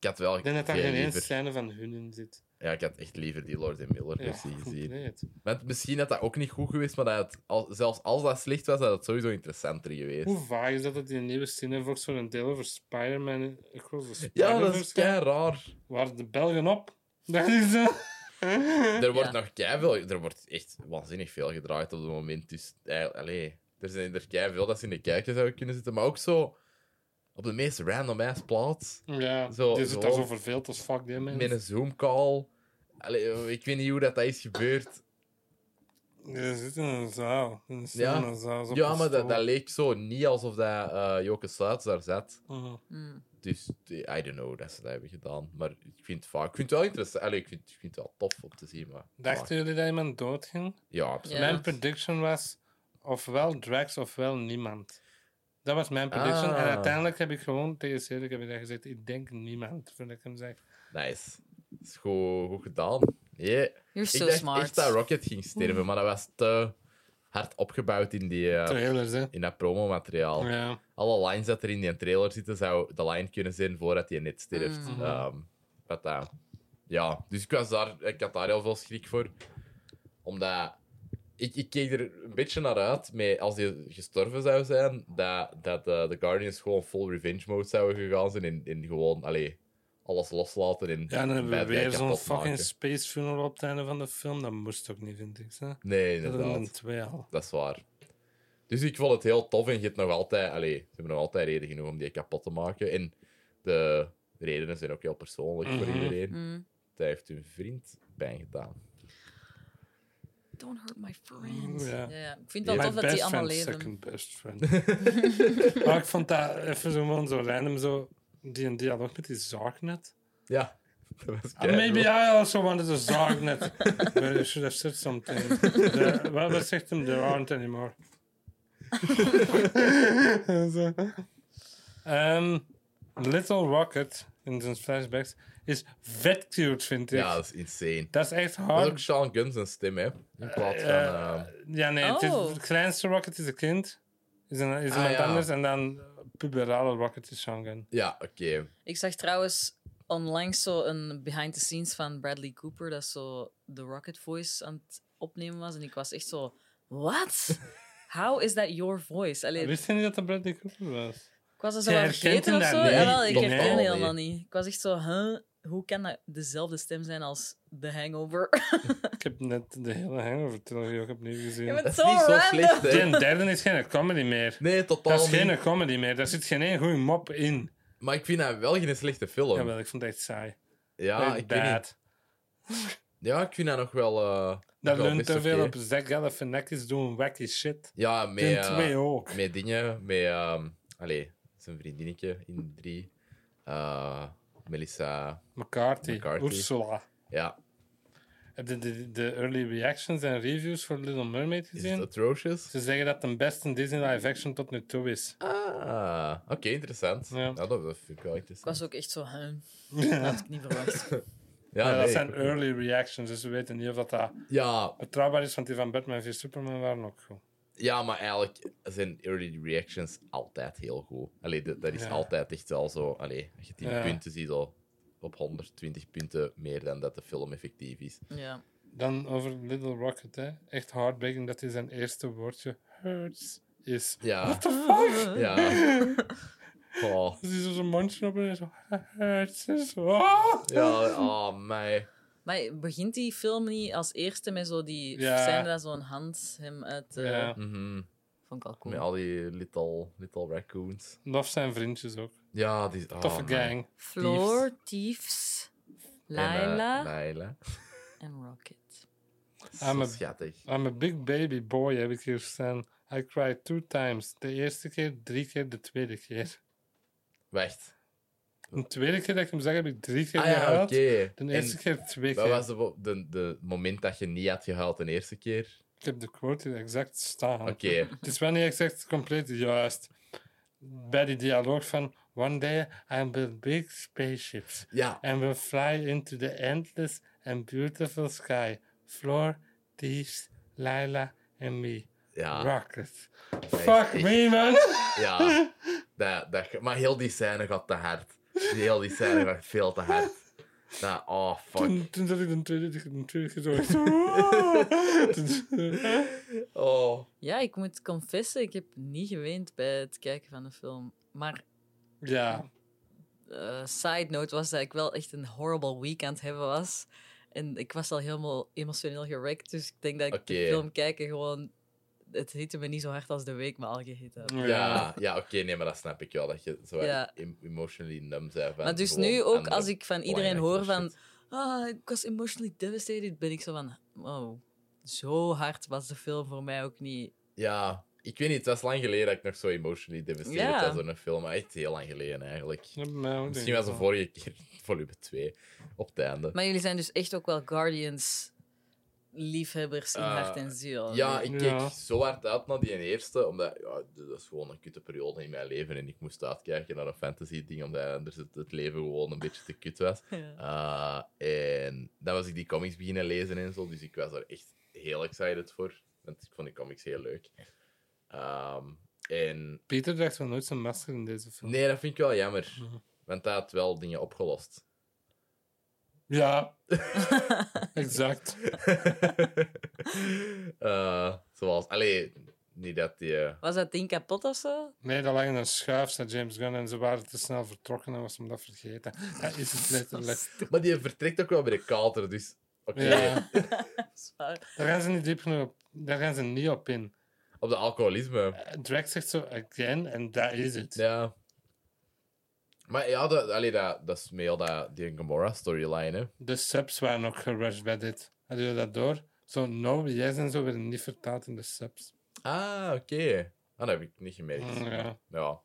[SPEAKER 1] Ik had wel
[SPEAKER 2] Ik denk dat daar
[SPEAKER 1] veel
[SPEAKER 2] geen één
[SPEAKER 1] liever...
[SPEAKER 2] scène van hun in zit.
[SPEAKER 1] Ja, ik had echt liever die Lord and Miller
[SPEAKER 2] Ja,
[SPEAKER 1] versie gezien.
[SPEAKER 2] compleet.
[SPEAKER 1] Want misschien had dat ook niet goed geweest, maar dat het, al- zelfs als dat slecht was, had het sowieso interessanter geweest.
[SPEAKER 2] Hoe vaag is dat dat die nieuwe Cinevox voor een deel over Spider-Man Across the
[SPEAKER 1] Ja,
[SPEAKER 2] Spider-Verse
[SPEAKER 1] dat is
[SPEAKER 2] gaat?
[SPEAKER 1] kei raar.
[SPEAKER 2] Waar de Belgen op? Dat is eh,
[SPEAKER 1] Er wordt
[SPEAKER 3] Ja.
[SPEAKER 1] nog kei veel, er wordt echt waanzinnig veel gedraaid op het moment. Dus eh, allee, er zijn er kei veel dat ze in de kijker zouden kunnen zitten, maar ook zo op de meest random ass plaats.
[SPEAKER 2] Ja,
[SPEAKER 1] Zo-
[SPEAKER 2] die
[SPEAKER 1] zo.
[SPEAKER 2] zit daar zo verveeld als fuck, die
[SPEAKER 1] Met
[SPEAKER 2] mensen.
[SPEAKER 1] een Zoom call. Allee, eh, ik weet niet hoe dat, dat is gebeurd.
[SPEAKER 2] Die zitten in een zaal. In een cinemazaal, zo op
[SPEAKER 1] Ja,
[SPEAKER 2] een
[SPEAKER 1] maar dat,
[SPEAKER 2] stoel.
[SPEAKER 1] dat leek zo niet alsof dat, eh, Joke Sluits daar zat.
[SPEAKER 2] Mhm.
[SPEAKER 3] Mm.
[SPEAKER 1] Dus eh, I don't know dat ze dat hebben gedaan. Maar ik vind het, vaak, ik vind het wel interessant. Allee, ik, vind, ik vind het wel tof om te zien. Maar,
[SPEAKER 2] Dachten jullie dat iemand doodging?
[SPEAKER 1] Ja, absoluut.
[SPEAKER 3] Ja.
[SPEAKER 2] Mijn prediction was ofwel Drax ofwel niemand. Dat was mijn prediction.
[SPEAKER 1] Ah.
[SPEAKER 2] En uiteindelijk heb ik gewoon tegen Cedric heb ik dat gezegd. Ik denk niemand, voordat ik hem zeg.
[SPEAKER 1] Nice. Dat is goed, goed gedaan. Yeah. Ik
[SPEAKER 3] You're so
[SPEAKER 1] dacht
[SPEAKER 3] smart.
[SPEAKER 1] echt dat Rocket ging sterven, maar dat was te hard opgebouwd in, die, eh,
[SPEAKER 2] Trailers, hè?
[SPEAKER 1] in dat promomateriaal.
[SPEAKER 2] Ja.
[SPEAKER 1] Alle lines dat er in die trailer zitten, zou de line kunnen zijn voordat hij net sterft.
[SPEAKER 2] Mhm.
[SPEAKER 3] Mm.
[SPEAKER 1] Ehm, wat dat- ja, dus ik, was daar, ik had daar heel veel schrik voor. Omdat ik, ik keek er een beetje naar uit, met, als hij gestorven zou zijn, dat, dat eh, de Guardians gewoon full revenge mode zouden gegaan zijn en, en gewoon allee, alles loslaten. En
[SPEAKER 2] Ja, dan hebben we
[SPEAKER 1] bad guy
[SPEAKER 2] weer zo'n
[SPEAKER 1] kapot
[SPEAKER 2] fucking
[SPEAKER 1] maken.
[SPEAKER 2] space funeral op het einde van de film. Dat moest ook niet, vind ik. Hè?
[SPEAKER 1] Nee,
[SPEAKER 2] Dat is een
[SPEAKER 1] inderdaad.
[SPEAKER 2] twee al.
[SPEAKER 1] Dat is waar. Dus ik vond het heel tof en je hebt nog altijd... Allee, ze hebben nog altijd reden genoeg om die kapot te maken. En de redenen zijn ook heel persoonlijk voor
[SPEAKER 2] Mhm.
[SPEAKER 1] iedereen.
[SPEAKER 3] Mm.
[SPEAKER 1] Hij heeft hun vriend pijn gedaan.
[SPEAKER 3] Don't hurt my friends.
[SPEAKER 2] Ja.
[SPEAKER 3] Ja, ja. Ik vind
[SPEAKER 1] Ja.
[SPEAKER 3] het wel
[SPEAKER 2] My
[SPEAKER 3] tof dat die
[SPEAKER 2] best
[SPEAKER 3] allemaal
[SPEAKER 2] friend,
[SPEAKER 3] leven.
[SPEAKER 2] second best friend. maar ik vond dat even zo, gewoon zo random, zo, die een dialoog met die zaagnet.
[SPEAKER 1] Ja, dat was
[SPEAKER 2] And Ah, maybe I also wanted a Zargnet. But I should have said something. The, well, wat zegt hem? There aren't anymore. Zo. Ehm, Little Rocket in zijn flashbacks is vet cute, vind ik.
[SPEAKER 1] Ja, dat is insane.
[SPEAKER 2] Dat is echt
[SPEAKER 1] Dat is
[SPEAKER 2] hard.
[SPEAKER 1] ook Sean Gunn zijn stem, hè. In plaats van...
[SPEAKER 2] Eh,
[SPEAKER 1] ehm,
[SPEAKER 2] ja, nee, het is-
[SPEAKER 3] Oh.
[SPEAKER 2] het kleinste Rocket is een kind. Is, een, is
[SPEAKER 1] Ah,
[SPEAKER 2] iemand
[SPEAKER 1] ja.
[SPEAKER 2] anders. En dan puberale Rocket is Shangan.
[SPEAKER 1] ja, oké.
[SPEAKER 3] Ik zag trouwens onlangs zo een behind the scenes van Bradley Cooper dat zo de Rocket Voice aan het opnemen was. En ik was echt zo, what? How is that your voice? Allee,
[SPEAKER 2] Wist je niet dat dat Bradley Cooper was?
[SPEAKER 3] ik was er zo
[SPEAKER 2] Jij
[SPEAKER 3] aan
[SPEAKER 2] herkent
[SPEAKER 3] vergeten
[SPEAKER 2] hem
[SPEAKER 3] of
[SPEAKER 2] daar
[SPEAKER 3] zo.
[SPEAKER 2] niet.
[SPEAKER 3] Jawel, ik
[SPEAKER 1] Nee,
[SPEAKER 3] herkende
[SPEAKER 1] totaal
[SPEAKER 3] helemaal niet. Ik was echt zo, huh? hoe kan dat dezelfde stem zijn als The Hangover?
[SPEAKER 2] Ik heb net de hele Hangover trilogie ook opnieuw gezien.
[SPEAKER 3] Ja, maar-
[SPEAKER 1] Dat is
[SPEAKER 3] Zo
[SPEAKER 1] niet zo
[SPEAKER 3] random.
[SPEAKER 1] slecht, hè?
[SPEAKER 2] De derde is geen comedy meer.
[SPEAKER 1] Nee, totaal
[SPEAKER 2] Dat is
[SPEAKER 1] niet.
[SPEAKER 2] geen comedy meer. Daar zit geen één goede mop in.
[SPEAKER 1] Maar ik vind dat wel geen slechte film. Ja,
[SPEAKER 2] Jawel, ik vond het echt saai. Echt
[SPEAKER 1] ik, weet niet.
[SPEAKER 2] bad.
[SPEAKER 1] ja ik vind dat nog wel... eh nog
[SPEAKER 2] Dat
[SPEAKER 1] wel
[SPEAKER 2] leunt
[SPEAKER 1] best
[SPEAKER 2] te veel
[SPEAKER 1] oké.
[SPEAKER 2] op Zack Galifianakis doen wacky shit.
[SPEAKER 1] Ja,
[SPEAKER 2] Ten
[SPEAKER 1] met, eh,
[SPEAKER 2] twee ook.
[SPEAKER 1] met dingen. Met... ehm allee, zijn vriendinnetje in drie. Eh, Melissa.
[SPEAKER 2] McCarthy,
[SPEAKER 1] McCarthy.
[SPEAKER 2] Ursula.
[SPEAKER 1] Ja,
[SPEAKER 2] Heb je de, de early reactions en reviews voor Little Mermaid
[SPEAKER 1] is het
[SPEAKER 2] gezien?
[SPEAKER 1] atrocious?
[SPEAKER 2] Ze zeggen dat het de beste Disney live action tot nu toe is.
[SPEAKER 1] Ah, oké, interessant.
[SPEAKER 2] Ja.
[SPEAKER 1] Ja. dat, dat vind ik wel
[SPEAKER 3] ik
[SPEAKER 1] interessant.
[SPEAKER 3] was ook echt zo, huh, dat
[SPEAKER 2] ja,
[SPEAKER 3] had ik niet verwacht.
[SPEAKER 2] dat
[SPEAKER 1] Ah, nee,
[SPEAKER 2] zijn
[SPEAKER 1] ik-
[SPEAKER 2] early reactions, dus we weten niet of dat, dat
[SPEAKER 1] Ja,
[SPEAKER 2] betrouwbaar is, want die van Batman v Superman waren ook goed.
[SPEAKER 1] Ja, maar eigenlijk zijn early reactions altijd heel goed. Allee, dat, dat is
[SPEAKER 2] Ja.
[SPEAKER 1] altijd echt wel zo. Allee, als je 10
[SPEAKER 2] Ja.
[SPEAKER 1] punten ziet, al op 120 punten meer dan dat de film effectief is.
[SPEAKER 3] ja.
[SPEAKER 2] Dan over Little Rocket, hè. echt heartbreaking dat hij zijn eerste woordje hurts is.
[SPEAKER 1] Ja,
[SPEAKER 3] Ah.
[SPEAKER 1] ja. Oh,
[SPEAKER 2] Dus hij zo zijn mondje op en zo hurts is. Oh!
[SPEAKER 1] ja, oh, mij.
[SPEAKER 3] Maar begint die film niet als eerste met zo die
[SPEAKER 2] Ja.
[SPEAKER 3] scène dat zo'n hand hem uit... eh,
[SPEAKER 2] Ja.
[SPEAKER 1] Mhm.
[SPEAKER 3] Vond ik al cool.
[SPEAKER 1] Met al die little, little raccoons.
[SPEAKER 2] Love zijn vriendjes ook.
[SPEAKER 1] Ja, die is. Oh,
[SPEAKER 2] Toffe
[SPEAKER 1] my.
[SPEAKER 2] gang.
[SPEAKER 3] Floor, Thieves,
[SPEAKER 1] En, eh,
[SPEAKER 3] Laila en,
[SPEAKER 1] Laila.
[SPEAKER 2] Ah,
[SPEAKER 3] Rocket.
[SPEAKER 1] Zo
[SPEAKER 2] I'm a-
[SPEAKER 1] schattig.
[SPEAKER 2] I'm a big baby boy, heb ik hier staan. I cried two times. De eerste keer, drie keer, de tweede keer.
[SPEAKER 1] Wacht.
[SPEAKER 2] De tweede keer dat ik hem zag, heb ik drie keer
[SPEAKER 1] Ah ja,
[SPEAKER 2] gehuild.
[SPEAKER 1] oké.
[SPEAKER 2] De eerste
[SPEAKER 1] En
[SPEAKER 2] keer twee
[SPEAKER 1] Wat
[SPEAKER 2] keer.
[SPEAKER 1] was de, de, de moment dat je niet had gehuild de eerste keer?
[SPEAKER 2] Ik heb de quote hier exact staan.
[SPEAKER 1] Oké.
[SPEAKER 2] Het is wel niet exact compleet juist. Bij die dialoog van... One day I build big spaceships.
[SPEAKER 1] Ja,
[SPEAKER 2] and will fly into the endless and beautiful sky. Floor, Thieves, Lila and me.
[SPEAKER 1] ja.
[SPEAKER 2] Rockets.
[SPEAKER 1] is
[SPEAKER 2] Fuck
[SPEAKER 1] echt-
[SPEAKER 2] me, man!
[SPEAKER 1] Ja, dat, dat, maar heel die scène gaat te hard. Heel die scène gaat veel te hard. Dat, oh, fuck.
[SPEAKER 2] Toen, toen zat ik de tweede keer- de tweede keer zo. echt zo, "Wow." Toen-
[SPEAKER 1] Oh.
[SPEAKER 3] Ja, ik moet confessen, ik heb niet geweend bij het kijken van de film. Maar
[SPEAKER 2] ja,
[SPEAKER 3] eh, side note was dat ik wel echt een horrible week aan het hebben was. En ik was al helemaal emotioneel gerekt, dus ik denk dat ik de
[SPEAKER 1] Oké.
[SPEAKER 3] film kijken gewoon... Het hitte me niet zo hard als de week me al gehit had.
[SPEAKER 1] Ja, ja oké, nee, maar dat snap ik wel. Dat je zo
[SPEAKER 3] Ja.
[SPEAKER 1] em- emotionally numb bent. van
[SPEAKER 3] Maar dus
[SPEAKER 1] gewoon
[SPEAKER 3] nu ook,
[SPEAKER 1] andere-
[SPEAKER 3] als ik van iedereen hoor
[SPEAKER 1] belangrijke
[SPEAKER 3] van...
[SPEAKER 1] shit.
[SPEAKER 3] Ah, ik was emotionally devastated, ben ik zo van... Wow, zo hard was de film voor mij ook niet.
[SPEAKER 1] Ja, ik weet niet, het was lang geleden dat ik nog zo emotionally devastated
[SPEAKER 3] Ja.
[SPEAKER 1] was door een film. Maar echt heel lang geleden, eigenlijk.
[SPEAKER 2] dat bij mij ook, denk
[SPEAKER 1] Misschien
[SPEAKER 2] ik
[SPEAKER 1] was de
[SPEAKER 2] wel.
[SPEAKER 1] vorige keer volume 2 op het einde.
[SPEAKER 3] Maar jullie zijn dus echt ook wel Guardians liefhebbers in
[SPEAKER 1] Eh,
[SPEAKER 3] hart en ziel.
[SPEAKER 1] Ja, ik keek
[SPEAKER 2] Ja.
[SPEAKER 1] zo hard uit naar die eerste, omdat ja, d- dat is gewoon een kutte periode in mijn leven en ik moest uitkijken naar een fantasy ding, omdat anders het, het leven gewoon een beetje te kut was.
[SPEAKER 3] Ja.
[SPEAKER 1] Uh, en dan was ik die comics beginnen lezen en zo, dus ik was er echt heel excited voor, want ik vond die comics heel leuk. Ehm, en
[SPEAKER 2] Peter draagt wel nooit zijn masker in deze film.
[SPEAKER 1] nee, dat vind ik wel jammer,
[SPEAKER 2] Mhm.
[SPEAKER 1] want dat had wel dingen opgelost.
[SPEAKER 2] Ja, exact.
[SPEAKER 1] Eh, zoals, allee, niet dat die... eh,
[SPEAKER 3] Was dat ding kapot of zo?
[SPEAKER 2] Nee, dat lag in een schuif, zei James Gunn, en ze waren te snel vertrokken en was hem dat vergeten. Dat is het letterlijk.
[SPEAKER 1] Maar die vertrekt ook wel bij de kater, dus... Oké,
[SPEAKER 2] Ja,
[SPEAKER 3] Zwaar.
[SPEAKER 2] daar gaan ze niet diep genoeg op. Daar gaan ze niet op in.
[SPEAKER 1] op de alcoholisme.
[SPEAKER 2] Eh, Drax zegt zo again, en dat is het.
[SPEAKER 1] Ja. Maar ja, dat, allee, dat, dat is meer dat, die Gamora-storyline, hè.
[SPEAKER 2] De subs waren ook gerushed bij dit. Hadden jullie dat door? Zo, no, yes en zo werden niet vertaald in de subs.
[SPEAKER 1] Ah, oké. Ah, dat heb ik niet gemerkt.
[SPEAKER 2] Mm, ja.
[SPEAKER 1] Ja.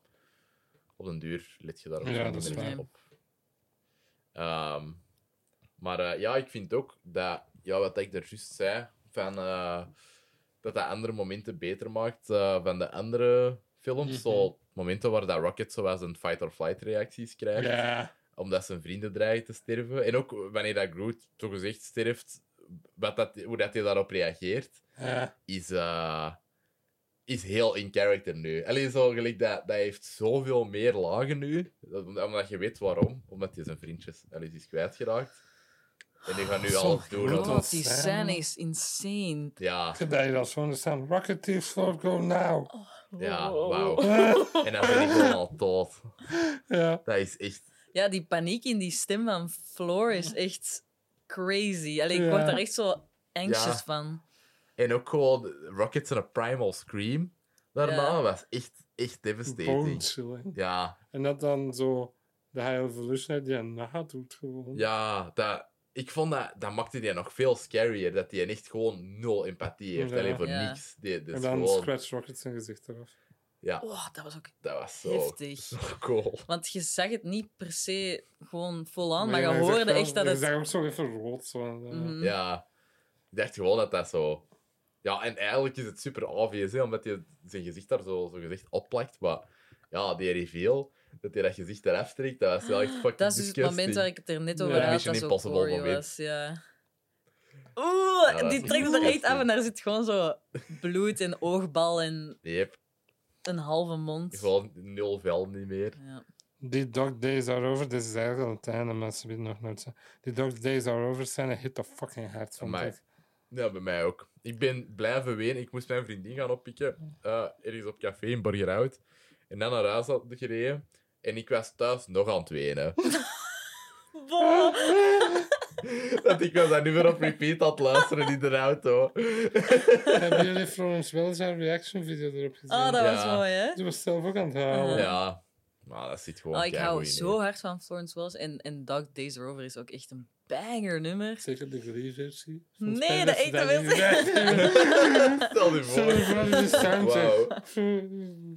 [SPEAKER 1] Op den duur let je daar ook
[SPEAKER 2] Ja,
[SPEAKER 1] wel
[SPEAKER 2] dat is
[SPEAKER 1] minder
[SPEAKER 3] waar.
[SPEAKER 1] op. Ehm, maar eh, ja, ik vind ook dat, ja, wat ik er juist zei, van, eh, dat dat andere momenten beter maakt eh, van de andere films.
[SPEAKER 2] Mhm.
[SPEAKER 1] Zo momenten waar dat Rocket zoals een fight-or-flight reacties krijgt,
[SPEAKER 2] Ja,
[SPEAKER 1] omdat zijn vrienden dreigen te sterven. En ook wanneer dat Groot zogezegd sterft, wat dat, hoe dat hij daarop reageert
[SPEAKER 2] ja.
[SPEAKER 1] is, eh, is heel in character nu. Alleen zo gelijk, dat, dat heeft zoveel meer lagen nu. Dat- Omdat je weet waarom. Omdat hij zijn vriendjes Alice is kwijtgeraakt. En die gaan nu
[SPEAKER 2] Zo'n
[SPEAKER 1] alles doen.
[SPEAKER 2] grote-
[SPEAKER 1] om-
[SPEAKER 3] God, die
[SPEAKER 2] zijn.
[SPEAKER 3] scène is insane.
[SPEAKER 1] Ja,
[SPEAKER 2] Ik heb daar hier als gewoon staan. Rocket Thief, Lord, go now.
[SPEAKER 1] ja,
[SPEAKER 3] Wow.
[SPEAKER 1] Oh. wauw. En dan ben ik gewoon al dood.
[SPEAKER 2] Ja,
[SPEAKER 1] Dat is echt...
[SPEAKER 3] Ja, die paniek in die stem van Floor is echt crazy. Allee, ik word
[SPEAKER 2] Ja.
[SPEAKER 3] daar echt zo anxious
[SPEAKER 1] Ja.
[SPEAKER 3] van.
[SPEAKER 1] En ook gewoon Rockets en een Primal Scream daarna
[SPEAKER 3] Ja.
[SPEAKER 1] was echt, echt devastating.
[SPEAKER 2] Bone chilling.
[SPEAKER 1] Ja,
[SPEAKER 2] En dat dan zo de High Evolution die een na doet gewoon.
[SPEAKER 1] ja dat, ik vond dat, dat maakte die nog veel scarier. Dat die echt gewoon nul empathie heeft.
[SPEAKER 2] Ja.
[SPEAKER 1] Alleen voor
[SPEAKER 3] Ja.
[SPEAKER 1] niks. Die, dat
[SPEAKER 2] en
[SPEAKER 1] is
[SPEAKER 2] dan
[SPEAKER 1] gewoon-
[SPEAKER 2] scratch Rocket zijn gezicht eraf.
[SPEAKER 1] ja,
[SPEAKER 3] Oh, dat was ook...
[SPEAKER 1] dat was zo,
[SPEAKER 3] Heftig.
[SPEAKER 1] zo cool.
[SPEAKER 3] Want je zag het niet per se gewoon vol
[SPEAKER 2] Nee,
[SPEAKER 3] aan, maar je
[SPEAKER 2] zag
[SPEAKER 3] hoorde
[SPEAKER 2] wel-
[SPEAKER 3] echt dat
[SPEAKER 2] Je
[SPEAKER 3] het...
[SPEAKER 2] zag ook zo even rood. Zo. eh,
[SPEAKER 3] Mhm.
[SPEAKER 1] Ja, ik dacht gewoon dat dat zo. Ja, en eigenlijk is het super obvious, hè, omdat hij zijn gezicht daar zo, zo gezegd opplakt. Maar ja, die reveal, dat hij dat gezicht eraf strikt, dat was wel echt fucking
[SPEAKER 3] Dat is dus het
[SPEAKER 1] disgusting.
[SPEAKER 3] moment waar ik het er net
[SPEAKER 2] Ja.
[SPEAKER 3] over had,
[SPEAKER 1] Mission
[SPEAKER 3] dat zo
[SPEAKER 1] Impossible
[SPEAKER 3] Corey
[SPEAKER 1] moment.
[SPEAKER 3] was, ja. Oeh,
[SPEAKER 1] Ja, dat
[SPEAKER 3] die
[SPEAKER 1] is
[SPEAKER 3] trekt het er echt
[SPEAKER 1] disgusting.
[SPEAKER 3] af en daar zit gewoon zo bloed en oogbal en
[SPEAKER 1] Yep,
[SPEAKER 3] een halve mond.
[SPEAKER 1] gewoon nul vel niet meer.
[SPEAKER 3] Ja.
[SPEAKER 2] Die Dog Days Are Over, dit is eigenlijk al het einde, mensen die het nog nooit zijn. Die Dog Days Are Over zijn een hit the fucking hard van
[SPEAKER 1] Amai.
[SPEAKER 2] mij.
[SPEAKER 1] Ja, bij mij ook. Ik ben blijven ween. Ik moest mijn vriendin gaan oppikken. eh, ergens op café in Borgerhout. En dan naar huis had gereden. En ik was thuis nog aan het wenen.
[SPEAKER 3] Wow.
[SPEAKER 1] dat ik was dat nu weer op repeat aan het luisteren in de auto.
[SPEAKER 2] Hebben jullie Florence wel zijn reaction video erop gezien?
[SPEAKER 3] Oh, dat was
[SPEAKER 1] Ja.
[SPEAKER 3] mooi, hè?
[SPEAKER 2] Die was zelf ook aan het halen.
[SPEAKER 1] Ja, maar dat zit gewoon
[SPEAKER 3] Oh, ik hou
[SPEAKER 1] keigoed in,
[SPEAKER 3] zo
[SPEAKER 1] hè.
[SPEAKER 3] hard van Florence Wells. En, en Dog Days Are Over is ook echt een banger nummer.
[SPEAKER 2] Zeker de Glee-versie.
[SPEAKER 3] Nee, dat eet dat wel.
[SPEAKER 1] Stel je
[SPEAKER 2] Sorry
[SPEAKER 1] voor.
[SPEAKER 2] voor de soundtrack.
[SPEAKER 1] Wauw.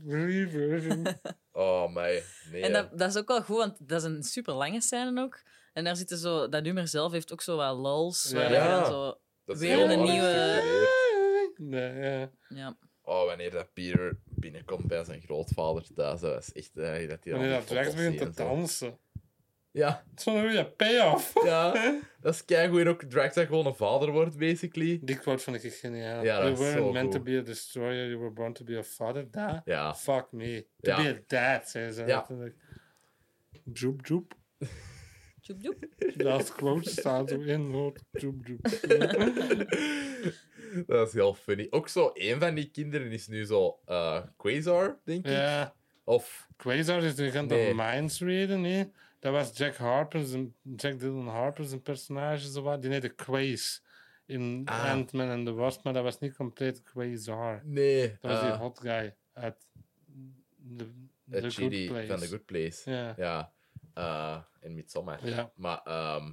[SPEAKER 2] Glee-version.
[SPEAKER 1] Oh, mij. Nee.
[SPEAKER 3] En
[SPEAKER 1] hè.
[SPEAKER 3] dat, dat is ook wel goed, want dat is een super lange scène ook. En daar zitten zo, dat nummer zelf heeft ook zo wat lols.
[SPEAKER 2] Ja.
[SPEAKER 3] waar je
[SPEAKER 1] Ja.
[SPEAKER 3] dan Zo,
[SPEAKER 1] Dat is
[SPEAKER 3] weer
[SPEAKER 1] heel
[SPEAKER 3] een
[SPEAKER 1] hard
[SPEAKER 3] nieuwe-
[SPEAKER 1] gestructureerd.
[SPEAKER 2] Nee, ja.
[SPEAKER 3] ja.
[SPEAKER 1] Oh, wanneer dat Peter binnenkomt bij zijn grootvader thuis, dat is echt... eh, dat hij
[SPEAKER 2] Wanneer
[SPEAKER 1] direct
[SPEAKER 2] dat direct begint te dansen.
[SPEAKER 1] Ja,
[SPEAKER 2] Het is wel een goede payoff.
[SPEAKER 1] ja. Dat is keigoed. En ook Drax dat gewoon een vader wordt, basically.
[SPEAKER 2] Die quote vond ik echt geniaal.
[SPEAKER 1] Ja, dat
[SPEAKER 2] you
[SPEAKER 1] is zo
[SPEAKER 2] weren't meant
[SPEAKER 1] goed.
[SPEAKER 2] to be a destroyer, you were born to be a father. Da?
[SPEAKER 1] Ja.
[SPEAKER 2] Fuck me. To
[SPEAKER 1] Ja.
[SPEAKER 2] be a dad, zei ze
[SPEAKER 1] Ja.
[SPEAKER 2] letterlijk. Joep, joep.
[SPEAKER 3] Joep, joep.
[SPEAKER 2] Dat quote staat er in, hoor. Joep, joep.
[SPEAKER 1] dat is heel funny. Ook zo, één van die kinderen is nu zo eh, Quasar, denk ik.
[SPEAKER 2] Ja.
[SPEAKER 1] Of...
[SPEAKER 2] Quasar is nu gaan
[SPEAKER 1] Nee.
[SPEAKER 2] de minds reden, hè? Dat was Jack Harper's, Jack Dylan Harper's een personage, zo wat. Die heette Quaze in
[SPEAKER 1] Ah.
[SPEAKER 2] Ant-Man and the Wasp, maar dat was niet compleet Quasar.
[SPEAKER 1] Nee.
[SPEAKER 2] Dat was die
[SPEAKER 1] eh,
[SPEAKER 2] hot guy uit de,
[SPEAKER 1] eh,
[SPEAKER 2] the Good
[SPEAKER 1] Chidi
[SPEAKER 2] Place.
[SPEAKER 1] van The Good Place.
[SPEAKER 2] Ja.
[SPEAKER 1] Ja. eh, in Midsommar.
[SPEAKER 2] Ja.
[SPEAKER 1] Maar ehm,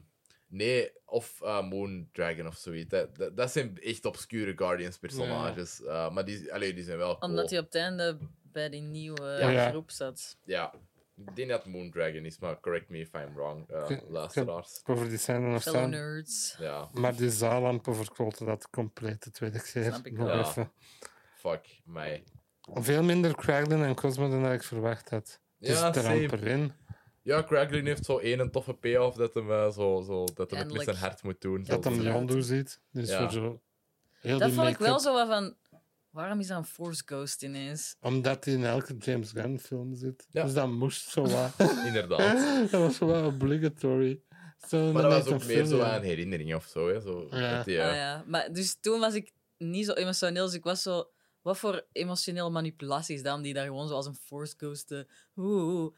[SPEAKER 1] nee, of eh, Moon Dragon of zoiets. Dat, dat, dat zijn echt obscure Guardians-personages. Eh, maar die, allee, die zijn wel cool.
[SPEAKER 3] Omdat hij op het einde bij die nieuwe
[SPEAKER 2] Ja. Ja.
[SPEAKER 3] groep zat.
[SPEAKER 1] Ja, ik denk dat Moon Dragon is, maar correct me if I'm wrong, eh,
[SPEAKER 2] Oké, oké.
[SPEAKER 1] luisteraars.
[SPEAKER 2] Over die scène nog
[SPEAKER 3] Fellow
[SPEAKER 2] staan.
[SPEAKER 3] nerds.
[SPEAKER 1] Ja,
[SPEAKER 2] Maar die zaalampen verkloten dat compleet de tweede keer.
[SPEAKER 3] Snap ik
[SPEAKER 2] Nog
[SPEAKER 1] wel.
[SPEAKER 2] even.
[SPEAKER 1] fuck mij.
[SPEAKER 2] Veel minder Kraglin en Cosmo dan dat ik verwacht had. Dus
[SPEAKER 1] Ja,
[SPEAKER 2] er
[SPEAKER 1] same.
[SPEAKER 2] amper in.
[SPEAKER 1] Ja, Kraglin heeft zo één een toffe payoff dat hem, eh, zo, zo, dat hem het liefst
[SPEAKER 3] Eindelijk.
[SPEAKER 1] zijn hart moet doen.
[SPEAKER 2] Dat hem
[SPEAKER 1] Zo-
[SPEAKER 3] inderdaad.
[SPEAKER 2] Yondu ziet. Dus
[SPEAKER 1] Ja.
[SPEAKER 2] voor zo heel
[SPEAKER 3] Dat
[SPEAKER 2] die
[SPEAKER 3] vond ik wel
[SPEAKER 2] make-up.
[SPEAKER 3] zo wat van... Waarom is dan Force Ghost ineens?
[SPEAKER 2] Omdat hij in elke James Gunn film zit.
[SPEAKER 1] Ja.
[SPEAKER 2] Dus dat moest zo wat.
[SPEAKER 1] Inderdaad.
[SPEAKER 2] dat was zo wat obligatory. Zo
[SPEAKER 1] Maar dat was ook
[SPEAKER 2] een
[SPEAKER 1] meer zo
[SPEAKER 2] film,
[SPEAKER 1] aan herinnering of zo. Hè? zo
[SPEAKER 2] Ja.
[SPEAKER 1] dat die,
[SPEAKER 3] Ja.
[SPEAKER 1] eh,
[SPEAKER 3] Ah, ja. Maar dus toen was ik niet zo emotioneel, dus ik was zo... Wat voor emotionele manipulatie is dat om die daar gewoon zo als een Force Ghost eh, te... Oeh, oeh.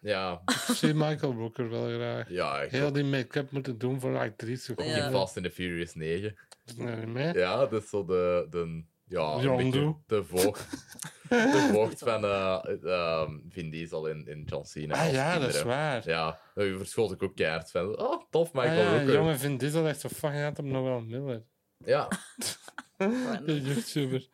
[SPEAKER 1] ja,
[SPEAKER 2] Ik zie Michael Rooker wel graag.
[SPEAKER 1] ja, ik
[SPEAKER 2] Heel die make-up moeten doen voor like drie seconden.
[SPEAKER 1] in
[SPEAKER 3] Ja.
[SPEAKER 1] Fast and the Furious 9.
[SPEAKER 2] Nee, mee.
[SPEAKER 1] Ja, dat is zo de. de ja, een
[SPEAKER 2] John
[SPEAKER 1] beetje
[SPEAKER 2] Doe.
[SPEAKER 1] de voogd. De voogd van eh ehm, Vin Diesel in, in John Cena.
[SPEAKER 2] Ah
[SPEAKER 1] als
[SPEAKER 2] ja, dat is
[SPEAKER 1] kinderen.
[SPEAKER 2] waar.
[SPEAKER 1] Ja, daar verschoot ik ook keihard van. Oh, tof,
[SPEAKER 2] Ah,
[SPEAKER 1] Michael
[SPEAKER 2] ja,
[SPEAKER 1] Rooker.
[SPEAKER 2] jongen, Vin Diesel echt zo fucking hard op Noel Miller.
[SPEAKER 1] Ja,
[SPEAKER 2] De YouTuber.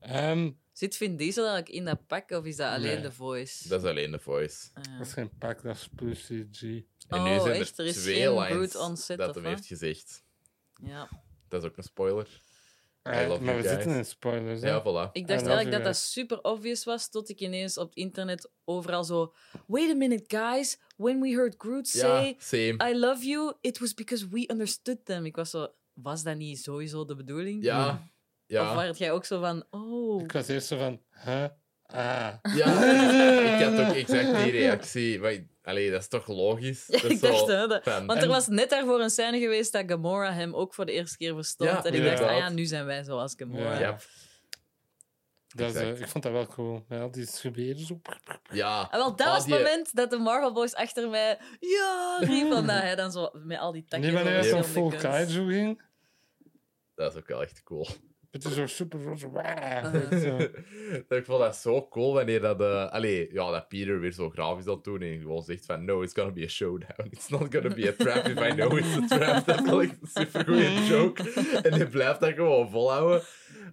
[SPEAKER 2] Ehm,
[SPEAKER 3] Zit Vin Diesel eigenlijk in dat pak of is dat alleen
[SPEAKER 2] Nee.
[SPEAKER 3] de voice?
[SPEAKER 1] dat is alleen de voice.
[SPEAKER 3] Ah.
[SPEAKER 2] dat is geen pak, dat is puur CG.
[SPEAKER 1] En
[SPEAKER 3] Oh,
[SPEAKER 1] nu zijn
[SPEAKER 3] echt?
[SPEAKER 1] er,
[SPEAKER 3] Er is
[SPEAKER 1] twee
[SPEAKER 3] geen
[SPEAKER 1] lines
[SPEAKER 3] Groot on set,
[SPEAKER 1] dat
[SPEAKER 3] of
[SPEAKER 1] hem
[SPEAKER 3] wat?
[SPEAKER 1] heeft gezegd.
[SPEAKER 3] ja.
[SPEAKER 1] Dat is ook een spoiler.
[SPEAKER 2] Eh,
[SPEAKER 1] love
[SPEAKER 2] maar
[SPEAKER 1] you
[SPEAKER 2] we
[SPEAKER 1] guys.
[SPEAKER 2] zitten in spoilers. hè?
[SPEAKER 1] Ja, voilà.
[SPEAKER 3] Ik
[SPEAKER 2] I
[SPEAKER 3] dacht
[SPEAKER 2] love
[SPEAKER 3] eigenlijk
[SPEAKER 2] you
[SPEAKER 3] dat dat super obvious was, tot ik ineens op het internet overal zo... Wait a minute, guys. When we heard Groot say...
[SPEAKER 1] Ja, same.
[SPEAKER 3] I love you, it was because we understood them. Ik was zo, was dat niet sowieso de bedoeling?
[SPEAKER 1] Ja,
[SPEAKER 3] Of
[SPEAKER 1] ja.
[SPEAKER 3] werd jij ook zo van, oh,
[SPEAKER 2] Ik was eerst zo van, huh? Ah.
[SPEAKER 1] ja. Ik had ook exact die reactie. Maar, ik- allee, dat is toch logisch?
[SPEAKER 3] Ja,
[SPEAKER 1] Dat is
[SPEAKER 3] ik
[SPEAKER 1] zo
[SPEAKER 3] dacht, hè, dat-
[SPEAKER 1] van-
[SPEAKER 3] want
[SPEAKER 2] En-
[SPEAKER 3] er was net daarvoor een scène geweest dat Gamora hem ook voor de eerste keer verstond.
[SPEAKER 1] Ja,
[SPEAKER 3] en ik dacht,
[SPEAKER 2] ja.
[SPEAKER 3] ah ja, nu zijn wij zoals Gamora.
[SPEAKER 1] Ja.
[SPEAKER 2] Dat, is, eh,
[SPEAKER 1] Exact.
[SPEAKER 2] ik vond dat wel cool. Ja, die geweren zo.
[SPEAKER 1] Ja,
[SPEAKER 3] En wel, dat
[SPEAKER 1] Ah,
[SPEAKER 3] was
[SPEAKER 1] die-
[SPEAKER 3] het moment dat de Marvel Boys achter mij ja riep. En dat hij dan zo met al die takken...
[SPEAKER 2] Nee, wanneer
[SPEAKER 3] door
[SPEAKER 2] het dan
[SPEAKER 3] verschillende
[SPEAKER 2] full
[SPEAKER 3] guns.
[SPEAKER 2] kaiju ging.
[SPEAKER 1] dat is ook wel echt cool.
[SPEAKER 2] Het is zo super roze. Wauw.
[SPEAKER 3] Uh-huh.
[SPEAKER 2] Zo.
[SPEAKER 1] ik vond dat zo cool wanneer dat, eh allee, ja, dat Peter weer zo grafisch dat doen en gewoon zegt van no, it's gonna be a showdown. It's not gonna be a trap if I know it's a trap. Dat vond ik een supergoeie joke. En hij blijft dat gewoon volhouden.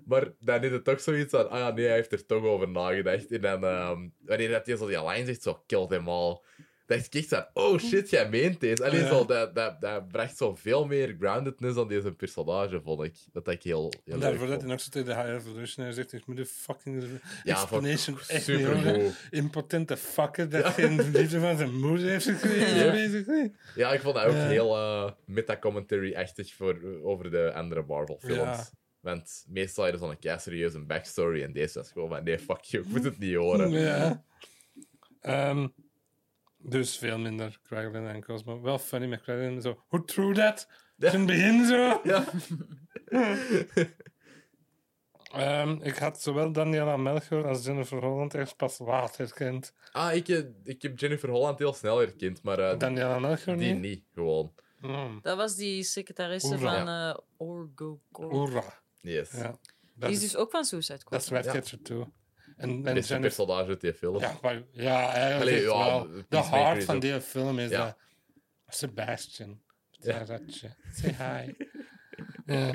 [SPEAKER 1] Maar dan is het toch zoiets van, ah ja, nee, hij heeft er toch over nagedacht. En dan, ehm, wanneer dat hij zo die lijn zegt, zo kill them all. Dat ik echt van, oh shit, jij meent deze. Allee,
[SPEAKER 2] Ja.
[SPEAKER 1] zo, dat, dat, dat bracht zo veel meer groundedness dan deze personage, vond ik. Dat dat ik heel, heel
[SPEAKER 2] En
[SPEAKER 1] leuk
[SPEAKER 2] daarvoor dat
[SPEAKER 1] vond.
[SPEAKER 2] hij nog zo tegen de HR revolutionair zegt, ik moet de fucking
[SPEAKER 1] Ja, vond ik
[SPEAKER 2] explanation echt niet horen.
[SPEAKER 1] supergoed.
[SPEAKER 2] Impotente fucker dat geen liefde van zijn moeder heeft gekregen,
[SPEAKER 1] Ja.
[SPEAKER 2] basically.
[SPEAKER 1] Ja, ik vond dat ook
[SPEAKER 2] Ja.
[SPEAKER 1] heel eh meta-commentary-achtig voor, over de andere Marvel-films.
[SPEAKER 2] Ja.
[SPEAKER 1] Want meestal is er zo'n kei serieuze backstory en deze was gewoon van nee, fuck you, ik moet het niet horen.
[SPEAKER 2] Ja. Ehm, dus veel minder Kraglin en Cosmo. Wel funny met Kraglin, zo, who threw that?
[SPEAKER 1] Ja.
[SPEAKER 2] In het begin zo.
[SPEAKER 1] Ja.
[SPEAKER 2] Ehm, ik had zowel Daniela Melchior als Jennifer Holland echt pas laat herkend.
[SPEAKER 1] ah, ik, eh, ik heb Jennifer Holland heel snel herkend, maar eh,
[SPEAKER 2] Daniela Melchior
[SPEAKER 1] die
[SPEAKER 2] niet?
[SPEAKER 1] niet, gewoon.
[SPEAKER 2] Mm.
[SPEAKER 3] Dat was die secretaresse
[SPEAKER 2] Oera.
[SPEAKER 3] van eh Orgo Corp.
[SPEAKER 2] Oera.
[SPEAKER 1] Yes.
[SPEAKER 2] Ja. Dat
[SPEAKER 3] Die is
[SPEAKER 2] is-
[SPEAKER 3] dus ook van Suicide Squad.
[SPEAKER 2] Dat is Red
[SPEAKER 1] Ja.
[SPEAKER 2] Catcher 2. En, en
[SPEAKER 1] Beste
[SPEAKER 2] Jennifer...
[SPEAKER 1] personage uit die film.
[SPEAKER 2] Ja, maar, ja eigenlijk
[SPEAKER 1] Allee,
[SPEAKER 2] is het
[SPEAKER 1] ja,
[SPEAKER 2] wel...
[SPEAKER 1] Peacemaker
[SPEAKER 2] De hart
[SPEAKER 1] is
[SPEAKER 2] van
[SPEAKER 1] ook-
[SPEAKER 2] die film is
[SPEAKER 1] Ja.
[SPEAKER 2] dat... Sebastian.
[SPEAKER 1] Ja.
[SPEAKER 2] Ja. ratje. Say hi. ja.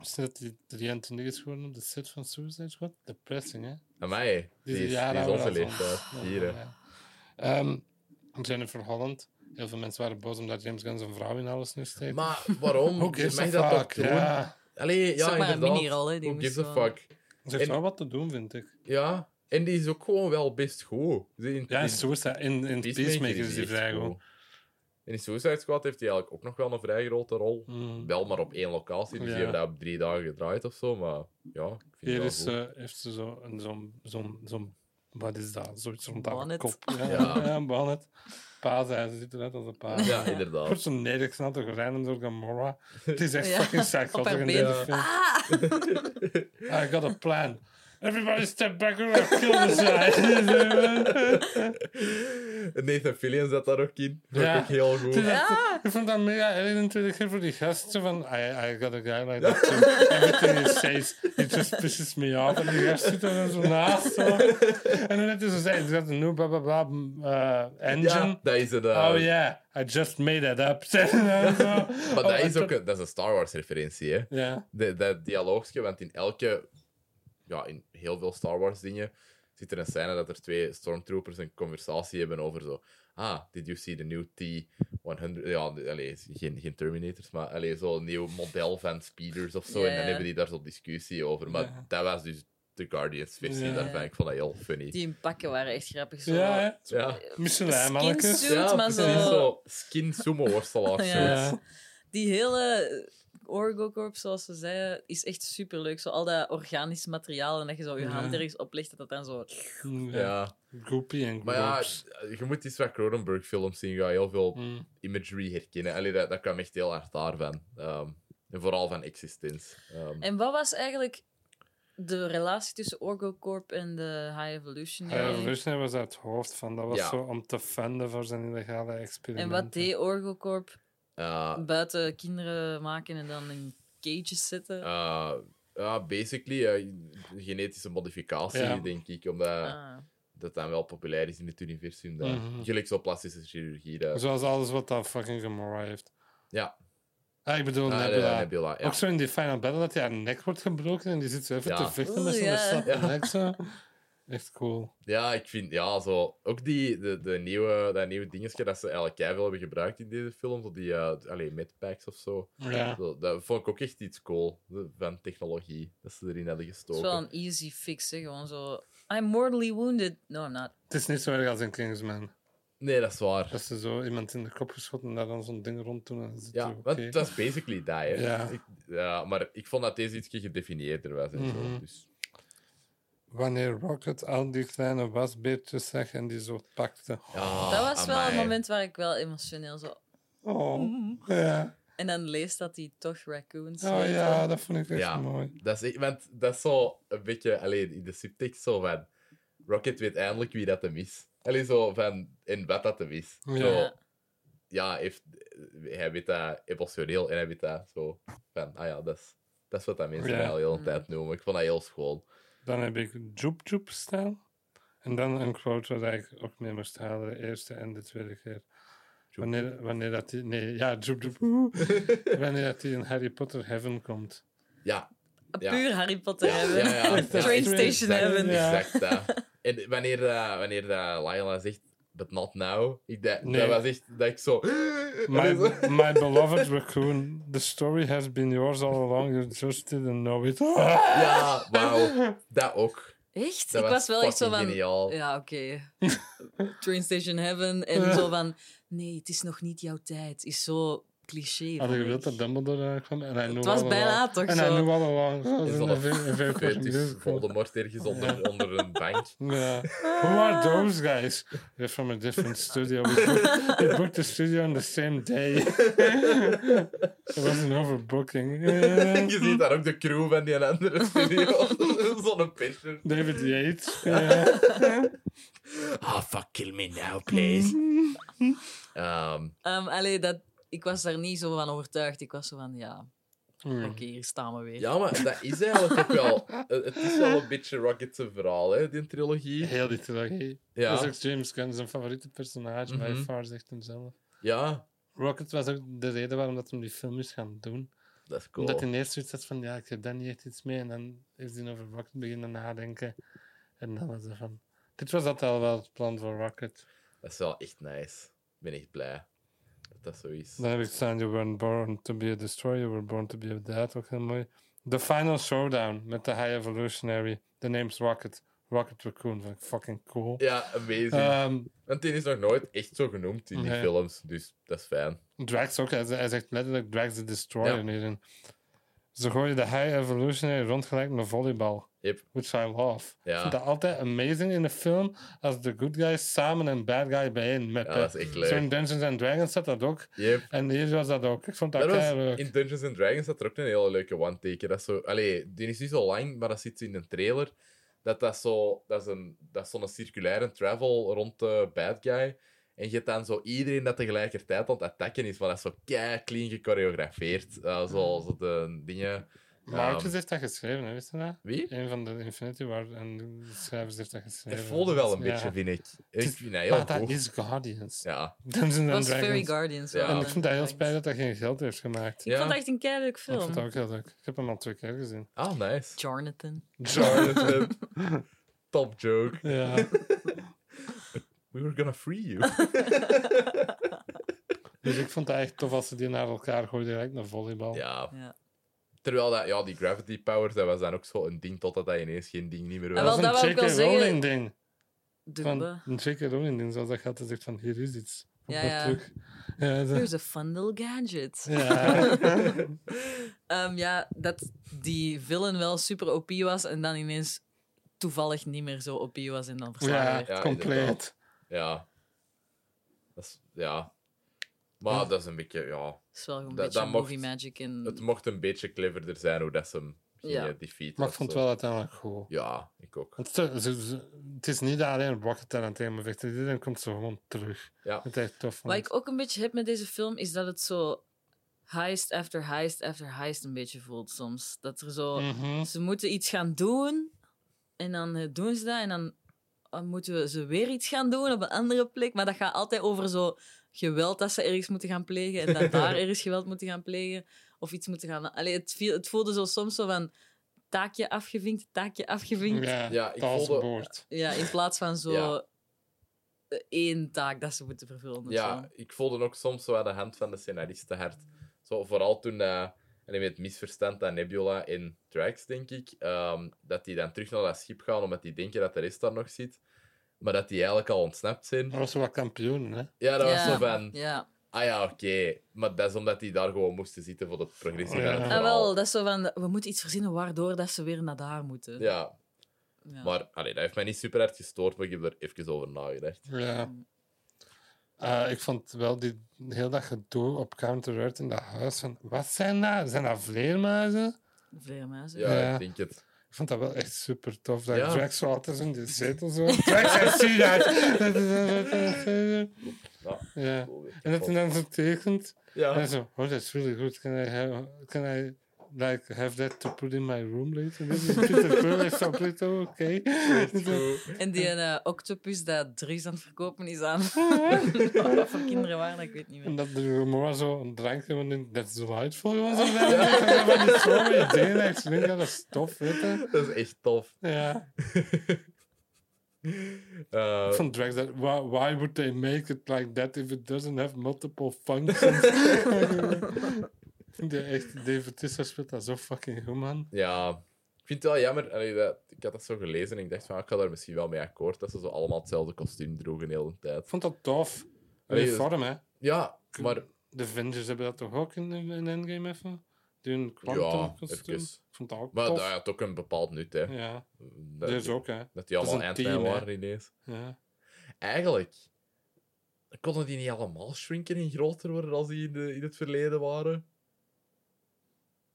[SPEAKER 2] Is dat die 23 is geworden op de set van Suicide Squad? Depressing, hè?
[SPEAKER 1] Amai, die is,
[SPEAKER 2] ja,
[SPEAKER 1] die is
[SPEAKER 2] daar
[SPEAKER 1] onze
[SPEAKER 2] hebben we dat
[SPEAKER 1] leeftijd.
[SPEAKER 2] van.
[SPEAKER 1] Hier, hè.
[SPEAKER 2] Ja. Ehm, Jennifer Holland. Heel veel mensen waren boos omdat James Gunn zijn vrouw in alles nu steekt.
[SPEAKER 1] Maar waarom?
[SPEAKER 2] Who
[SPEAKER 1] Je
[SPEAKER 2] gives
[SPEAKER 1] mag
[SPEAKER 2] a
[SPEAKER 1] dat toch
[SPEAKER 2] fuck?
[SPEAKER 1] doen?
[SPEAKER 2] Ja.
[SPEAKER 1] Allee, ja,
[SPEAKER 3] Zeg maar een
[SPEAKER 1] inderdaad.
[SPEAKER 3] minirol, hè, die
[SPEAKER 1] Who
[SPEAKER 3] moest
[SPEAKER 1] gives a
[SPEAKER 3] wel-
[SPEAKER 1] fuck?
[SPEAKER 2] Ze heeft
[SPEAKER 1] En-
[SPEAKER 2] wel wat te doen, vind ik.
[SPEAKER 1] Ja, en die is ook gewoon wel best goed. Die- die-
[SPEAKER 2] Ja, in Suicide... In, in
[SPEAKER 1] Peacemaker
[SPEAKER 2] Peacemaker is die
[SPEAKER 1] echt
[SPEAKER 2] vrij
[SPEAKER 1] cool.
[SPEAKER 2] goed.
[SPEAKER 1] En in Suicide Squad heeft hij eigenlijk ook nog wel een vrij grote rol.
[SPEAKER 2] Mm.
[SPEAKER 1] Wel maar op één locatie, dus
[SPEAKER 2] Ja.
[SPEAKER 1] die hebben dat op drie dagen gedraaid of zo. Maar ja, ik vind
[SPEAKER 2] Hier
[SPEAKER 1] het
[SPEAKER 2] is,
[SPEAKER 1] wel
[SPEAKER 2] eh, heeft ze zo een zo'n, zo'n, zo'n, wat is dat? Zoiets rond haar
[SPEAKER 3] Bonnet.
[SPEAKER 2] kop. Ja,
[SPEAKER 1] Ja.
[SPEAKER 2] ja. een bonnet. Paas, hij ziet eruit als een paas.
[SPEAKER 1] goed. Ja,
[SPEAKER 2] Ik
[SPEAKER 1] inderdaad.
[SPEAKER 2] word zo nedergesneld door random door Gamora. Het is echt
[SPEAKER 3] Ja,
[SPEAKER 2] fucking
[SPEAKER 3] op haar
[SPEAKER 2] psychotic in
[SPEAKER 3] been.
[SPEAKER 2] deze film.
[SPEAKER 3] Ah!
[SPEAKER 2] Ah, I got a plan. Everybody step back or I'll kill this guy.
[SPEAKER 1] Nathan Fillion zat daar ook in. Vond
[SPEAKER 2] Ja.
[SPEAKER 1] ik ook heel goed.
[SPEAKER 3] Ja.
[SPEAKER 2] Ik vond dat mega erg natuurlijk hè, voor die gasten van I, I got a guy like that too. Everything he says, it just pisses me off. En die gast zit er dan zo naast. Zo. En dan net is ze zei, it's got a new blah blah blah eh, engine.
[SPEAKER 1] Ja, dat is eh, het.
[SPEAKER 2] Oh yeah, I just made that up. En zo.
[SPEAKER 1] Maar
[SPEAKER 2] Oh,
[SPEAKER 1] dat is
[SPEAKER 2] en
[SPEAKER 1] ook een, dat is een Star Wars referentie, hè.
[SPEAKER 2] Ja.
[SPEAKER 1] De- Dat dialoogje, want in elke... Ja, in heel veel Star Wars dingen zit er een scène dat er twee stormtroopers een conversatie hebben over zo... Ah, did you see the new T-100? Ja, de- allee, is geen, geen Terminators, maar allee, zo'n nieuw model van speeders of zo.
[SPEAKER 3] Ja,
[SPEAKER 1] En dan
[SPEAKER 3] ja.
[SPEAKER 1] hebben die daar zo'n discussie over. Maar
[SPEAKER 2] Ja.
[SPEAKER 1] dat was dus de Guardians-versie
[SPEAKER 2] Ja.
[SPEAKER 1] daarvan. Ik vond dat heel funny.
[SPEAKER 3] Die in pakken waren echt grappig. Zo.
[SPEAKER 2] Ja, hè.
[SPEAKER 1] Ja.
[SPEAKER 2] Michelin, mannetjes.
[SPEAKER 3] Skinsuit.
[SPEAKER 1] ja,
[SPEAKER 3] maar
[SPEAKER 1] precies
[SPEAKER 3] zo-
[SPEAKER 1] zo skin sumo-worstelaars.
[SPEAKER 3] Ja.
[SPEAKER 1] zoiets.
[SPEAKER 2] Ja.
[SPEAKER 3] Die hele Orgo Corp, zoals ze zeiden, is echt superleuk. Zo al dat organisch materiaal en dat je zo je
[SPEAKER 2] Ja.
[SPEAKER 3] hand ergens oplegt, dat dat dan zo...
[SPEAKER 2] Ja.
[SPEAKER 1] ja.
[SPEAKER 2] Groepie en
[SPEAKER 1] Maar ja,
[SPEAKER 2] groups.
[SPEAKER 1] je moet iets van Cronenberg-films zien. Je gaat heel veel
[SPEAKER 2] Mm.
[SPEAKER 1] imagery herkennen. Allee, dat, dat kwam echt heel hard daarvan. Ehm, en vooral van existence. Ehm,
[SPEAKER 3] En wat was eigenlijk de relatie tussen Orgo Corp en de High Evolution?
[SPEAKER 2] Ja, Revolutionary was daar het hoofd van. Dat was
[SPEAKER 1] Ja.
[SPEAKER 2] zo om te funden voor zijn illegale
[SPEAKER 3] en
[SPEAKER 2] experimenten.
[SPEAKER 3] wat deed Orgo Corp?
[SPEAKER 1] eh,
[SPEAKER 3] Buiten kinderen maken en dan in cages zetten?
[SPEAKER 1] eh, ja, basically, eh, genetische modificatie,
[SPEAKER 2] Ja.
[SPEAKER 1] denk ik. Omdat
[SPEAKER 3] Ah.
[SPEAKER 1] dat dan wel populair is in het universum. Dat,
[SPEAKER 2] Mhm.
[SPEAKER 1] Gelijk zo plastische chirurgie. Dat,
[SPEAKER 2] Zoals alles wat dat fucking Gamora heeft.
[SPEAKER 1] Eh. ja,
[SPEAKER 2] Ah, ik bedoel,
[SPEAKER 1] Ah, de-
[SPEAKER 2] Nebula.
[SPEAKER 1] Nebula, ja.
[SPEAKER 2] Ook zo in die final battle dat hij haar nek wordt gebroken en die zit zo even
[SPEAKER 1] Ja.
[SPEAKER 2] te vechten
[SPEAKER 3] Oeh,
[SPEAKER 2] met zo'n
[SPEAKER 3] ja.
[SPEAKER 2] slappe
[SPEAKER 1] Ja.
[SPEAKER 2] nek zo. Echt cool.
[SPEAKER 1] ja, ik vind... Ja, zo... Ook die, de, de nieuwe, dat nieuwe dingetje dat ze eigenlijk keiveel hebben gebruikt in deze film. Zo die, eh allee, medpacks of zo.
[SPEAKER 2] Ja.
[SPEAKER 1] Zo, dat vond ik ook echt iets cool. de- Van technologie. Dat ze erin hadden
[SPEAKER 3] Het is
[SPEAKER 1] gestoken.
[SPEAKER 3] wel een easy fix, hè? Gewoon zo... I'm mortally wounded. No, I'm not.
[SPEAKER 2] Het is niet zo erg als in Kingsman.
[SPEAKER 1] Nee, dat is waar.
[SPEAKER 2] Dat ze zo iemand in de kop geschoten en daar dan zo'n ding rond doen. En zit
[SPEAKER 1] Ja,
[SPEAKER 2] zo,
[SPEAKER 1] want
[SPEAKER 2] oké.
[SPEAKER 1] dat is basically die. Hè.
[SPEAKER 2] Ja.
[SPEAKER 1] Ik, ja, maar ik vond dat deze iets gedefinieerder was en zo.
[SPEAKER 2] Mhm.
[SPEAKER 1] Dus,
[SPEAKER 2] Wanneer Rocket al die kleine wasbeertjes zag en die zo pakte.
[SPEAKER 1] ja,
[SPEAKER 3] dat was wel
[SPEAKER 1] amai.
[SPEAKER 3] een moment waar ik wel emotioneel zo...
[SPEAKER 2] Oh, ja.
[SPEAKER 3] En dan leest dat hij toch raccoons.
[SPEAKER 2] Oh
[SPEAKER 3] heet.
[SPEAKER 2] ja, dat vond ik echt
[SPEAKER 1] Ja.
[SPEAKER 2] mooi.
[SPEAKER 1] Dat is, echt- want dat is zo een beetje, alleen in de subtekst zo van. Rocket weet eindelijk wie dat hem is. Allee, zo van, en wat dat hem is.
[SPEAKER 2] Ja.
[SPEAKER 1] Zo, ja, heeft, eh, hij weet dat emotioneel en hij weet dat zo van, ah ja, dat is, dat is wat dat mensen
[SPEAKER 2] Ja.
[SPEAKER 1] mij al heel de
[SPEAKER 3] Mm.
[SPEAKER 1] tijd noemen. Ik vond dat heel schoon.
[SPEAKER 2] Dan heb ik Joep Joep staan. En dan een quote waar ik ook mee moest halen, de eerste en de tweede keer. Wanneer, wanneer dat die, nee, ja, Joep Joep. oeh. wanneer dat die in Harry Potter Heaven komt.
[SPEAKER 1] Ja, Ja.
[SPEAKER 3] Puur Harry Potter
[SPEAKER 1] Ja,
[SPEAKER 3] hebben.
[SPEAKER 1] ja, ja.
[SPEAKER 3] Train
[SPEAKER 2] Ja,
[SPEAKER 3] Station
[SPEAKER 1] exact,
[SPEAKER 3] hebben.
[SPEAKER 2] Ja.
[SPEAKER 1] exact dat. En wanneer, dat wanneer dat Lila zegt, but not now, ik, dat,
[SPEAKER 2] Nee.
[SPEAKER 1] dat was echt, dat ik zo...
[SPEAKER 2] My,
[SPEAKER 1] Allee, zo-
[SPEAKER 2] my beloved raccoon, the story has been yours all along, you just didn't know it.
[SPEAKER 1] Ah! Ja, wauw. Dat ook.
[SPEAKER 3] Echt?
[SPEAKER 1] Dat
[SPEAKER 3] ik was wel echt zo
[SPEAKER 1] fucking
[SPEAKER 3] van.
[SPEAKER 1] geniaal.
[SPEAKER 3] Ja, oké. Train Station Heaven. En zo van. Nee, het is nog niet jouw tijd. Is zo cliché.
[SPEAKER 2] Had ik
[SPEAKER 3] van
[SPEAKER 2] gewild
[SPEAKER 3] weg.
[SPEAKER 2] dat Dumbledore daar kwam en hij
[SPEAKER 3] Het
[SPEAKER 2] knew
[SPEAKER 3] was
[SPEAKER 2] all
[SPEAKER 3] bijna
[SPEAKER 2] along.
[SPEAKER 3] toch
[SPEAKER 2] En
[SPEAKER 3] zo.
[SPEAKER 2] hij knew all along. Zo
[SPEAKER 1] Is
[SPEAKER 2] in
[SPEAKER 1] dat
[SPEAKER 2] een ve- een very
[SPEAKER 1] Het
[SPEAKER 2] Potter
[SPEAKER 1] is
[SPEAKER 2] musical.
[SPEAKER 1] Voldemort ergens onder, onder een bank.
[SPEAKER 2] Yeah. Who are those guys? They're from a different studio. We booked, they booked the studio on the same day. it wasn't overbooking.
[SPEAKER 1] Je ziet daar ook de crew van die andere studio. Zo'n picture.
[SPEAKER 2] David Yates. Yeah.
[SPEAKER 1] Oh, fuck, kill me now, please. Ehm,
[SPEAKER 3] Ehm, allee, dat, ik was daar niet zo van overtuigd. Ik was zo van. Ja,
[SPEAKER 2] Mm.
[SPEAKER 3] oké, hier staan we weer.
[SPEAKER 1] ja, maar dat is eigenlijk ook wel... Het het is wel een beetje Rocket's verhaal, hè, die trilogie.
[SPEAKER 2] Heel die trilogie. Dat
[SPEAKER 1] Ja,
[SPEAKER 2] is ook James Gunn, zijn favoriete personage, by
[SPEAKER 1] Mhm.
[SPEAKER 2] far, zegt hem zelf.
[SPEAKER 1] ja
[SPEAKER 2] Rocket was ook de reden waarom dat hem die film is gaan doen.
[SPEAKER 1] dat is cool.
[SPEAKER 2] Omdat hij eerst zoiets had van, ja, ik heb daar niet echt iets mee. En dan is hij over Rocket beginnen nadenken. En dan was hij van... Dit was dat al wel het plan voor Rocket.
[SPEAKER 1] Dat is wel echt nice. Ik ben echt blij dat dat zo is.
[SPEAKER 2] Dan heb ik staan, You weren't born to be a destroyer, you were born to be a dad. Ook heel mooi. The Final Showdown met de High Evolutionary. The name's Rocket. Rocket Raccoon. Vond ik fucking cool.
[SPEAKER 1] Ja, amazing.
[SPEAKER 2] Ehm,
[SPEAKER 1] Want die is nog nooit echt zo genoemd in die
[SPEAKER 2] Nee.
[SPEAKER 1] films, dus dat is fijn.
[SPEAKER 2] Drax ook. Hij, ze- hij zegt letterlijk Drax the Destroyer
[SPEAKER 1] Ja.
[SPEAKER 2] hierin. Ze gooien de High Evolutionary rond gelijk met volleybal.
[SPEAKER 1] Yep.
[SPEAKER 2] Which I love.
[SPEAKER 1] Ja.
[SPEAKER 2] Ik vind dat altijd amazing in een film als de good guys samen een bad guy bijeen
[SPEAKER 1] Ja,
[SPEAKER 2] meppen.
[SPEAKER 1] dat is echt
[SPEAKER 2] Zo in
[SPEAKER 1] leuk.
[SPEAKER 2] Dungeons and Dragons zat dat ook.
[SPEAKER 1] Yep.
[SPEAKER 2] En hier was dat ook. Ik vond dat,
[SPEAKER 1] Dat was-
[SPEAKER 2] keileuk.
[SPEAKER 1] in Dungeons and Dragons zat er ook een hele leuke one-taker. Dat is zo, allee, die is niet zo lang, maar dat zit zo in een trailer. Dat, dat, zo, dat, is een, dat is zo'n circulaire travel rond de bad guy. En je hebt dan zo iedereen dat tegelijkertijd aan het attacken is, maar dat is zo kei clean gechoreografeerd. Eh, zo, zo de dingen.
[SPEAKER 2] Maartjes
[SPEAKER 1] Ehm,
[SPEAKER 2] heeft dat geschreven, hè, wist je dat?
[SPEAKER 1] Wie?
[SPEAKER 2] Een van de Infinity War en schrijvers heeft dat
[SPEAKER 1] Het
[SPEAKER 2] geschreven.
[SPEAKER 1] voelde wel een
[SPEAKER 2] Ja.
[SPEAKER 1] beetje, vind ik. Ik
[SPEAKER 2] is-
[SPEAKER 1] vind dat
[SPEAKER 2] Maar
[SPEAKER 1] heel
[SPEAKER 2] dat
[SPEAKER 1] goed.
[SPEAKER 2] is Guardians.
[SPEAKER 1] Ja.
[SPEAKER 2] Dungeons
[SPEAKER 3] Het
[SPEAKER 2] and
[SPEAKER 3] was Fairy
[SPEAKER 2] Dragons.
[SPEAKER 3] Guardians.
[SPEAKER 1] Ja.
[SPEAKER 3] wel,
[SPEAKER 2] En ik
[SPEAKER 3] eh,
[SPEAKER 2] vind dat heel
[SPEAKER 3] Dragons.
[SPEAKER 2] spijtig dat hij geen geld heeft gemaakt.
[SPEAKER 3] Ik vond
[SPEAKER 1] ja.
[SPEAKER 3] het echt een keihard
[SPEAKER 2] Ik vind dat
[SPEAKER 3] film.
[SPEAKER 2] ook heel leuk. Ik heb hem al twee keer gezien.
[SPEAKER 1] Ah, nice.
[SPEAKER 3] Jonathan.
[SPEAKER 1] Jonathan. Top joke.
[SPEAKER 2] Ja.
[SPEAKER 1] We were gonna free you.
[SPEAKER 2] dus ik vond het echt tof als ze die naar elkaar gooiden, gelijk naar volleybal.
[SPEAKER 1] Ja.
[SPEAKER 3] Ja.
[SPEAKER 1] Terwijl dat, ja, die gravity powers, dat was dan ook zo een ding, totdat dat ineens geen ding niet meer was.
[SPEAKER 3] Ah, wel, dat
[SPEAKER 2] een
[SPEAKER 3] wou ik wel
[SPEAKER 2] J.K.
[SPEAKER 3] zeggen.
[SPEAKER 2] Rowling ding. Van,
[SPEAKER 3] Dubbe.
[SPEAKER 2] een J.K. Rowling ding, zoals dat gaat. Hij zegt van, hier is iets. Op
[SPEAKER 3] Ja,
[SPEAKER 2] dat
[SPEAKER 3] ja.
[SPEAKER 2] terug. Ja, dat-
[SPEAKER 3] Here's a fun little gadget.
[SPEAKER 2] ja.
[SPEAKER 3] Ehm, ja, dat die villain wel super OP was en dan ineens toevallig niet meer zo OP was en dan verslagen
[SPEAKER 2] ja,
[SPEAKER 3] werd.
[SPEAKER 1] Ja,
[SPEAKER 2] compleet.
[SPEAKER 1] inderdaad. Ja. Dat is, ja. Maar dat is een beetje, ja...
[SPEAKER 3] Dat is wel een
[SPEAKER 1] Dat-
[SPEAKER 3] beetje
[SPEAKER 1] dat
[SPEAKER 3] movie
[SPEAKER 1] mocht-
[SPEAKER 3] magic in...
[SPEAKER 1] Het mocht een beetje cleverder zijn hoe dat ze hem gingen
[SPEAKER 3] Ja.
[SPEAKER 1] defeaten.
[SPEAKER 2] Maar ik
[SPEAKER 1] of
[SPEAKER 2] vond het
[SPEAKER 1] zo.
[SPEAKER 2] wel uiteindelijk goed.
[SPEAKER 1] Ja, ik ook.
[SPEAKER 2] Het, is- ze- ze- het is niet alleen Rocket daar aan tegen me vechten. Dit komt zo gewoon terug.
[SPEAKER 1] Ja.
[SPEAKER 2] Dat is echt tof.
[SPEAKER 3] Wat
[SPEAKER 2] vond.
[SPEAKER 3] ik ook een beetje heb met deze film, is dat het zo heist after heist after heist een beetje voelt soms. Dat er zo...
[SPEAKER 2] Mhm.
[SPEAKER 3] Ze moeten iets gaan doen en dan eh, doen ze dat en dan eh, moeten we ze weer iets gaan doen op een andere plek. Maar dat gaat altijd over zo geweld dat ze ergens moeten gaan plegen en dat daar ergens geweld moeten gaan plegen of iets moeten gaan... Allee, het, viel- het voelde zo soms zo van taakje afgevinkt, taakje afgevinkt. Ja,
[SPEAKER 2] Ja,
[SPEAKER 1] Ja, ik
[SPEAKER 2] taal
[SPEAKER 1] voelde-
[SPEAKER 2] boord.
[SPEAKER 3] in plaats van zo
[SPEAKER 1] Ja.
[SPEAKER 3] eh, één taak dat ze moeten vervullen. of zo.
[SPEAKER 1] Ja, ik voelde ook soms zo aan de hand van de scenaristen hard. Zo, vooral toen, eh, en met het misverstand aan Nebula in Drax, denk ik, ehm, dat die dan terug naar dat schip gaan omdat die denken dat de rest daar nog zit. Maar dat die eigenlijk al ontsnapt zijn.
[SPEAKER 2] Dat was wel kampioen, hè?
[SPEAKER 1] Ja, dat was
[SPEAKER 3] Ja.
[SPEAKER 1] zo van...
[SPEAKER 3] Ja.
[SPEAKER 1] Ah ja, oké. Maar dat is omdat die daar gewoon moesten zitten voor de progressie
[SPEAKER 2] Ja.
[SPEAKER 1] van het
[SPEAKER 3] Ah,
[SPEAKER 1] verhaal.
[SPEAKER 3] wel, dat is zo van, we moeten iets verzinnen waardoor dat ze weer naar daar moeten.
[SPEAKER 1] Ja,
[SPEAKER 3] Ja.
[SPEAKER 1] maar allee, dat heeft mij niet super hard gestoord, maar ik heb er even over nagedacht.
[SPEAKER 2] Ja. Eh, ik vond wel die heel dat gedoe op Counter Earth in dat huis. Van, wat zijn dat? Zijn dat vleermuizen?
[SPEAKER 3] Vleermuizen.
[SPEAKER 1] Ja,
[SPEAKER 2] Ja.
[SPEAKER 1] ik denk het.
[SPEAKER 2] Ik vond dat wel echt super tof. Dat
[SPEAKER 1] Ja.
[SPEAKER 2] Drax zo altijd in de zetel zo. Drax, hij ziet uit.
[SPEAKER 1] Ja.
[SPEAKER 2] Ja. En dat hij dan zo tekent.
[SPEAKER 1] Ja.
[SPEAKER 2] En zo, oh, that's really good. Can I have, can I like have that to put in my room later? This is Peter Quill is so pretty, okay.
[SPEAKER 3] En die eh, octopus dat Dries aan het verkopen is aan. Wat voor kinderen waren, dat, ik weet niet meer.
[SPEAKER 2] En dat de Remora zo een drankje van in That's Delightful gewoon zo bij. Ja. Van die stomme ideeën. dat Ik denk dat dat is tof, weet je.
[SPEAKER 1] Dat is echt tof.
[SPEAKER 2] Ja.
[SPEAKER 1] Eh,
[SPEAKER 2] Van Drax, that, why, why would they make it like that if it doesn't have multiple functions? De echt, David Tissa speelt dat zo fucking goed, man.
[SPEAKER 1] ja, ik vind het wel jammer. allee, dat, ik had dat zo gelezen en ik dacht van, ah, ik ga daar misschien wel mee akkoord dat ze zo allemaal hetzelfde kostuum droegen de hele
[SPEAKER 2] Ik
[SPEAKER 1] tijd.
[SPEAKER 2] vond dat tof.
[SPEAKER 1] Allee,
[SPEAKER 2] Die
[SPEAKER 1] dat-
[SPEAKER 2] vorm, hè.
[SPEAKER 1] Ja, maar
[SPEAKER 2] De Avengers hebben dat toch ook in, in Endgame even? Die een
[SPEAKER 1] ja,
[SPEAKER 2] quantum kostuum.
[SPEAKER 1] even.
[SPEAKER 2] Ik vond dat ook
[SPEAKER 1] Maar
[SPEAKER 2] tof.
[SPEAKER 1] dat had ook een bepaald nut, hè.
[SPEAKER 2] ja,
[SPEAKER 1] Dat,
[SPEAKER 2] dat is ook, hè.
[SPEAKER 1] dat die
[SPEAKER 2] dat is
[SPEAKER 1] allemaal
[SPEAKER 2] een team,
[SPEAKER 1] Ant-Man
[SPEAKER 2] hè.
[SPEAKER 1] waren ineens.
[SPEAKER 2] Ja.
[SPEAKER 1] Eigenlijk konden die niet allemaal shrinken en groter worden als die in, de, in het verleden waren.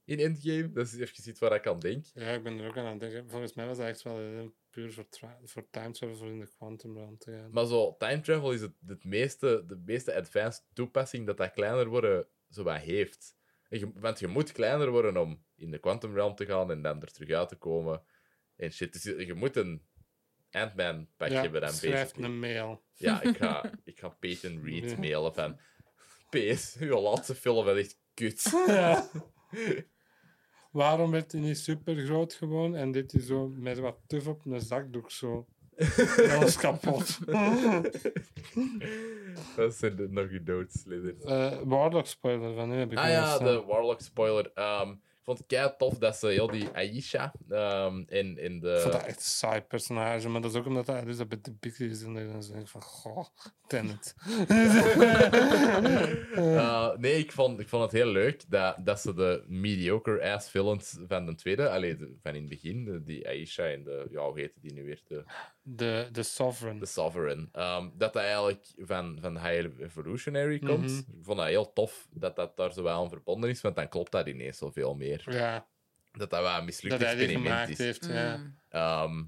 [SPEAKER 1] In Endgame. Dat is even iets waar ik aan denk.
[SPEAKER 2] ja, ik ben er ook aan aan het denken. Volgens mij was dat echt wel eh, puur voor, tra- voor time travel voor in de quantum realm te gaan.
[SPEAKER 1] Maar zo, time travel is het, het meeste, de meeste advanced toepassing dat dat kleiner worden zo wat heeft. En je- want je moet kleiner worden om in de quantum realm te gaan en dan er terug uit te komen. En shit, dus je, je moet een Ant-Man pakje
[SPEAKER 2] ja,
[SPEAKER 1] hebben dan
[SPEAKER 2] schrijf
[SPEAKER 1] basically.
[SPEAKER 2] een mail.
[SPEAKER 1] Ja, ik ga, ik ga Peyton Reed
[SPEAKER 2] Ja.
[SPEAKER 1] mailen van... PS, uw laatste film was echt kut.
[SPEAKER 2] Ja. Waarom werd hij niet super groot gewoon en deed hij zo met wat tuf op een zakdoek zo? Alles kapot.
[SPEAKER 1] Dat zijn de- nog je doodslidders.
[SPEAKER 2] Eh Warlock spoiler van nu heb ik eh,
[SPEAKER 1] Ah
[SPEAKER 2] nog
[SPEAKER 1] ja,
[SPEAKER 2] staan.
[SPEAKER 1] de Warlock spoiler. Ehm, ik vond het kei tof dat ze heel die Aisha ehm, in, in
[SPEAKER 2] Ik vond dat
[SPEAKER 1] de.
[SPEAKER 2] echt een saai personage, maar dat is ook omdat dus dat Elizabeth de Big is. En dan denk ik van, goh, Tenet.
[SPEAKER 1] Eh, nee, ik vond, ik vond het heel leuk dat, dat ze de mediocre ass villains van de tweede, alleen van in het begin, de- die Aisha en de. Ja, hoe heette die nu weer? De,
[SPEAKER 2] de, de Sovereign.
[SPEAKER 1] de Sovereign. ehm, dat dat eigenlijk van, van High Evolutionary komt.
[SPEAKER 2] Mhm.
[SPEAKER 1] Ik vond dat heel tof dat dat daar zo wel aan verbonden is, want dan klopt dat ineens zoveel meer.
[SPEAKER 2] ja,
[SPEAKER 1] Dat dat wel een mislukt
[SPEAKER 2] dat hij die
[SPEAKER 1] experiment
[SPEAKER 2] gemaakt
[SPEAKER 1] is.
[SPEAKER 2] heeft. Ja.
[SPEAKER 3] Mm.
[SPEAKER 1] Ehm,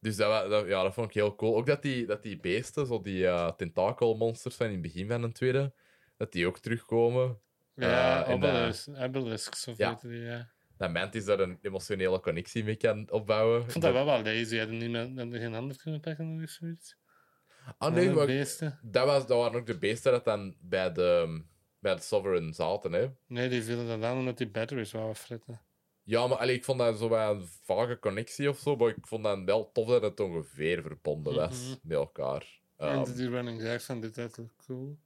[SPEAKER 1] dus dat, wa- dat- ja, dat vond ik heel cool. Ook dat die, dat die beesten, zo die eh, tentakel tentakelmonsters van in het begin van een tweede, dat die ook terugkomen.
[SPEAKER 2] Ja,
[SPEAKER 1] Eh, en, eh,
[SPEAKER 2] obelis- obelisks of
[SPEAKER 1] ja.
[SPEAKER 2] weet je, ja.
[SPEAKER 1] Dat Mantis daar een emotionele connectie mee kan opbouwen.
[SPEAKER 2] Ik vond dat wel wel lazy. Hadden niet meer, hadden geen ander kunnen pakken of zoiets?
[SPEAKER 1] Ah nee,
[SPEAKER 2] Andere
[SPEAKER 1] maar
[SPEAKER 2] beesten.
[SPEAKER 1] dat, was, dat waren ook de beesten dat dan bij de, bij de Sovereign zaten, hè.
[SPEAKER 2] Nee, die vielen dat aan omdat die batteries wouden fritten.
[SPEAKER 1] Ja, maar allee, ik vond dat zo wel een vage connectie of zo, maar ik vond dat wel tof dat het ongeveer verbonden was
[SPEAKER 2] Mhm. dus-
[SPEAKER 1] met elkaar. Ehm,
[SPEAKER 2] en die running gags van, did that look cool?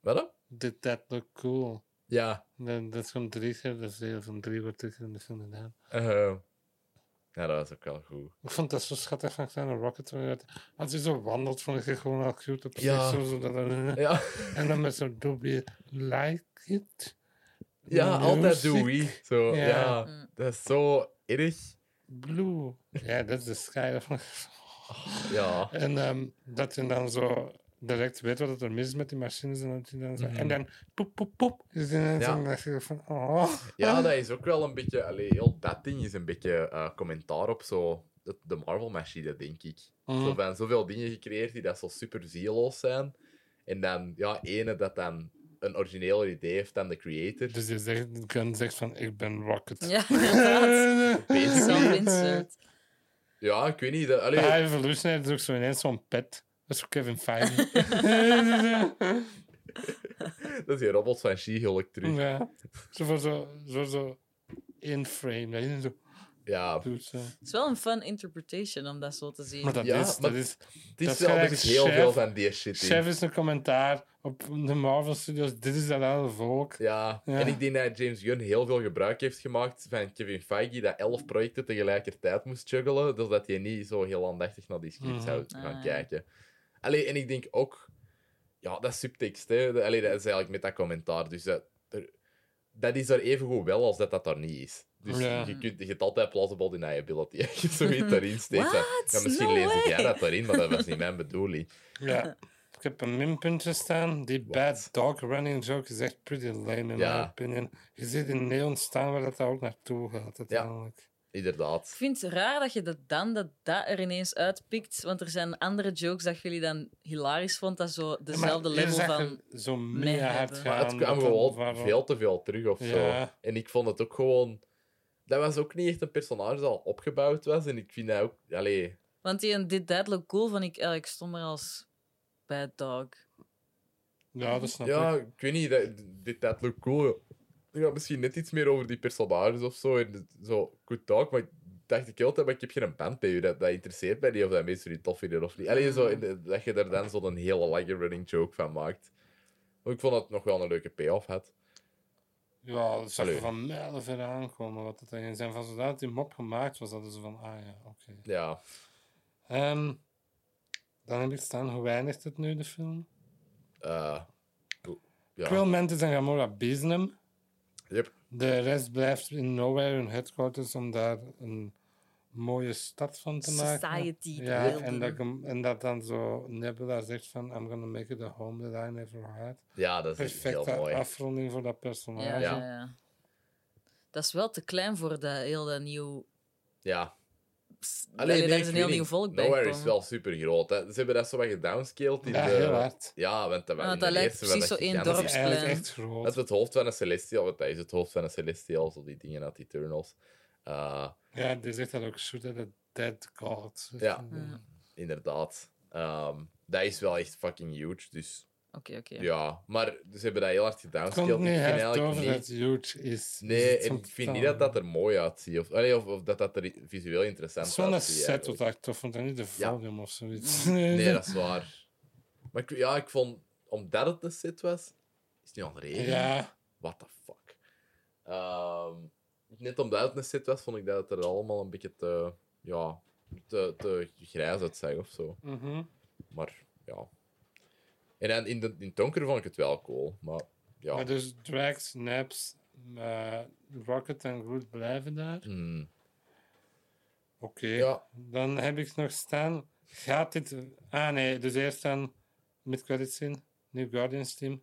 [SPEAKER 1] Wat? dan?
[SPEAKER 2] Did that look cool?
[SPEAKER 1] Ja.
[SPEAKER 2] Dat, dat is gewoon drie keer, dat is deel van drie wordt terug in de film gedaan.
[SPEAKER 1] eh, ja, dat was ook wel goed.
[SPEAKER 2] Ik vond dat zo schattig van kleine Rocket. toen hij dat- Als hij zo wandelt, vond ik het gewoon al cute. op zich,
[SPEAKER 1] Ja.
[SPEAKER 2] zo, zo, dat- dat-
[SPEAKER 1] Ja,
[SPEAKER 2] En dan met zo'n dubbie, like it.
[SPEAKER 1] ja altijd
[SPEAKER 2] Music
[SPEAKER 1] do we. Zo,
[SPEAKER 2] Ja.
[SPEAKER 1] ja.
[SPEAKER 3] Mm.
[SPEAKER 1] dat is zo erg.
[SPEAKER 2] Blue. Ja, dat is de sky. Dat vond ik-
[SPEAKER 1] Ja.
[SPEAKER 2] En ehm, dat je dan zo direct weet wat er mis is met die machines. En, dat hij dan zo,
[SPEAKER 1] Mhm.
[SPEAKER 2] en dan poep, poep, poep. Is die dan
[SPEAKER 1] Ja.
[SPEAKER 2] zo, dan denk ik van, oh.
[SPEAKER 1] ja, dat is ook wel een beetje. Allee, heel dat ding is een beetje eh, commentaar op zo. De, de Marvel-machine, denk ik. Zo
[SPEAKER 2] Mm.
[SPEAKER 1] van zoveel dingen gecreëerd die dat zo super zieloos zijn. En dan, ja, ene dat dan een origineler idee heeft dan de creator.
[SPEAKER 2] Dus je zegt, Gun zegt van, ik ben Rocket.
[SPEAKER 3] Ja, inderdaad. Self-insert.
[SPEAKER 1] Ja, ik weet niet. Dat, allee,
[SPEAKER 2] Bij Evolutionary doe ik zo ineens zo'n pet. Dat is voor Kevin Feige.
[SPEAKER 1] dat is die robot van She-Hulk terug.
[SPEAKER 2] ja. Zo voor zo, zo, zo in frame. Dat je zo
[SPEAKER 1] Ja,
[SPEAKER 2] doet. Zo.
[SPEAKER 3] Het is wel een fun interpretation om dat zo te zien.
[SPEAKER 2] Maar dat
[SPEAKER 1] Ja,
[SPEAKER 2] is...
[SPEAKER 1] maar
[SPEAKER 2] dat is
[SPEAKER 1] het is
[SPEAKER 2] dat
[SPEAKER 1] wel
[SPEAKER 2] gelijk
[SPEAKER 1] er is heel
[SPEAKER 2] chef-
[SPEAKER 1] veel van die shit in.
[SPEAKER 2] chef is een commentaar op de Marvel Studios. Dit is dat oude volk.
[SPEAKER 1] Ja.
[SPEAKER 2] Ja.
[SPEAKER 1] en ik denk dat James Gunn heel veel gebruik heeft gemaakt van Kevin Feige, dat elf projecten tegelijkertijd moest juggelen, dus dat hij niet zo heel aandachtig naar die scripts
[SPEAKER 2] Mhm.
[SPEAKER 1] zou gaan
[SPEAKER 3] Ah, ja.
[SPEAKER 1] kijken. Allee, en ik denk ook, ja, dat is subtekst, hè. De- Allee, dat is eigenlijk met dat commentaar, dus dat, er- dat is er evengoed wel als dat dat daar niet is. Dus
[SPEAKER 2] Ja.
[SPEAKER 1] je, kunt, je hebt altijd plausible deniability als je zoiets daarin steekt.
[SPEAKER 3] What?
[SPEAKER 1] Ja, misschien
[SPEAKER 3] No
[SPEAKER 1] lees
[SPEAKER 3] way.
[SPEAKER 1] jij dat daarin, maar dat was niet mijn bedoeling.
[SPEAKER 2] Ja. Ik Ik heb een minpuntje staan. Die bad dog running joke is echt pretty lame in
[SPEAKER 1] Ja.
[SPEAKER 2] my opinion. Je ziet in neon staan waar dat ook naartoe gaat uiteindelijk.
[SPEAKER 3] Ik
[SPEAKER 1] Inderdaad.
[SPEAKER 3] vind het raar dat je dat dan dat, dat er ineens uitpikt, want er zijn andere jokes dat jullie dan hilarisch vonden, dat
[SPEAKER 2] Ja,
[SPEAKER 3] zo
[SPEAKER 2] maar
[SPEAKER 3] dezelfde
[SPEAKER 2] je
[SPEAKER 3] level
[SPEAKER 2] zag
[SPEAKER 3] van...
[SPEAKER 2] er zo
[SPEAKER 3] meh
[SPEAKER 2] mega hard
[SPEAKER 3] hebben.
[SPEAKER 2] gaan.
[SPEAKER 1] Maar het kwam
[SPEAKER 2] dat
[SPEAKER 1] gewoon
[SPEAKER 2] het waarom-
[SPEAKER 1] veel te veel terug of zo.
[SPEAKER 2] Ja.
[SPEAKER 1] En ik vond het ook gewoon... Dat was ook niet echt een personage dat al opgebouwd was. En ik vind dat ook... Allee,
[SPEAKER 3] Want die en dit That Look Cool vond ik eigenlijk stommer als Bad Dog.
[SPEAKER 2] Ja, dat snap
[SPEAKER 1] ja,
[SPEAKER 2] ik.
[SPEAKER 1] ik weet niet. Dat, dit dat look cool. Er gaat misschien net iets meer over die personages of zo. En het- zo, good talk. Maar ik dacht ik altijd, maar ik heb geen band bij u. Dat, dat interesseert mij niet of dat mensen die tof vinden of niet. Allee, zo,
[SPEAKER 2] Hmm.
[SPEAKER 1] in- dat je daar dan zo'n hele lange running joke van maakt. Maar ik vond dat het nog wel een leuke payoff had.
[SPEAKER 2] Ja, dat zag er
[SPEAKER 1] Allee.
[SPEAKER 2] van mijlen ver aankomen. Wat dat erin zijn. Van zodra die mop gemaakt was, hadden ze van, ah ja, oké.
[SPEAKER 1] Ja,
[SPEAKER 2] Ehm, dan heb ik staan, hoe weinigt het nu, de film?
[SPEAKER 1] eh, ja.
[SPEAKER 2] Quill, Mantis en Gamora bezen hem.
[SPEAKER 1] Yep.
[SPEAKER 2] De rest blijft in Nowhere hun headquarters om daar een mooie stad van te maken.
[SPEAKER 3] Society
[SPEAKER 2] Ja,
[SPEAKER 3] building.
[SPEAKER 2] en dat, ik- en dat dan zo Nebula zegt van, I'm gonna make it a home that I never had.
[SPEAKER 1] ja, dat is echt heel
[SPEAKER 2] Perfecte
[SPEAKER 1] mooi.
[SPEAKER 2] afronding voor dat
[SPEAKER 3] Ja,
[SPEAKER 2] personage.
[SPEAKER 3] ja.
[SPEAKER 1] Ja.
[SPEAKER 3] ja. Dat is wel te klein voor dat heel dat nieuw...
[SPEAKER 1] Ja.
[SPEAKER 3] Pss,
[SPEAKER 1] Alleen
[SPEAKER 3] allee, daar is een heel nieuw volk bij
[SPEAKER 1] Nowhere is
[SPEAKER 3] gekomen.
[SPEAKER 1] wel super groot. Hè. Ze hebben dat zo wat gedownscaled. In
[SPEAKER 2] Ja,
[SPEAKER 1] de...
[SPEAKER 2] heel hard.
[SPEAKER 1] Ja, want dat,
[SPEAKER 3] Want
[SPEAKER 1] in
[SPEAKER 3] Ah, dat
[SPEAKER 1] de
[SPEAKER 3] lijkt
[SPEAKER 1] eerste was
[SPEAKER 3] precies
[SPEAKER 1] dat
[SPEAKER 3] zo één
[SPEAKER 1] gigantisch.
[SPEAKER 2] Dat is eigenlijk
[SPEAKER 3] Dorpsplein.
[SPEAKER 2] echt groot.
[SPEAKER 1] Dat is het hoofd van een Celestial, want dat is het hoofd van een Celestial, zo die dingen uit Eternals. Eh,
[SPEAKER 2] Ja, die zegt dat ook, shoot at a dead god. Mm.
[SPEAKER 1] Ja.
[SPEAKER 3] Ja.
[SPEAKER 1] inderdaad. Ehm, dat is wel echt fucking huge, dus
[SPEAKER 3] Oké, oké.
[SPEAKER 1] ja. Maar ze hebben dat heel hard
[SPEAKER 2] Het komt
[SPEAKER 1] gedownscaled.
[SPEAKER 2] niet
[SPEAKER 1] Ik vind
[SPEAKER 2] hard
[SPEAKER 1] eigenlijk
[SPEAKER 2] over
[SPEAKER 1] niet...
[SPEAKER 2] dat het huge is.
[SPEAKER 1] Nee, en ik vind niet dat dat er mooi uitziet. Of, allee, of, of dat dat er visueel
[SPEAKER 2] Het
[SPEAKER 1] interessant
[SPEAKER 2] is
[SPEAKER 1] uitziet.
[SPEAKER 2] wel een set
[SPEAKER 1] eigenlijk.
[SPEAKER 2] wat ik tof vond, en niet de volume of zoiets.
[SPEAKER 1] Mm. Nee, dat is waar. Maar ik, ja, ik vond... Omdat het een set was, is het niet onreden.
[SPEAKER 2] Ja,
[SPEAKER 1] What the fuck. Ehm, net omdat het een set was, vond ik dat het er allemaal een beetje te... Ja, te, te grijs uitzag of zo.
[SPEAKER 2] mhm.
[SPEAKER 1] Maar ja. En dan in, de, in het donker vond ik het wel cool. Maar ja.
[SPEAKER 2] maar dus Drax, Naps, eh, Rocket en Groot blijven daar. Oké,
[SPEAKER 1] Mm, ja.
[SPEAKER 2] dan heb ik nog staan. Gaat dit. Ah nee, dus eerst dan met credits in. New Guardians team.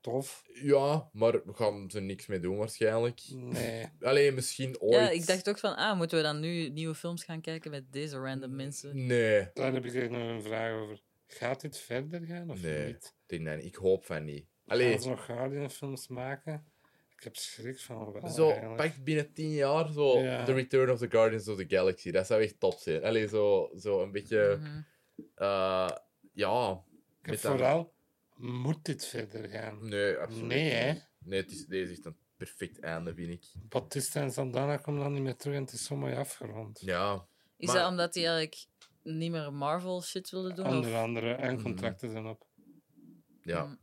[SPEAKER 2] Tof.
[SPEAKER 1] ja, maar we gaan ze niks mee doen waarschijnlijk.
[SPEAKER 2] Nee.
[SPEAKER 1] Alleen misschien ooit.
[SPEAKER 3] Hmm. Ja, ik dacht ook van, ah, moeten we dan nu nieuwe films gaan kijken met deze
[SPEAKER 1] Mm,
[SPEAKER 3] random mensen?
[SPEAKER 1] Nee, ik
[SPEAKER 2] Daar heb ik echt nog een vraag over. Gaat dit verder gaan of
[SPEAKER 1] Nee.
[SPEAKER 2] niet?
[SPEAKER 1] denk dat niet. Ik hoop van niet.
[SPEAKER 2] Gaan
[SPEAKER 1] Allee,
[SPEAKER 2] ze nog Guardian-films maken? Ik heb schrik van wel.
[SPEAKER 1] zo,
[SPEAKER 2] eigenlijk.
[SPEAKER 1] pak binnen tien jaar zo
[SPEAKER 2] Ja.
[SPEAKER 1] The Return of the Guardians of the Galaxy. Dat zou echt top zijn. Allee, zo, zo een beetje...
[SPEAKER 3] Mhm.
[SPEAKER 1] eh, ja,
[SPEAKER 2] Ik heb
[SPEAKER 1] Met dat- Hm.
[SPEAKER 2] vooral, moet dit verder gaan?
[SPEAKER 1] nee, absoluut
[SPEAKER 2] Nee,
[SPEAKER 1] niet.
[SPEAKER 2] hè?
[SPEAKER 1] Nee, het is, deze is echt een perfect einde, vind ik.
[SPEAKER 2] Batista en Sandana komen dan niet meer terug en het is zo mooi afgerond.
[SPEAKER 1] Ja,
[SPEAKER 3] Is
[SPEAKER 1] Maar-
[SPEAKER 3] dat omdat hij eigenlijk niet meer Marvel shit wilde doen?
[SPEAKER 2] Onder
[SPEAKER 3] Of...
[SPEAKER 2] andere, en
[SPEAKER 1] Mhm.
[SPEAKER 2] contracten zijn op. Mhm.
[SPEAKER 1] ja.
[SPEAKER 3] Mm.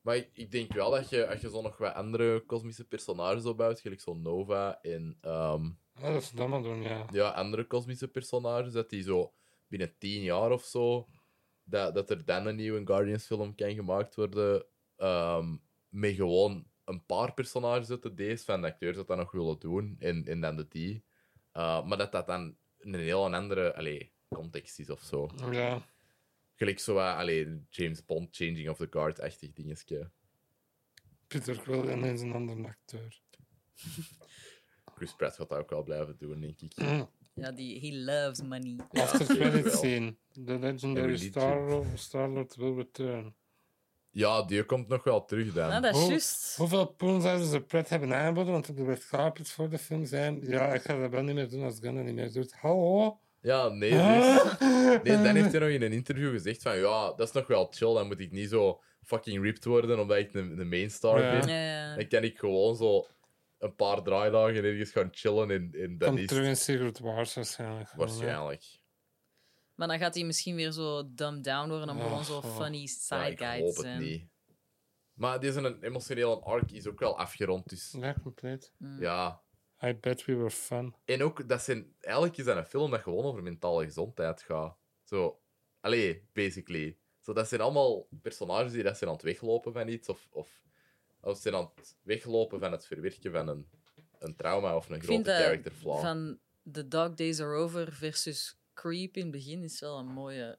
[SPEAKER 1] Maar ik, ik denk wel dat je, als je zo nog wat andere kosmische personages opbouwt, gelijk zo Nova en ehm,
[SPEAKER 2] Ja, Nou, dat is dan maar doen, ja.
[SPEAKER 1] ja, andere kosmische personages, dat die zo binnen tien jaar of zo, dat, dat er dan een nieuwe Guardians-film kan gemaakt worden, ehm, met gewoon een paar personages uit de D's van de acteurs dat dat nog willen doen, en, en dan de die. Eh, maar dat dat dan in een heel andere allee, context is of zo.
[SPEAKER 2] Ja,
[SPEAKER 1] Gelijk zo, wat, allee, James Bond, Changing of the Guard-achtig dingetje.
[SPEAKER 2] Peter Quill en is een andere acteur.
[SPEAKER 1] Chris Pratt gaat dat ook wel blijven doen, denk ik.
[SPEAKER 3] Ja, die he loves money.
[SPEAKER 1] Ja,
[SPEAKER 2] After
[SPEAKER 1] zeker
[SPEAKER 2] credits
[SPEAKER 1] wel.
[SPEAKER 2] scene. The legendary
[SPEAKER 1] religie.
[SPEAKER 2] Star-Lord Star-Lord will return.
[SPEAKER 1] Ja, die komt nog wel terug dan.
[SPEAKER 3] Ah, dat is
[SPEAKER 2] Hoe-
[SPEAKER 3] juist.
[SPEAKER 2] Hoeveel poen zouden ze Pret hebben aangeboden? Want op de red carpet voor de film zijn... Ja, ik ga dat wel niet meer doen als Gunnar niet meer doet. Hallo?
[SPEAKER 1] Ja, nee, dus-
[SPEAKER 2] Ah?
[SPEAKER 1] nee. Dan heeft hij nog in een interview gezegd van ja, dat is nog wel chill. Dan moet ik niet zo fucking ripped worden omdat ik de, de main star
[SPEAKER 2] Ja.
[SPEAKER 1] ben.
[SPEAKER 3] Ja, ja.
[SPEAKER 1] Dan kan ik gewoon zo een paar draaidagen ergens gaan chillen en, en dat
[SPEAKER 2] Komt
[SPEAKER 1] is
[SPEAKER 2] terug in Secret Wars waarschijnlijk.
[SPEAKER 1] waarschijnlijk.
[SPEAKER 3] Maar dan gaat hij misschien weer zo dumbed down worden om
[SPEAKER 2] Oh,
[SPEAKER 3] gewoon zo
[SPEAKER 2] goh.
[SPEAKER 3] funny
[SPEAKER 1] Ja,
[SPEAKER 3] side
[SPEAKER 1] ik
[SPEAKER 3] guy te
[SPEAKER 1] hoop het
[SPEAKER 3] zijn.
[SPEAKER 1] niet. Maar deze een emotionele arc is ook wel afgerond, dus
[SPEAKER 2] Ja, compleet.
[SPEAKER 3] Mm.
[SPEAKER 1] ja.
[SPEAKER 2] I bet we were fun.
[SPEAKER 1] En ook, dat zijn, eigenlijk is dat een film dat gewoon over mentale gezondheid gaat. Zo, allee, basically. Zo, dat zijn allemaal personages die dat zijn aan het weglopen van iets, of, of, of zijn aan het weglopen van het verwerken van een, een trauma of een
[SPEAKER 3] Ik vind
[SPEAKER 1] grote character
[SPEAKER 3] dat
[SPEAKER 1] flaw.
[SPEAKER 3] van The Dog Days Are Over versus Creep in het begin is wel een mooie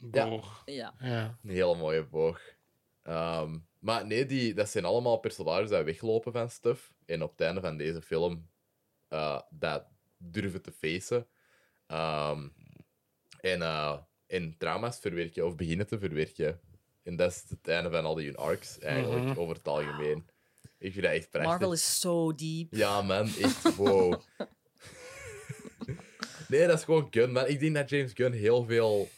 [SPEAKER 2] boog.
[SPEAKER 3] Ja.
[SPEAKER 2] Ja.
[SPEAKER 1] Een hele mooie boog. Ehm, maar nee, die, dat zijn allemaal personages die weglopen van stuff. En op het einde van deze film eh, dat durven te facen. Ehm, en, eh, en trauma's verwerken of beginnen te verwerken. En dat is het einde van al die hun arcs, eigenlijk,
[SPEAKER 2] Mhm.
[SPEAKER 1] over het algemeen. Ik vind dat echt prachtig.
[SPEAKER 3] Marvel is so deep.
[SPEAKER 1] Ja, man, echt wow. nee, dat is gewoon Gunn, man. Ik denk dat James Gunn heel veel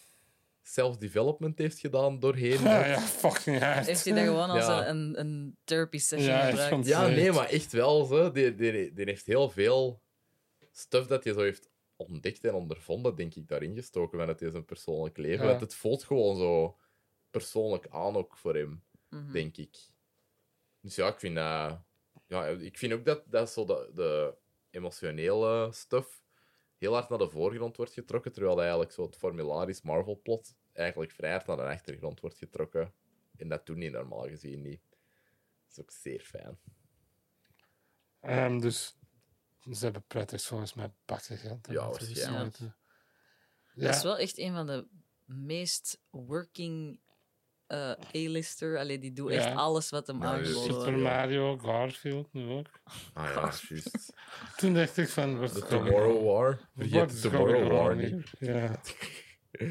[SPEAKER 1] self-development heeft gedaan doorheen.
[SPEAKER 2] Ja, ja, fucking hard.
[SPEAKER 3] Heeft hij dat gewoon als
[SPEAKER 1] Ja.
[SPEAKER 3] een, een, een therapy session
[SPEAKER 2] Ja, echt
[SPEAKER 3] gebruikt?
[SPEAKER 2] van-
[SPEAKER 1] Ja,
[SPEAKER 2] Zeker.
[SPEAKER 1] nee, maar echt wel. Zo. Die, die, die heeft heel veel stuff dat je zo heeft ontdekt en ondervonden, denk ik, daarin gestoken vanuit deze persoonlijk leven.
[SPEAKER 2] Ja.
[SPEAKER 1] Want het voelt gewoon zo persoonlijk aan ook voor hem,
[SPEAKER 3] Mhm.
[SPEAKER 1] denk ik. Dus ja, ik vind, eh, ja, ik vind ook dat, dat zo de, de emotionele stuff heel hard naar de voorgrond wordt getrokken, terwijl dat eigenlijk zo het formularisch Marvel-plot eigenlijk vrij hard naar de achtergrond wordt getrokken. En dat doen die normaal gezien niet. Dat is ook zeer fijn.
[SPEAKER 2] Ehm, dus ze hebben prettig volgens mij bakken geld.
[SPEAKER 1] Ja,
[SPEAKER 2] Dat is dus
[SPEAKER 1] waarschijnlijk.
[SPEAKER 2] zo. Ja,
[SPEAKER 3] Dat is wel echt een van de meest working eh, A-lister. Allee, die doet echt
[SPEAKER 2] Ja.
[SPEAKER 3] alles wat hem
[SPEAKER 1] Ja,
[SPEAKER 3] aangeboden
[SPEAKER 1] dus-
[SPEAKER 2] Super
[SPEAKER 3] wordt.
[SPEAKER 1] ja.
[SPEAKER 2] Mario, Garfield nu ook.
[SPEAKER 1] Ah ja, juist.
[SPEAKER 2] Toen dacht ik van... Wat
[SPEAKER 1] De Tomorrow War. Vergeet de Tomorrow War niet.
[SPEAKER 2] Ja.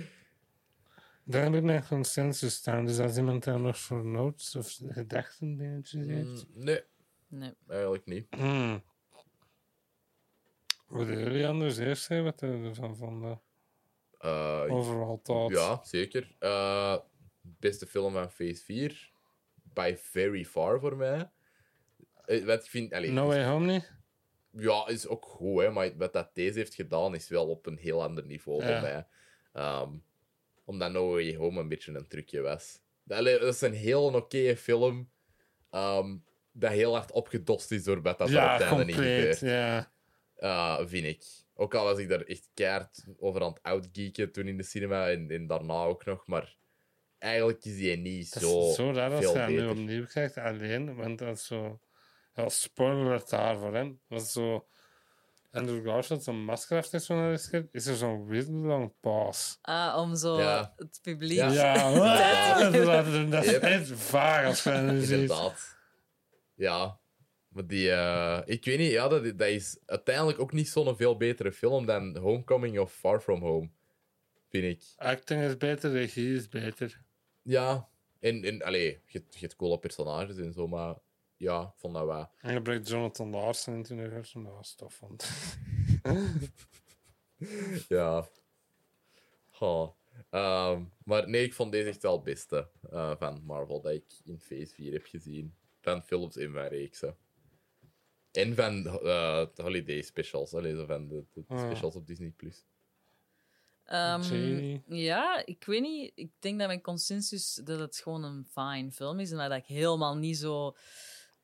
[SPEAKER 2] Daar heb ik mijn consensus staan. Dus als iemand daar nog voor notes of gedachten dingetjes heeft...
[SPEAKER 1] Mm, Nee,
[SPEAKER 3] Nee.
[SPEAKER 1] eigenlijk niet.
[SPEAKER 2] Hmm. Willen jullie anders eerst zeggen wat jullie ervan vonden?
[SPEAKER 1] Eh,
[SPEAKER 2] Overal thoughts.
[SPEAKER 1] ja, zeker. Eh, beste film van Phase 4. By very far voor mij. Eh, Wat ik vind... Allee,
[SPEAKER 2] No Way Home niet?
[SPEAKER 1] Ja, is ook goed, hè, maar wat dat deze heeft gedaan is wel op een heel ander niveau
[SPEAKER 2] Ja.
[SPEAKER 1] voor mij. Ehm, omdat No Way Home een beetje een trucje was. Allee, dat is een heel oké film. ehm, dat heel hard opgedost is door wat dat er op
[SPEAKER 2] ja,
[SPEAKER 1] het einde niet gebeurt.
[SPEAKER 2] compleet. Ja.
[SPEAKER 1] eh, vind ik. Ook al was ik daar echt keihard over aan het outgeeken toen in de cinema en, en daarna ook nog, maar eigenlijk is die niet
[SPEAKER 2] Dat
[SPEAKER 1] zo,
[SPEAKER 2] is zo raar als
[SPEAKER 1] veel
[SPEAKER 2] je dat nu
[SPEAKER 1] beter.
[SPEAKER 2] opnieuw krijgt, alleen, want dat is zo... Ja, spoiler alert daarvoor, hè. Was zo... Andrew Garfield zo'n masker af heeft zo naar de schip, is er zo'n weird long pause.
[SPEAKER 3] Ah, om zo
[SPEAKER 1] Ja.
[SPEAKER 3] het publiek...
[SPEAKER 1] Ja.
[SPEAKER 2] Ja, dat is- dat is- dat is
[SPEAKER 1] Yep.
[SPEAKER 2] echt vaag als je dat nu ziet.
[SPEAKER 1] Inderdaad. Ja. Maar die, eh, ik weet niet, ja, dat, dat is uiteindelijk ook niet zo'n veel betere film dan Homecoming of Far From Home, vind ik.
[SPEAKER 2] Acting is beter, regie is beter.
[SPEAKER 1] Ja, en, en allee, je hebt- je hebt coole personages en zo, maar ja, ik vond dat wel.
[SPEAKER 2] En je brengt Jonathan Larsen in het universum, dat was tof. Want...
[SPEAKER 1] Ja. Goh. Ehm, maar nee, ik vond deze echt wel het beste eh, van Marvel dat ik in Phase 4 heb gezien. Van films in mijn reeksen. En van eh, de holiday specials. Allee, zo van de, de
[SPEAKER 2] Ah.
[SPEAKER 1] specials op Disney+. Plus.
[SPEAKER 3] Ehm,
[SPEAKER 2] Jamie.
[SPEAKER 3] ja, ik weet niet. Ik denk dat mijn consensus dat het gewoon een fine film is. En dat ik helemaal niet zo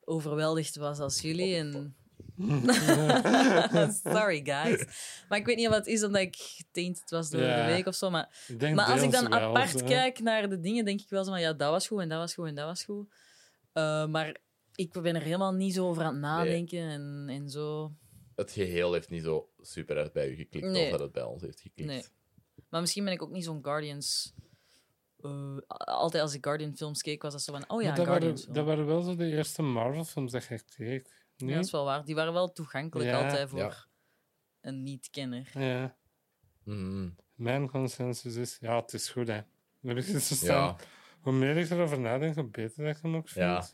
[SPEAKER 3] overweldigd was als jullie. En... Sorry, guys. Maar ik weet niet wat het is, omdat ik getainted was door
[SPEAKER 2] Ja.
[SPEAKER 3] de week of zo. Maar
[SPEAKER 2] Ik denk
[SPEAKER 3] maar als ik
[SPEAKER 2] deels
[SPEAKER 3] dan
[SPEAKER 2] wel,
[SPEAKER 3] apart
[SPEAKER 2] zo.
[SPEAKER 3] kijk naar de dingen, denk ik wel zo van ja, dat was goed en dat was goed en dat was goed. Eh, maar ik ben er helemaal niet zo over aan het nadenken en, en zo.
[SPEAKER 1] Het geheel heeft niet zo super hard bij u geklikt
[SPEAKER 3] Nee.
[SPEAKER 1] als dat het bij ons heeft geklikt.
[SPEAKER 3] Nee. Maar misschien ben ik ook niet zo'n Guardians. eh, altijd als ik Guardian films keek, was dat zo van oh ja,
[SPEAKER 2] Maar dat,
[SPEAKER 3] een
[SPEAKER 2] waren,
[SPEAKER 3] Guardians. film.
[SPEAKER 2] dat waren wel zo de eerste Marvel-films dat ik keek.
[SPEAKER 3] Ja, dat is
[SPEAKER 2] Nee?
[SPEAKER 3] wel waar. Die waren wel toegankelijk
[SPEAKER 2] Ja.
[SPEAKER 3] altijd voor
[SPEAKER 1] Ja.
[SPEAKER 3] een niet-kenner.
[SPEAKER 2] Ja.
[SPEAKER 1] Mhm.
[SPEAKER 2] Mijn consensus is, ja, het is goed, hè. Dan heb ik het zo staan.
[SPEAKER 1] Ja,
[SPEAKER 2] Hoe meer ik erover nadenk, hoe beter dat ik hem ook vind.
[SPEAKER 1] Ja,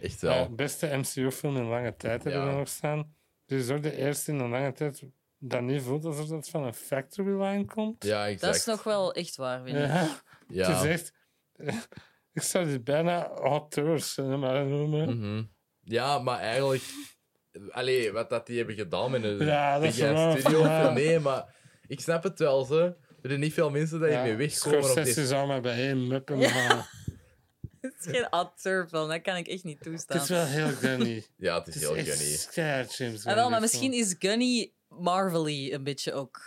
[SPEAKER 1] echt wel.
[SPEAKER 2] Eh, beste MCU-film in lange tijd hebben we
[SPEAKER 1] Ja.
[SPEAKER 2] nog staan. Dit is ook de eerste in een lange tijd dat niet voelt alsof dat van een factory line komt.
[SPEAKER 1] ja,
[SPEAKER 3] Dat
[SPEAKER 1] exact.
[SPEAKER 3] is nog wel echt waar, vind ik.
[SPEAKER 2] Ja,
[SPEAKER 1] Ja.
[SPEAKER 2] Het is echt... Ik zou dit bijna auteurs eh, maar noemen.
[SPEAKER 1] Mhm. Ja, maar eigenlijk... Allee, wat dat die hebben gedaan met een
[SPEAKER 2] Ja, dat is wel-
[SPEAKER 1] big-ass studio.
[SPEAKER 2] ja.
[SPEAKER 1] Nee, maar ik snap het wel, ze. Er zijn niet veel mensen dat je
[SPEAKER 2] Ja,
[SPEAKER 1] mee wegkomen op
[SPEAKER 2] Scorsese
[SPEAKER 1] dit.
[SPEAKER 2] zou maar bij hem muppen,
[SPEAKER 3] Ja.
[SPEAKER 2] maar
[SPEAKER 3] Het is geen auteurfilm, dat kan ik echt niet
[SPEAKER 2] het
[SPEAKER 3] toestaan.
[SPEAKER 2] is wel heel gunny.
[SPEAKER 1] Ja, het
[SPEAKER 2] Het
[SPEAKER 1] is
[SPEAKER 2] is
[SPEAKER 1] heel
[SPEAKER 2] echt
[SPEAKER 1] genie.
[SPEAKER 2] keihard James
[SPEAKER 3] Ah, wel,
[SPEAKER 2] Gunny
[SPEAKER 3] maar
[SPEAKER 2] film.
[SPEAKER 3] misschien is Gunny Marvelly een beetje ook.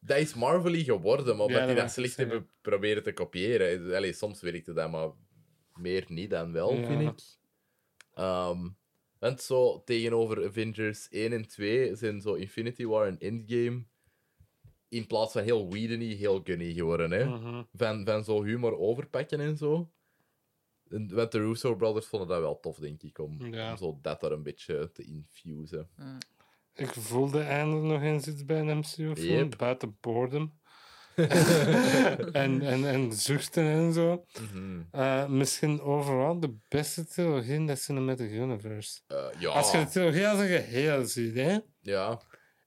[SPEAKER 1] Dat is Marvel-y geworden, maar
[SPEAKER 2] Ja,
[SPEAKER 1] omdat die
[SPEAKER 2] dat
[SPEAKER 1] dat
[SPEAKER 2] wou ik
[SPEAKER 1] slecht
[SPEAKER 2] zeggen.
[SPEAKER 1] hebben proberen te kopiëren. Allee, soms werkte dat, maar meer niet dan wel,
[SPEAKER 2] Ja.
[SPEAKER 1] vind ik. Ehm, want zo tegenover Avengers 1 en 2 zijn zo Infinity War en Endgame in plaats van heel weedeny, heel gunny geworden. Hè?
[SPEAKER 2] Mhm.
[SPEAKER 1] Van, van zo humor overpakken en zo. En- Want de Russo Brothers vonden dat wel tof, denk ik, om,
[SPEAKER 2] Ja.
[SPEAKER 1] om zo dat er een beetje te infusen.
[SPEAKER 3] Hmm,
[SPEAKER 2] Ik voelde eindelijk nog eens iets bij een MCU-film,
[SPEAKER 1] Yep.
[SPEAKER 2] buiten boredom. en, en, en zuchten en zo.
[SPEAKER 1] Mhm.
[SPEAKER 2] Eh, misschien overal de beste trilogie in de Cinematic Universe.
[SPEAKER 1] Eh, ja.
[SPEAKER 2] Als je de trilogie als een geheel ziet, hè?
[SPEAKER 1] ja,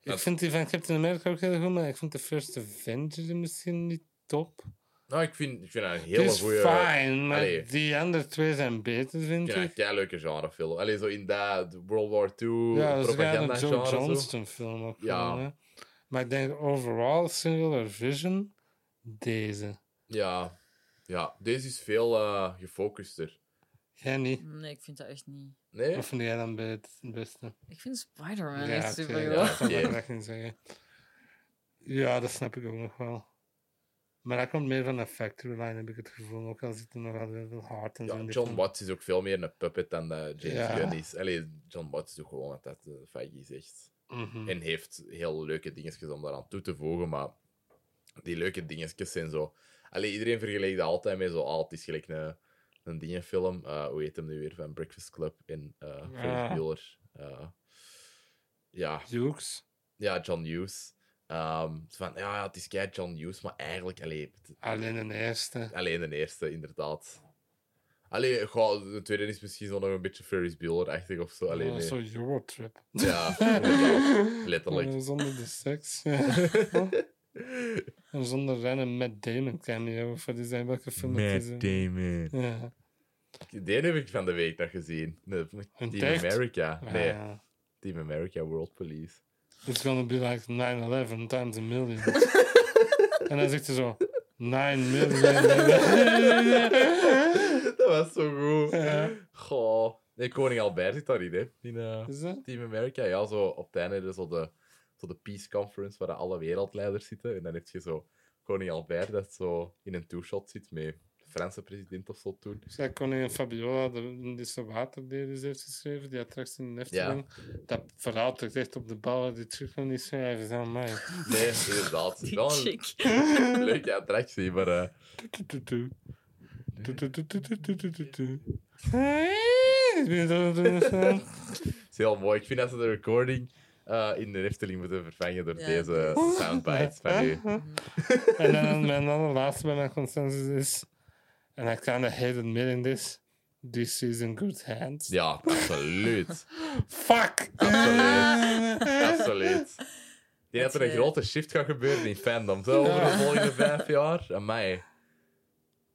[SPEAKER 2] Ik
[SPEAKER 1] Dat-
[SPEAKER 2] vind die van Captain America ook heel goed, maar ik vond de First Avenger misschien niet top.
[SPEAKER 1] nou, ik vind, ik vind dat een
[SPEAKER 2] Die
[SPEAKER 1] hele
[SPEAKER 2] is
[SPEAKER 1] goede.
[SPEAKER 2] fijn, maar
[SPEAKER 1] Allee.
[SPEAKER 2] die andere twee zijn beter,
[SPEAKER 1] Ik
[SPEAKER 2] vind
[SPEAKER 1] vind dat een
[SPEAKER 2] ik.
[SPEAKER 1] kei leuke genrefilm. Allee, zo in dat World War II
[SPEAKER 2] Ja, dat is een Joe
[SPEAKER 1] propaganda-genre. zo.
[SPEAKER 2] Johnston-film op.
[SPEAKER 1] Ja.
[SPEAKER 2] hè. Maar ik denk overal Singular Vision, deze.
[SPEAKER 1] Ja. ja, deze is veel eh, gefocuster.
[SPEAKER 2] Jij niet.
[SPEAKER 3] Nee, ik vind dat echt niet.
[SPEAKER 1] Nee?
[SPEAKER 2] Of vind jij dan bij het beste?
[SPEAKER 3] Ik vind Spider-Man
[SPEAKER 2] ja,
[SPEAKER 3] echt
[SPEAKER 2] oké,
[SPEAKER 3] super
[SPEAKER 2] ja,
[SPEAKER 1] goed.
[SPEAKER 2] dat kan ik
[SPEAKER 1] Ja.
[SPEAKER 2] echt niet zeggen. Ja, dat snap ik ook nog wel. Maar dat komt meer van de factory line, heb ik het gevoel. Ook al zit er nog altijd veel hard en zo
[SPEAKER 1] Ja,
[SPEAKER 2] in die
[SPEAKER 1] John
[SPEAKER 2] film.
[SPEAKER 1] Watts is ook veel meer een puppet dan dat James
[SPEAKER 2] Ja.
[SPEAKER 1] Gunn is. Allee, John Watts doet gewoon wat dat eh, de Feige zegt.
[SPEAKER 2] Mhm.
[SPEAKER 1] En heeft heel leuke dingetjes om daaraan toe te voegen, maar die leuke dingetjes zijn zo... Allee, iedereen vergelijkt dat altijd met zo, ah, het is gelijk een, een dingenfilm. Eh, hoe heet hem nu weer? Van Breakfast Club en eh Ferris
[SPEAKER 2] Ja.
[SPEAKER 1] Bueller. Eh, ja,
[SPEAKER 2] Hughes.
[SPEAKER 1] ja, John Hughes. Ehm, zo van, ja, ja, het is kei John Hughes, maar eigenlijk... Allee, het-
[SPEAKER 2] Alleen de eerste.
[SPEAKER 1] Alleen de eerste, inderdaad. Allee, goh, de tweede is misschien zo nog een beetje Ferris Bueller-achtig of zo. Allee,
[SPEAKER 2] Oh,
[SPEAKER 1] nee.
[SPEAKER 2] Zo'n Eurotrip.
[SPEAKER 1] Ja, inderdaad. letterlijk.
[SPEAKER 2] Eh, Zonder de seks. en zonder rennen met Damon cameo. Voor die zijn welke film dat is. hè.
[SPEAKER 1] Damon.
[SPEAKER 2] Ja.
[SPEAKER 1] Die heb ik van de week nog gezien. Nee, Team
[SPEAKER 2] echt?
[SPEAKER 1] America.
[SPEAKER 2] Ah,
[SPEAKER 1] Nee,
[SPEAKER 2] ja.
[SPEAKER 1] Team America World Police.
[SPEAKER 2] It's gonna be like 9-11 times a million. en dan zegt hij zo... 9 million.
[SPEAKER 1] dat was zo goed.
[SPEAKER 2] Ja.
[SPEAKER 1] Goh. Nee, Koning Albert zit daarin, hè. In eh,
[SPEAKER 2] is dat?
[SPEAKER 1] Team America. Ja, zo op het einde dus zo de, zo de Peace Conference waar alle wereldleiders zitten. En dan heb je zo koning Albert dat zo in een two-shot zit met de Franse president of zo toen.
[SPEAKER 2] Zij koningin Fabiola, de, die ze waterdelis heeft geschreven, die had straks in de Efteling. Dat verhaal trekt echt op de ballen, die terug kan niet schrijven, is aan mij.
[SPEAKER 1] Nee, inderdaad.
[SPEAKER 3] Die
[SPEAKER 1] Wel een
[SPEAKER 3] chick.
[SPEAKER 1] leuke attractie, maar... eh,
[SPEAKER 2] Toetoetoe. Toetoetoetoetoetoetoetoetoe. Hey, ik ben zo- zo- zo-
[SPEAKER 1] het is heel mooi. Ik vind dat ze de recording eh, in de Efteling moeten vervangen door
[SPEAKER 3] Ja.
[SPEAKER 1] deze soundbites van nu.
[SPEAKER 2] En dan mijn laatste bij mijn consensus is, en I kinda hate admitting this, this is in good hands.
[SPEAKER 1] Ja, absoluut.
[SPEAKER 2] Fuck!
[SPEAKER 1] Absoluut. Absoluut. Ik denk dat er een
[SPEAKER 3] eh,
[SPEAKER 1] grote shift gaat gebeuren in fandom. Zo over de
[SPEAKER 2] Ja.
[SPEAKER 1] volgende vijf jaar. Amai.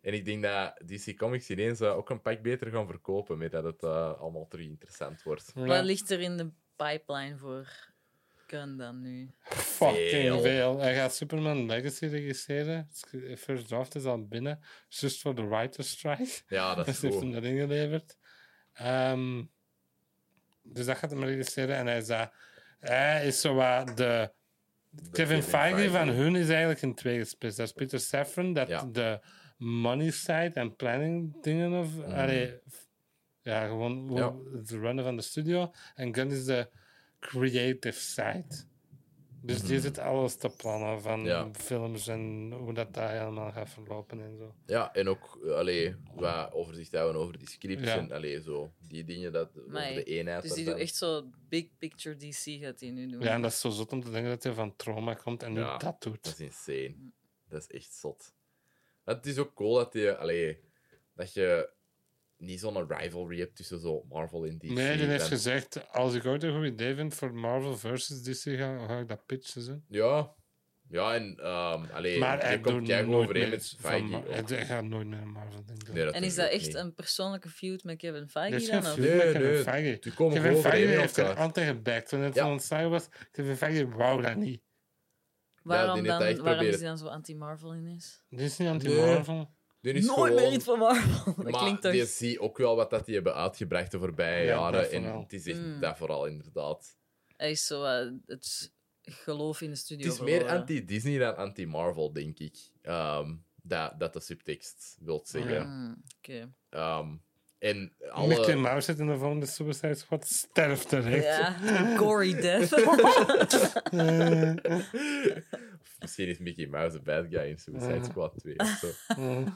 [SPEAKER 1] En ik denk dat DC Comics ineens eh, ook een pak beter gaan verkopen. Met dat het eh, allemaal terug interessant wordt.
[SPEAKER 2] Ja.
[SPEAKER 3] Wat ligt er in de pipeline voor Gun dan nu?
[SPEAKER 2] Fucking
[SPEAKER 1] Veel.
[SPEAKER 2] veel. Hij gaat Superman Legacy registreren. Het First draft is al binnen. Just voor de writer's strike.
[SPEAKER 1] Ja, dat is
[SPEAKER 2] Dus heeft hem
[SPEAKER 1] goed.
[SPEAKER 2] dat ingeleverd. Ehm, dus dat gaat hem registreren. En hij is, dat- hij is zo wat de... Kevin Feige, van hun is eigenlijk in twee gesplitst. Dat is Peter Safran, dat
[SPEAKER 1] Ja.
[SPEAKER 2] de money side en planning dingen of... allee, f- ja, gewoon hoe-
[SPEAKER 1] Ja.
[SPEAKER 2] het runnen van de studio. En Gunn is de creative side. Dus die zit alles te plannen van
[SPEAKER 1] Ja.
[SPEAKER 2] films en hoe dat daar helemaal gaat verlopen en zo.
[SPEAKER 1] Ja, en ook eh, allee, wat overzicht houden over die scripts.
[SPEAKER 2] Ja.
[SPEAKER 1] En allee, zo, die dingen dat, over
[SPEAKER 3] Amai.
[SPEAKER 1] de eenheid.
[SPEAKER 3] Dus
[SPEAKER 1] dat
[SPEAKER 3] die
[SPEAKER 1] dan-
[SPEAKER 3] doet echt zo big picture DC gaat die nu doen.
[SPEAKER 2] Ja, en dat is zo zot om te denken dat hij van trauma komt en nu
[SPEAKER 1] Ja.
[SPEAKER 2] dat
[SPEAKER 1] Dat
[SPEAKER 2] doet.
[SPEAKER 1] is insane. Dat is echt zot. Het is ook cool dat je, allee, dat je niet zo'n rivalry hebt tussen zo Marvel en DC.
[SPEAKER 2] Nee, die heeft
[SPEAKER 1] Dan-
[SPEAKER 2] gezegd, als ik ooit een goed idee vind voor Marvel versus DC, ga, ga ik dat pitchen. Zo.
[SPEAKER 1] Ja. Ja, en ehm allee,
[SPEAKER 2] maar
[SPEAKER 1] je
[SPEAKER 2] hij
[SPEAKER 1] komt
[SPEAKER 2] doet
[SPEAKER 1] kijk
[SPEAKER 2] nooit
[SPEAKER 1] overeen
[SPEAKER 2] meer
[SPEAKER 1] met
[SPEAKER 2] van
[SPEAKER 1] Feige.
[SPEAKER 2] Mar-
[SPEAKER 1] ook.
[SPEAKER 2] hij, hij gaat nooit meer een Marvel denken.
[SPEAKER 1] Nee,
[SPEAKER 3] en is dat
[SPEAKER 1] natuurlijk
[SPEAKER 3] echt
[SPEAKER 1] niet.
[SPEAKER 3] een persoonlijke feud met Kevin
[SPEAKER 2] Er is
[SPEAKER 3] Feige
[SPEAKER 2] geen
[SPEAKER 3] dan? Of?
[SPEAKER 2] feud
[SPEAKER 1] Nee,
[SPEAKER 2] met Kevin
[SPEAKER 1] nee.
[SPEAKER 2] Feige.
[SPEAKER 1] Die komen
[SPEAKER 2] Kevin
[SPEAKER 1] gewoon
[SPEAKER 2] Feige
[SPEAKER 1] overeen met
[SPEAKER 2] heeft er
[SPEAKER 1] elkaar.
[SPEAKER 2] altijd gebackt. Toen het
[SPEAKER 1] Ja.
[SPEAKER 2] van ontslagen was, Kevin Feige wou dat niet.
[SPEAKER 1] die
[SPEAKER 3] Waarom,
[SPEAKER 1] heeft dat echt
[SPEAKER 3] dan, waarom is
[SPEAKER 1] proberen.
[SPEAKER 3] hij dan zo anti-Marvel in is?
[SPEAKER 2] Dit is niet anti-Marvel.
[SPEAKER 1] Die is
[SPEAKER 3] Nooit meer
[SPEAKER 1] gewoon-
[SPEAKER 3] iets van Marvel. Dat
[SPEAKER 1] maar
[SPEAKER 3] klinkt toch...
[SPEAKER 1] die zie ook wel wat dat die hebben uitgebracht de voorbije
[SPEAKER 2] Ja,
[SPEAKER 1] jaren.
[SPEAKER 2] dat
[SPEAKER 1] En
[SPEAKER 2] vooral.
[SPEAKER 1] het is echt
[SPEAKER 3] Mm.
[SPEAKER 1] dat vooral, inderdaad.
[SPEAKER 3] Hij is zo eh, het geloof in de studio
[SPEAKER 1] Het is meer
[SPEAKER 3] verloren.
[SPEAKER 1] anti-Disney dan anti-Marvel, denk ik. Ehm, dat, dat de subtekst wilt zeggen.
[SPEAKER 2] Ja.
[SPEAKER 3] Mm, Hmm, Oké.
[SPEAKER 1] Ehm, En
[SPEAKER 2] Mickey
[SPEAKER 1] alle...
[SPEAKER 2] Mouse zit in de volgende Suicide Squad. Sterft terecht.
[SPEAKER 3] Ja, gory death.
[SPEAKER 2] Eh,
[SPEAKER 1] Of Misschien is Mickey Mouse een bad guy in Suicide
[SPEAKER 2] Ja.
[SPEAKER 1] Squad 2. of zo.
[SPEAKER 2] eh.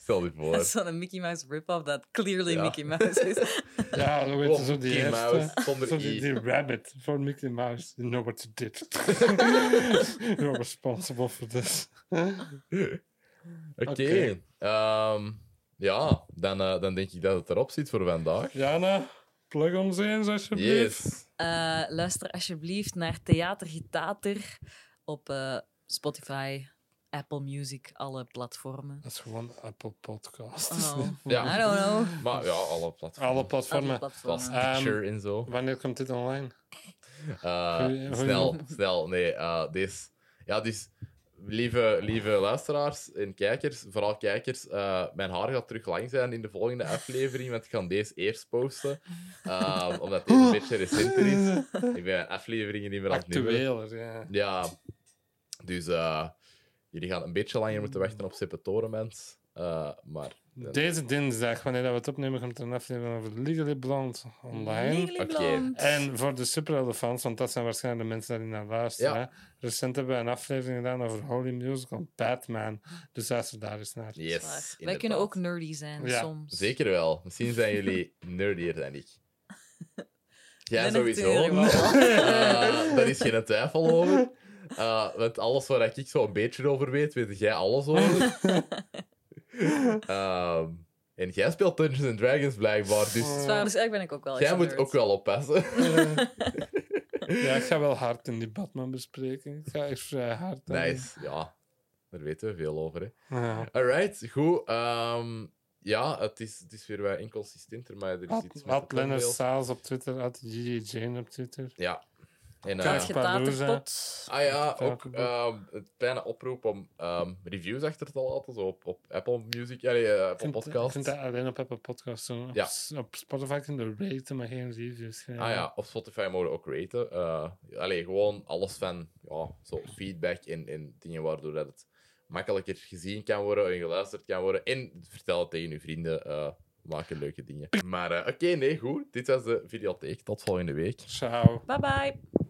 [SPEAKER 1] Stel je voor.
[SPEAKER 3] Dat is dan een Mickey Mouse rip-off dat clearly
[SPEAKER 1] Ja.
[SPEAKER 3] Mickey Mouse is.
[SPEAKER 2] ja, zo weet je,
[SPEAKER 1] Gewoon
[SPEAKER 2] zo die
[SPEAKER 1] Mickey
[SPEAKER 2] eerste.
[SPEAKER 1] Mouse zonder
[SPEAKER 2] Zo
[SPEAKER 1] i.
[SPEAKER 2] die, die rabbit voor Mickey Mouse. You know what you did. You're responsible for this.
[SPEAKER 1] Oké.
[SPEAKER 2] Oké.
[SPEAKER 1] Ehm, ja, dan, eh, dan denk ik dat het erop zit voor vandaag.
[SPEAKER 2] Jana, plug ons eens alsjeblieft.
[SPEAKER 1] Yes.
[SPEAKER 3] Eh, luister alsjeblieft naar Theater Gitater op eh, Spotify, Apple Music, alle platformen.
[SPEAKER 2] Dat is gewoon Apple Podcast.
[SPEAKER 3] Oh,
[SPEAKER 1] Ja.
[SPEAKER 3] I don't know.
[SPEAKER 1] Maar ja, alle platforms.
[SPEAKER 2] Alle
[SPEAKER 3] Alle
[SPEAKER 2] platformen.
[SPEAKER 1] Zoals
[SPEAKER 3] platformen.
[SPEAKER 2] Ehm,
[SPEAKER 1] Stitcher en zo.
[SPEAKER 2] Wanneer komt dit online?
[SPEAKER 1] Eh,
[SPEAKER 2] goeie-
[SPEAKER 1] snel, snel. Nee, eh deze. Ja, dus lieve, lieve luisteraars en kijkers, vooral kijkers, eh, mijn haar gaat terug lang zijn in de volgende aflevering, want ik ga deze eerst posten. Eh, omdat deze een beetje recenter is. Ik ben mijn afleveringen niet meer aan het nummeren.
[SPEAKER 2] Actueler, ja.
[SPEAKER 1] Ja, dus eh, jullie gaan een beetje langer moeten wachten op Seppetoremens. Eh maar
[SPEAKER 2] Deze dinsdag, wanneer dat we het opnemen, komt er een aflevering over Legally Blonde online.
[SPEAKER 3] Legally
[SPEAKER 1] Oké. Eh,
[SPEAKER 3] Blonde.
[SPEAKER 2] En voor de superheldenfans, want dat zijn waarschijnlijk de mensen die naar luisteren.
[SPEAKER 1] Ja.
[SPEAKER 2] hè. Recent hebben we een aflevering gedaan over Holy Musical Batman. Dus luister daar eens naar.
[SPEAKER 1] yes,
[SPEAKER 3] Waar. Wij
[SPEAKER 1] inderdaad.
[SPEAKER 3] kunnen ook nerdy zijn
[SPEAKER 2] Ja.
[SPEAKER 3] soms.
[SPEAKER 1] Zeker wel. Misschien zijn jullie nerdier dan ik. Ja,
[SPEAKER 3] Ben ik
[SPEAKER 1] sowieso.
[SPEAKER 3] natuurlijk wel.
[SPEAKER 1] Eh, daar is geen twijfel over. Eh, want alles waar ik zo een beetje over weet, weet jij alles over. Ehm, en jij speelt Dungeons and Dragons blijkbaar, dus
[SPEAKER 3] Dat is waar, dus eigenlijk ben ik ook wel
[SPEAKER 1] jij
[SPEAKER 3] echt
[SPEAKER 1] moet
[SPEAKER 3] nerd.
[SPEAKER 1] ook wel oppassen.
[SPEAKER 2] Eh, Ja, ik ga wel hard in die Batman bespreken. Ik ga echt vrij hard. aan die-
[SPEAKER 1] Nice, ja. Daar weten we veel over. Hè.
[SPEAKER 2] Ja.
[SPEAKER 1] Alright, goed. Ehm, ja, het is, het is weer wat inconsistenter, maar er is
[SPEAKER 2] At,
[SPEAKER 1] iets met
[SPEAKER 2] at
[SPEAKER 1] de thumbnail.
[SPEAKER 2] Leonard Saals op Twitter, at Gigi Jane op Twitter.
[SPEAKER 1] Ja. En,
[SPEAKER 3] Gaat
[SPEAKER 1] eh,
[SPEAKER 3] getaterpot.
[SPEAKER 1] Ah ja,
[SPEAKER 2] Even
[SPEAKER 1] ook
[SPEAKER 2] kijken.
[SPEAKER 1] ehm, een kleine oproep om ehm, reviews achter te laten, zo op, op Apple Music, ja, nee, eh,
[SPEAKER 2] Ik
[SPEAKER 1] Apple
[SPEAKER 2] vind- Ik
[SPEAKER 1] Podcast.
[SPEAKER 2] vind
[SPEAKER 1] Ah
[SPEAKER 2] dat alleen op Apple Podcasts doen. Op,
[SPEAKER 1] Ja.
[SPEAKER 2] s- op Spotify kun je raten, maar geen reviews geven.
[SPEAKER 1] Ah ja, op Spotify mogen we ook raten. Eh allee, gewoon alles van ja, zo feedback en, en dingen waardoor dat het makkelijker gezien kan worden en geluisterd kan worden. En vertel het tegen je vrienden, eh maken leuke dingen. Maar eh, oké, nee, goed. Dit was de videotheek. Tot volgende week.
[SPEAKER 2] Ciao.
[SPEAKER 3] Bye bye.